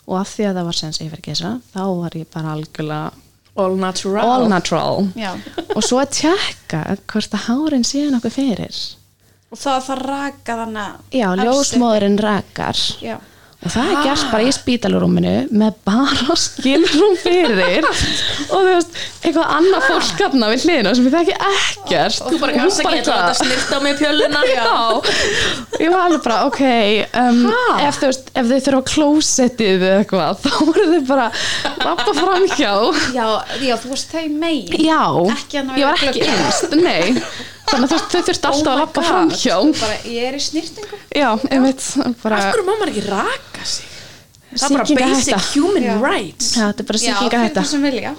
S3: og af því að það var sens yfir keisara þá var ég bara algjörlega
S1: All natural
S3: all natural
S2: já.
S3: og svo að tjekka hvort að hárin sé nokkuð fyrir
S2: og það, það raka þannig
S3: Já, ljósmóðurinn rakar
S2: já.
S3: og það er gert bara í spítalurúminu með bara skilrúm fyrir og þú veist, eitthvað annað fólk skapna við hliðina sem við þekki ekkert
S1: Þú bara,
S3: hún
S1: kannski ekki að
S3: eitthvað-
S1: láta snirta á mig pjöluna
S3: Já, ég var alveg bara, ok um, ef, þú veist, ef þau þurfa á klósettið eða eitthvað, þá voru þau bara lappa framhjá
S2: Já, já, þú veist þau megin
S3: Já,
S2: Ekki að ná
S3: ég var
S2: í
S3: ekki einst, nei þannig að þú veist, þau þurfti
S2: Oh
S3: alltaf að lappa framhjá
S2: bara, ég er í snýrtingu
S3: Já, einmitt bara,
S1: Af hverju má maður ekki raka sig? Það er bara
S3: Sýkingahætta.
S1: basic human
S2: Já.
S1: rights
S3: Já, þetta er bara sýkinga
S2: fyrir
S3: þetta
S2: það sem vilja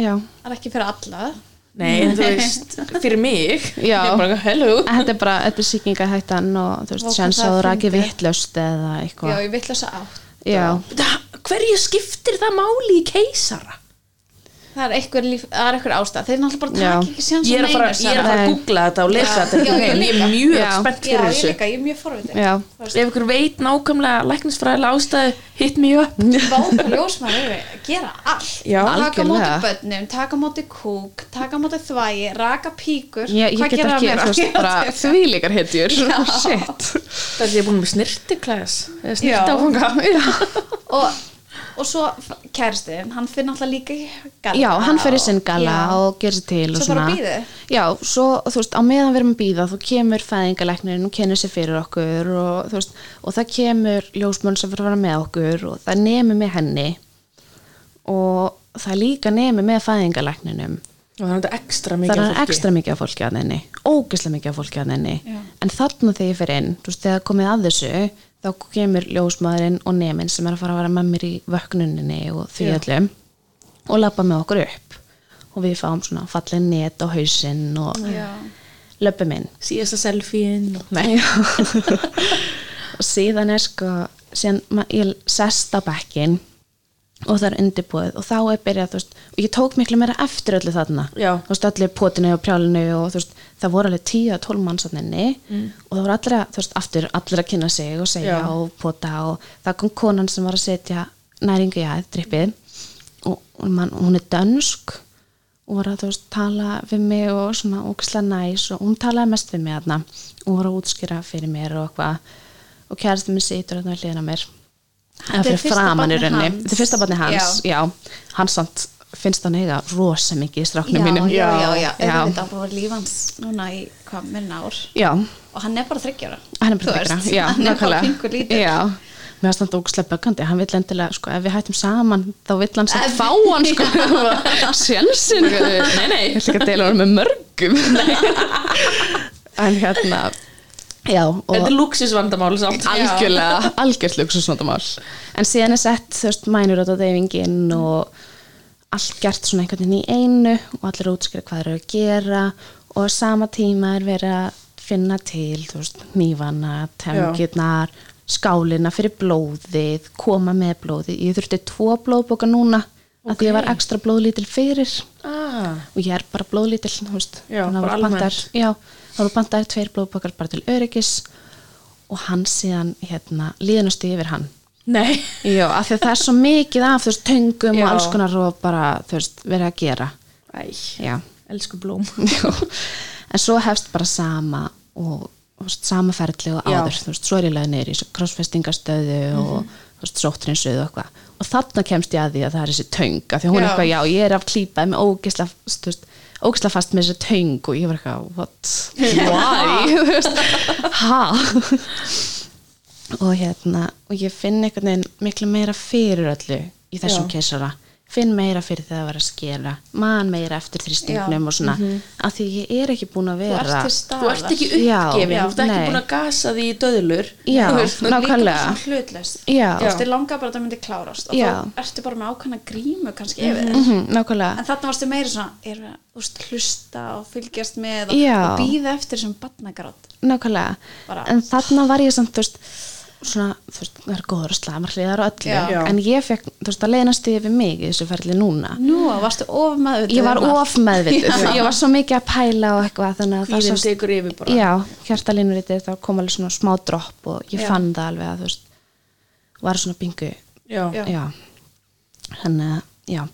S3: Já,
S2: það er ekki fyrir alla
S1: Nei, en þú veist, fyrir mig
S3: Já.
S1: Ég er bara, hello
S3: En þetta er bara, þetta er sýkingahættan og þú
S2: Vá,
S3: veist,
S2: hvað
S3: sjans
S2: það
S3: að
S2: er
S3: þú rakið
S2: fyndið.
S3: vittlust eða
S2: já,
S3: eitthvað.
S2: ég vill þess að átt
S3: Já,
S1: Það- Hverju skiptir það máli í keisara?
S2: það er einhver, líf, það er einhver ástæð þeir náttúrulega bara
S3: Já.
S2: taka ekki séns
S1: Ég er að fara, ég er að, fara að
S3: Nei.
S1: googla þetta og lesa
S2: Já.
S1: þetta
S2: Já, ég
S1: en Ég
S2: líka.
S1: er mjög
S3: Já.
S1: spennt
S2: já,
S1: fyrir
S2: ég
S1: þessu
S2: líka, ég er mjög forvitin
S3: já,
S1: Ef ykkur veit nákvæmlega læknisfræðilega ástæðu Hit me up
S2: Mm. Váka ljósmaður eru að gera allt
S1: Já,
S2: Taka á móti
S3: algjörlega.
S2: börnum, taka á móti kúk Taka á móti þvægi, raka píkur
S3: Ég, ég
S2: Hvað
S3: get
S2: gera
S3: ekki,
S2: meira?
S3: þú veist, bara þvílíkar hetjur. Shit.
S1: Það er ég búin með snirtiklæs Snirt
S2: Já.
S1: áfanga
S2: og, og svo kæristiðin, hann fyrir náttúrulega líka í galla
S3: Já, hann fer í sinn gala
S2: Já.
S3: og gerir sér til og
S2: Svo bara
S3: svona.
S2: bíðið?
S3: Já, svo, þú veist, á meðan við erum að býða, þú kemur fæðingalæknirinn og kennir sér fyrir okkur og, þú veist, og það kemur ljósmönn sem fyrir að vera með okkur og það nemi með henni og það líka nemi með fæðingalækninum.
S1: Og það er þetta ekstra mikið
S3: það
S1: af
S3: er
S1: fólki.
S3: ekstra mikið af fólki að henni ógislega mikið af fólki að henni
S2: Já.
S3: en þarna þegar ég fer inn, þú veist, þegar komið að þessu þá kemur ljósmaðurinn og nemin sem er að fara að vera með mér í vöknuninni og því öllum og lappa með okkur upp og við fáum svona fallin net á hausinn og
S2: Já.
S3: löpum inn
S1: síðasta selfie-in og...
S3: og síðan er sko síðan ma- ég sest á bekkin og það er undirbúið og þá er byrjað, þú veist, og ég tók miklu meira eftir öllu þarna,
S1: Já.
S3: þú veist, öllu potinu og prjálinu og þú veist, það voru alveg tíu að tólf mannsaninni mm. og það voru allir að, þú veist, aftur allir að kynna sig og segja
S1: Já.
S3: og pota og það kom konan sem var að setja næringu í aðeins drippið og, og man, hún er dönsk og var að, þú veist, tala við mig og svona ógislega næs og hún talaði mest við mig þarna og var að útskýra fyrir mér og eitthvað og kærasti minn situr þarna við hliðina á mér
S2: Þetta
S3: eða
S2: er
S3: fyrir
S2: fyrsta
S3: framan í
S2: barnið
S3: raunni
S2: hans.
S3: þetta er fyrsta barni hans, já, hann samt finnst hann eiga rosa mikið í stráknum mínum
S2: já, já, já,
S3: já,
S2: já. Þetta var bara lífans núna í hvað minn ár
S3: já.
S2: og hann er bara þryggjara
S3: hann er bara þekra, já,
S2: hann er bara pingur
S3: nákvæmlega
S2: lítur
S3: já, mér finnst hann ógustlega böggandi hann vil endilega, sko, ef við hættum saman þá vil hann samt fá hann, sko sjensin, nei, nei ég ætla ekki að deila hann með mörgum en hérna já, og
S1: Þetta er luxusvandamál samt
S3: algjörlega, algjörlega luksusvandamál en síðan er sett, þú veist, mænur á deyfingin og allt gert svona einhvern veginn í einu og allir eru að útskýra hvað þeir eru að gera og á sama tíma er verið að finna til, þú veist, nýfana tengirnar, skálina fyrir blóðið, koma með blóðið ég þurfti tvo blóðboka núna okay. að ég var ekstra blóðlítil fyrir
S1: ah,
S3: og ég er bara blóðlítil þú veist,
S1: Já,
S3: Þannig að
S1: bara
S3: voru pantaðar- já, það voru bandar tveir blóðbökar bara til öryggis og hann síðan hérna, líðnusti yfir hann
S1: Nei
S3: já, af því að það er svo mikið af þú veist, töngum
S1: Já.
S3: og alls konar og bara þú veist, verið að gera
S1: Æ,
S3: já.
S1: elsku blóm
S3: Já. en svo hefst bara sama og þú veist, sama ferli og
S1: Já.
S3: áður þú veist, svo er ég leið neyri í krossfestingastöðu og þú veist, sóttrinsuð og eitthvað og þarna kemst ég að því að það er þessi töng af því að
S2: Já.
S3: hún er eitthvað, já, ég er af klípað með ógisla, þú veist, ógisla fast með þessi töng og ég var eitthvað, what? Why? Þú veist, ha? og hérna, og ég finn einhvern veginn miklu meira fyrir öllu í þessum
S1: Já.
S3: keisara finn meira fyrir þegar það var að skila man meira eftir þrýstingnum og svona af því ég er ekki búin að
S2: Mhm. Þú
S3: vera
S2: ert til staðar.
S1: þú ert ekki
S3: Já,
S1: uppgefin,
S3: já,
S1: þú ert ekki
S3: nei.
S1: búin að gasa því í döðlur
S3: Já,
S1: Þú veist,
S2: Þú líka
S3: nákvæmlega.
S2: bara svona hlutlaust.
S3: Já.
S2: Þú veist, þér langar bara að það myndi klárast og
S3: Já.
S2: þá ertu bara með ákveðna grímu kannski yfir mm
S3: mm nákvæmlega
S2: En þarna varstu meira svona, erum við að þú veist, hlusta og fylgjast með og,
S3: Já.
S2: og býða eftir sem batnagrátt.
S3: nákvæmlega,
S2: Bara-
S3: en þarna var ég samt, þú veist, svona, þú veist, það er góður að slamar hliðar og öllu,
S2: Já.
S1: Já.
S3: en ég fekk, þú veist, að leiðnast yfir mig í þessu ferli núna.
S2: Nú, varstu of meðvitað.
S3: Ég var
S2: um allt.
S3: of meðvituð, ég var svo mikið að pæla og eitthvað, þannig að það
S1: kvíðin
S3: sást-
S1: tekur yfir bara
S3: Já, hjartalínurítið, þá kom alveg svona smá dropp og ég
S2: Já.
S3: fann það alveg að, þú veist, var svona bingu,
S1: Já.
S2: Já.
S3: já, þannig að, já,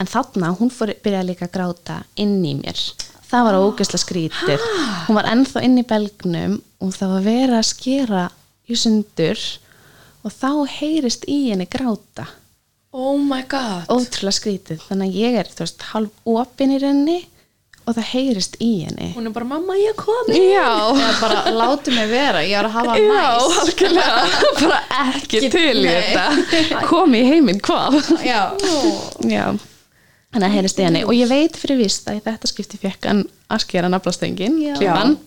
S3: en þarna, hún fór, byrjaði líka að gráta inn í mér. Það var ógeðslega skrítið. Hún var ennþá inn í belgnum og það var verið að skera í sundur og þá heyrist í henni gráta
S1: oh my god
S3: ótrúlega skrítið þannig að ég er þú veist hálf opin í rauninni og það heyrist í henni
S1: hún er bara mamma ég komi
S3: já,
S2: Eða bara, látu mig vera, ég var að hafa
S3: já,
S2: næs.
S3: algjörlega bara ekki
S2: Ekki-
S3: til í
S2: nei.
S3: þetta kom í heiminn hvað
S2: Já.
S3: já, þannig að heyrist í henni og ég veit fyrir vist að í þetta skipti fekk hann að skera naflastengin
S2: Já.
S3: klifan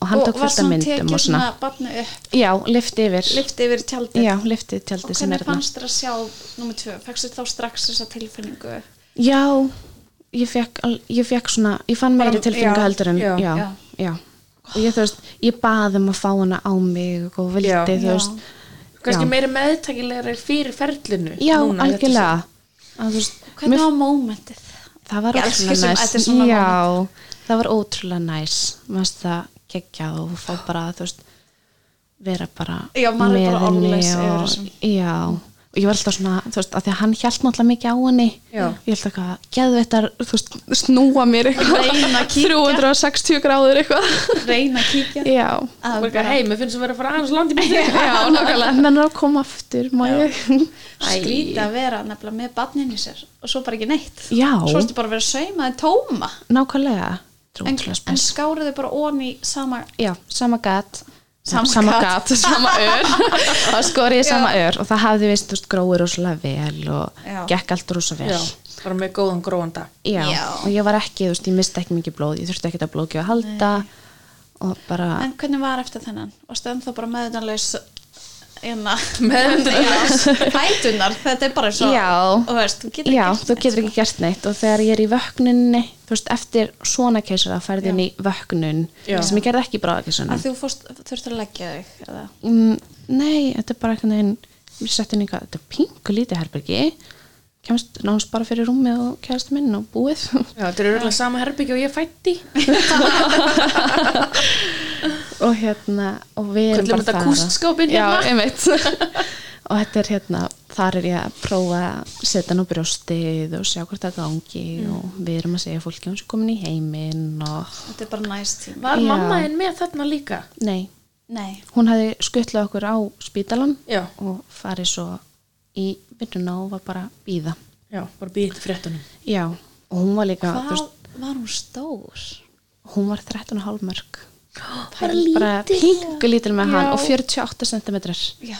S3: og hann
S2: Og
S3: tók
S2: var
S3: fullt af
S2: svona
S3: myndum
S2: tekið
S3: og svona,
S2: svona barnu upp,
S3: já, lift yfir
S2: lyft yfir tjaldið.
S3: já, liftið
S2: Og
S3: tjaldið sem
S2: hvernig
S3: er þarna
S2: fannst þér að sjá nummer tvö? Fekstu þá strax þessa tilfinningu?
S3: já, ég fekk, al- ég fekk svona, ég fann
S2: Bara-
S3: meiri tilfinningu
S2: já,
S3: heldur en,
S1: já,
S3: já, já,
S2: já.
S3: og ég þú veist, ég bað um að fá hana á mig og vildi,
S1: Já.
S3: þú
S2: Já.
S3: veist
S1: kannski
S3: já,
S1: meiri meðtakilegri fyrir ferlinu
S3: já
S1: núna, þetta
S3: algjörlega að, þú veist,
S2: Hvernig
S3: mér,
S2: var mómentið?
S3: það var
S2: Ég elska sem-
S3: ótrúlega
S2: þetta er svona
S3: næs já, það var ótrúlega næs maður það geggjað og fá bara, þú veist vera bara
S2: Já, maður er
S3: með
S2: bara
S3: henni
S2: orðlaus yfir
S3: og,
S2: þessum.
S3: já, og ég var alltaf svona þú veist, af því að hann hjælt náttúrulega mikið á henni
S1: Já.
S3: ég held ekki að geðvittar þú veist, snúa mér eitthvað
S2: Reyna að kíkja.
S3: 360 gráður eitthvað
S2: Reyna að kíkja?
S3: já,
S1: Og bara, hei, mér finnst að vera að fara aðeins landi mér
S3: já, nákvæmlega menn að koma aftur, má ég
S2: skrítið að vera nefnilega með barnin í sér og svo bara ekki neitt
S3: já,
S2: svo ertu bara að vera saumaði tóma
S3: nákvæmlega
S2: en,
S3: trúlega
S2: en
S3: spes
S2: skáruðu bara onni sama
S3: já, sama gat
S2: Sama gat.
S3: gat, sama ör þá skor ég sama ör og það hafði veist, þú veist, gróið rosalega vel og
S2: Já.
S3: gekk allt rosa vel
S1: já, bara með góðan gróðanda
S3: Já,
S2: Já.
S3: og ég var ekki, þú veist, ég misti ekki mikið blóð, ég þurfti ekki að blóðgjöf að halda og bara,
S2: en hvernig var eftir þennan og stöðum þá bara meðutanlaus
S1: Meðvitundarlaus.
S2: meðutanlaus hætunar þetta er bara svo
S3: Já.
S2: og veist, þú getur
S3: já,
S2: ekki
S3: þú getur ekki gert neitt og þegar ég er í vöknunni, þú veist, eftir svona keisara færði inn í vöknun
S1: Já.
S3: sem ég gerði ekki í
S2: að
S3: bráðakeisaranum.
S2: þú fórst, þurftur að leggja þig eða
S3: Mm, nei, þetta er bara eitthvað neginn, ég setti inn eitthvað, þetta er pingu lítið herbergi, kemst nánast bara fyrir rúmið og kærast minn og búið.
S1: já, þetta er auðvitað sama herbyggja og ég fætti
S3: og hérna, og við erum
S1: Köllum
S3: bara
S1: þetta
S3: þar að-
S1: kústskápinn
S3: Já,
S1: hérna.
S3: einmitt og þetta er hérna, þar er ég að prófa að setja hann á brjóstið og sjá hvort það gangi og við erum að segja fólki að hún sé komin í heiminn og
S2: þetta er bara næst tíma
S1: var
S3: Já.
S1: mamma en með þarna líka
S3: nei,
S2: nei,
S3: hún hafði skutlað okkur á spítalan
S1: já,
S3: og farið svo í vinnuna og var bara að býða
S1: já, bara býðið til fréttunum
S3: já, og hún var líka þú
S2: hvað
S3: veist,
S2: var hún stór
S3: hún var 13,5 mörg
S1: bara
S3: bara
S1: lítið
S3: pingu lítil með hann
S1: Já.
S3: og 48 cm
S2: já,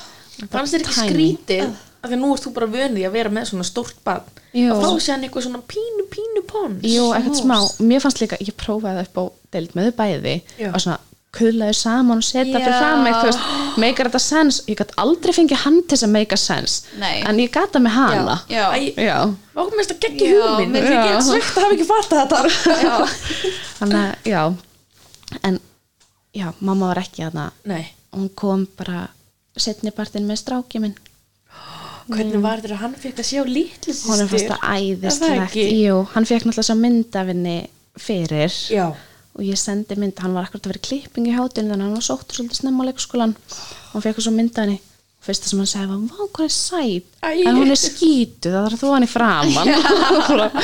S1: fannst þér ekki
S3: tiny.
S1: skrítið af því nú ert þú bara vönið að vera með svona stórt barn
S3: Ah. Jú.
S1: að fá sér hann eitthvað svona pínu pínu pons
S3: Jú, ekkert
S2: Smá.
S3: smá. Mér fannst líka, ég prófaði það upp á deild með þau bæði
S1: Já.
S3: og svona kuðlaði saman og setja fyrir
S2: Já.
S3: fram mig, þú veist, meikar þetta sens ég gæti aldrei fengið hann til þess að meika sens
S2: Nei.
S3: en ég gæti það með hana
S2: já.
S1: Æ,
S3: Já.
S1: Okkur minnst að geggi
S2: Já,
S1: hugmynd Mér
S2: mér
S3: þykir
S1: ekki
S3: ekki
S1: svegt að hafa ekki fatta þetta
S3: þannig að, já en, já, mamma var ekki þarna
S1: Nei,
S3: hún kom bara setni partinn með strákið minn Mm.
S1: hvernig var þetta að hann fekk að sjá litlu sýstir
S3: hún er fast
S1: Er
S3: að
S1: það
S3: æðislegt
S1: ekki?
S3: Jú, hann fekk náttúrulega svo myndafinni fyrir
S1: Já,
S3: og ég sendi mynd, hann var akkurat að vera í klippingu í hátinu þannig að hann var sóttur svolítið snemma á leikskólan og hann fekk svo mynd af henni og fyrsta sem hann sagði var, vá hvað er sæt
S1: Æ.
S3: en hún er skítu, það þarf þú hann í framann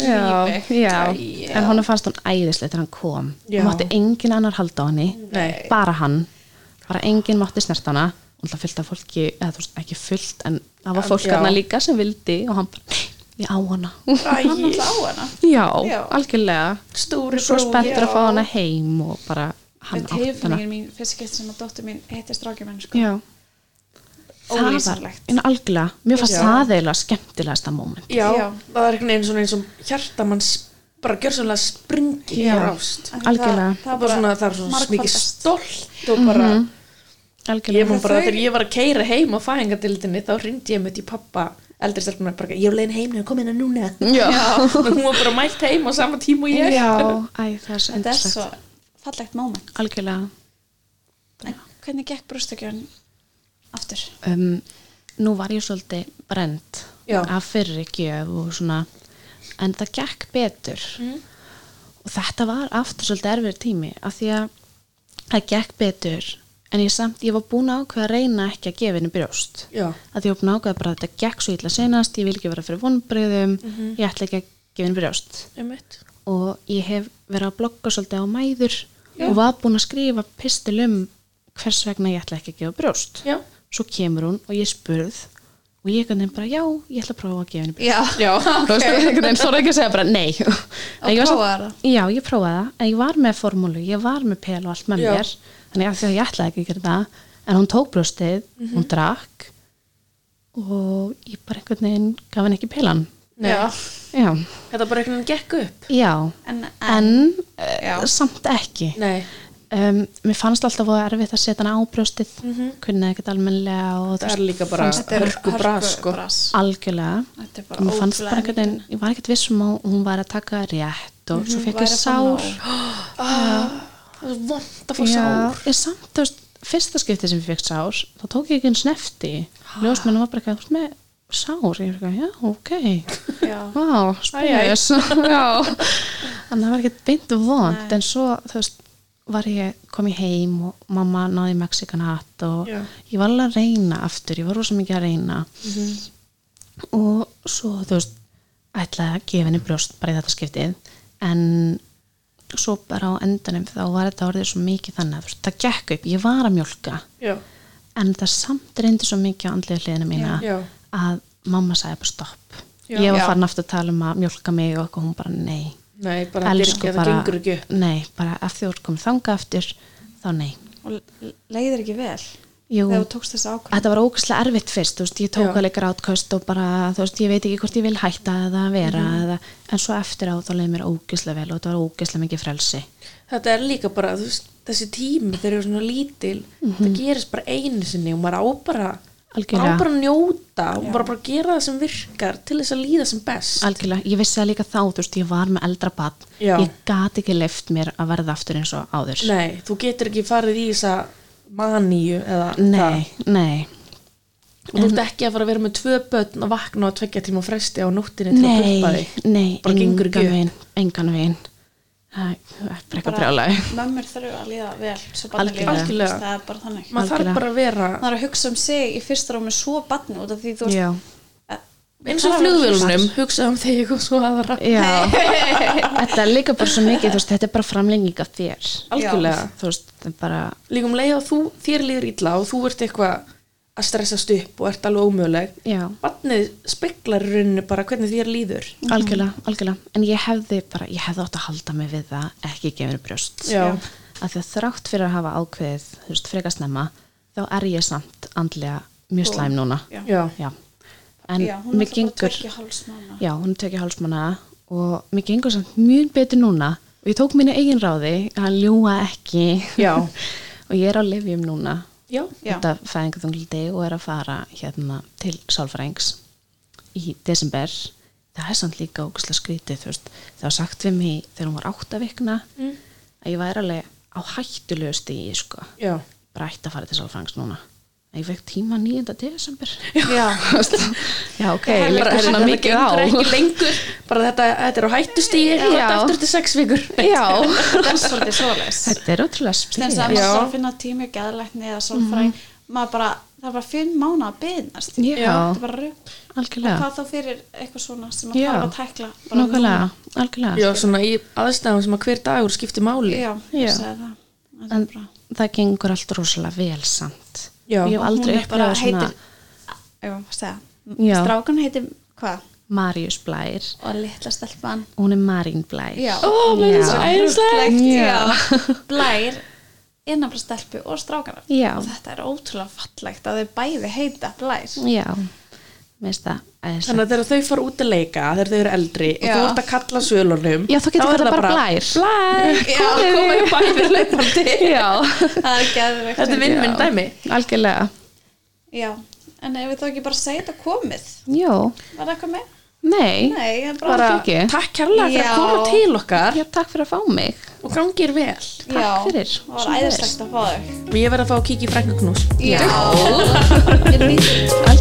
S3: já, já.
S1: Æ,
S3: en hún fannst hún æðislega þegar hann kom
S1: Já.
S3: hún mátti engin annar halda á henni
S1: Nei.
S3: bara hann, bara engin mátti snert hana og það fyllt af fólki, eða þú veist ekki fullt en það var fólk
S1: Já.
S3: hana líka sem vildi og hann bara, "Nei, ég á hana
S2: hann
S1: æ,
S2: alltaf á hana
S3: já,
S2: Já.
S3: algjörlega
S1: stúri
S3: svo spenntur að fá
S1: já.
S3: hana heim og bara hann
S2: þetta
S3: átt hana
S2: tilfinningin mín, fyrst ekki eftir sem að dóttur mín heitir strákjumenn sko.
S3: já,
S2: Ólýsanlegt.
S3: en algjörlega, mér fannst
S1: Já.
S3: það eiginlega skemmtilegasta moment
S1: já,
S2: Já.
S1: það er einhvern veginn svona eins og hjarta mann s- bara gjör svona springi
S3: Já.
S1: í rást
S2: Af því
S3: Algjörlega.
S1: það er bara svona, það er svona
S2: margfaldast.
S1: mikið stolt og bara,
S3: Mhm.
S1: ég
S3: algjörlega,
S1: man bara
S2: Þau-
S1: þegar ég var að keira heim á fæðingadildinni þá hrindi ég mitt í pappa eldri stelpunar bara, ég er leiðin heim, ég kom inn að núna
S3: já,
S1: hún var bara mætt heim á sama tíma og ég
S3: æ, það er svo
S2: þetta er
S3: yndislegt.
S2: svo fallegt moment
S3: algjörlega
S2: en hvernig gekk brústakjörn aftur?
S3: um, nú var ég svolítið brend
S1: Já.
S3: af fyrri gjöf og svona en það gekk betur
S1: Mm.
S3: og þetta var aftur svolítið erfið tími af því að það gekk betur en ég samt, ég var búin að ákveða að reyna ekki að gefa henni brjóst
S1: Já.
S3: að ég var búin að ákveða bara að þetta gekk svo illa senast ég vil ekki vera fyrir vonbreyðum
S1: Mhm.
S3: ég ætla ekki að gefa henni brjóst
S1: Einmitt.
S3: og ég hef verið að blogga svolítið á mæður og var búin að skrifa pistil um hvers vegna ég ætla ekki að gefa brjóst
S1: Já.
S3: svo kemur hún og ég spurð og ég einhvern veginn bara já, ég ætla að prófa að gefa henni brjóst
S2: já,
S1: Já,
S3: þú veist, einhvern veginn þorði ekki að segja bara nei En ég var
S2: prófaðir það?
S3: já, ég prófaði það, en ég var með formúlu ég var með pel og allt með
S1: Já.
S3: mér þannig að því að ég ætlaði ekki að gera það en hún tók brjóstið, hún drakk og ég bara einhvern veginn gaf henni ekki pelan
S1: Já.
S3: já,
S1: Þetta bara einhvern veginn gekk upp.
S3: já
S2: en, en,
S3: en
S2: Já.
S3: uh, samt ekki
S1: Nei.
S3: um, mér fannst alltaf voða erfitt að setja hana á brjóstið mm
S2: Mhm.
S3: -hmm. kunni ekkert almennilega og þú
S1: Það
S3: veist,
S1: er líka bara
S2: þetta er
S1: hörku bras, sko.
S2: hörkubras.
S3: algjörlega
S2: Þetta er bara
S3: mér fannst
S2: ótrúlega
S3: bara einhvern veginn, ég var ekkert vissum að hún var að taka rétt og svo fekk ég
S2: Mhm, Væri að fá
S3: sár
S2: nóg.
S1: Það er vond að fá
S3: Já,
S1: sár.
S3: ég samt, þú veist, fyrsta skipti sem ég fekk sár þá tók ég ekki einn snefti ljósmennu var bara eitthvað, þú veist, með sár ég fyrir já, ok
S2: Já.
S3: Vá,
S1: Æ, æ.
S3: spes Já. Þannig að það var ekkert beint vond en svo, þú veist, var ég kom ég heim og mamma náði Mexikan hatt og
S1: Já.
S3: ég var alveg að reyna aftur, ég var rosa mikið að reyna
S1: Mhm.
S3: og svo, þú veist ætlaði að gefa henni brjóst bara í þetta skiptið en svo bara á endanum þá var þetta orðið svo mikið þannig að þú veist, það gekk upp, ég var að mjólka
S1: Já.
S3: en það samt reyndi svo mikið á andlega hliðina mína
S1: Já. Já.
S3: að mamma sagði bara stopp
S1: Já.
S3: ég var
S2: Já.
S3: farin aftur að tala um að mjólka mig og eitthvað, hún bara nei
S1: Nei, bara þetta er ekki, það gengur ekki upp.
S3: nei, bara ef þú ert komið þanga aftur þá nei
S2: og le- leiðir ekki vel
S3: Jú.
S2: þegar þú tókst þessa ákvörðun
S3: þetta var ógæslega erfitt fyrst, þú veist, ég
S1: Já.
S3: tók alveg grátköst og bara, þú veist, ég veit ekki hvort ég vil hætta eða vera,
S1: Mhm.
S3: eða, en svo eftir á þá leið mér ógæslega vel og þetta var ógæslega mikið frelsi
S1: Þetta er líka bara, þú veist, þessi tími þegar eru svona lítil, það gerist bara einu sinni og maður á bara, maður á
S3: Algjörlega.
S1: bara að njóta og bara, bara gera það sem virkar til þess að líða sem best.
S3: Algjörlega, ég vissi það líka þá, þú veist, ég var með eldra barn,
S1: Já.
S3: ég gat ekki leift mér að verða aftur eins og áður
S1: Nei, þú getur ekki farið í þessa maníu eða það.
S3: nei, nei.
S1: Og þú ert ekki að fara að vera með tvö börn að vakna og tvekja tíma fresti á nóttinni til að
S3: Nei,
S1: pumpa þig.
S3: nei,
S1: Bara gengur ekki upp.
S3: veginn, engan veginn Það er bara eitthvað brjálæg
S2: mömmur þurfu að líða vel svo barnið líður
S3: Algjörlega.
S2: vel.
S1: Algjörlega.
S2: það er bara þannig
S1: Maður þarf
S3: Algjörlega.
S1: bara að vera
S2: það er að hugsa um sig í fyrsta rámi svo barni út af því þú
S3: Já,
S1: eins og flugvélunum, hugsa um þig og svo aðra.
S3: já Þetta er líka bara svo mikið, þú veist, þetta er bara framlenging af þér
S1: Algjörlega.
S3: Þú veist, þetta er bara
S1: Líka um leið og þú, þér líður illa og þú ert eitthvað að stressast upp og ert alveg ómöguleg.
S3: Já,
S2: Mhm.
S1: Barnið speklar í rauninu bara hvernig þér líður.
S3: algjörlega, algjörlega En ég hefði bara, ég hefði átt að halda mig við það ekki gefur brjóst
S1: Já.
S3: Af því að þrátt fyrir að hafa ákveðið, þú veist, frekar snemma þá er ég samt andlega mjög slæm núna
S2: Já.
S1: Já.
S3: Já. En
S2: já, hún er alltaf
S3: mér
S2: bara
S3: gengur
S2: tveggja hálfs mánaða.
S3: Já, hún tekja hálsmanna og mér gengur samt mjög betur núna og ég tók mínu eigin ráði að ljúa ekki
S1: Já.
S3: og ég er á lifjum núna
S1: Já.
S2: Já.
S3: þetta fæðingatungldi og er að fara hérna til sálfrængs í desember það er samt líka ógustlega skrítið þú veist. það var sagt við mig þegar hún var átta vikna
S1: Mm.
S3: að ég væri alveg á hættulegu stíði sko.
S1: Já.
S3: bara ætti að fara til sálfrængs núna að ég fekk tíma 9. desember
S2: já,
S3: já ok,
S1: Bara,
S3: liggur
S1: herri,
S3: svona
S1: þetta
S3: mikið á
S1: gengur ekki lengur, bara þetta, þetta er á hættustíði, þetta
S3: Já.
S1: aftur til sex vikur.
S3: Já,
S2: það er svolítið svoleiðis
S3: þetta er ótrúlega spil
S2: þess að maður
S1: Já.
S2: þarf að finna tími gæðlækni eða sálfræðing maður bara, það er bara fimm mánu að byrnast
S3: Mhm. Já.
S2: það er bara rugl
S3: Algjörlega,
S2: hvað þá fyrir eitthvað svona sem maður
S3: Já.
S2: þarf að tækla bara
S3: nákvæmlega, algjörlega
S1: Já, svona í aðstæðum sem að hver dagur skiptir máli.
S2: núna. já,
S3: Já.
S2: ég sagði það það er bara,
S3: Það gengur allt rosalega vel samt
S1: Já.
S3: Ég hef aldrei
S2: Hún er bara-
S3: upplegað svona
S2: heitir- já, segja
S3: Já.
S2: strákan heitir hvað
S3: Marius Blær
S2: og litla stelpan
S3: Hún er Marín Blær
S2: já,
S1: Ó, mér finnst
S3: Já.
S1: það æðislegt.
S2: Ruglegt,
S3: Já.
S2: já. blær innan frá stelpu og strákana
S3: Já.
S2: og þetta er ótrúlega fallegt að þau bæði heita blær
S3: já, mér finnst það æðislegt.
S1: Þannig að þegar þau fara út að leika þegar þau eru eldri
S2: Já.
S1: og þú ert að kalla svölunum
S3: Já, þá getur
S1: er
S3: kallað
S1: það
S3: bara blær.
S1: Blær,
S2: Já.
S1: komið komið bæði leipandi
S3: já,
S2: það er geðveikt.
S1: Þetta er vinn-vinn
S3: Já.
S1: dæmi
S3: algjörlega
S2: Já, en ef við þá ekki bara segja þetta komið
S3: já,
S2: var það eitthvað með?
S3: nei,
S2: Nei, það er bara
S3: Bara-
S2: allt í-
S3: Ekki.
S1: Takk kærlega fyrir
S2: Já.
S1: að koma til okkar
S3: já, takk fyrir að fá mig
S1: og gangir vel
S3: takk fyrir.
S2: það var
S3: Svona er.
S2: æðislegt að fá þau
S1: Ég verð að fá að kíkja í frængagnús
S2: Já Ég lýst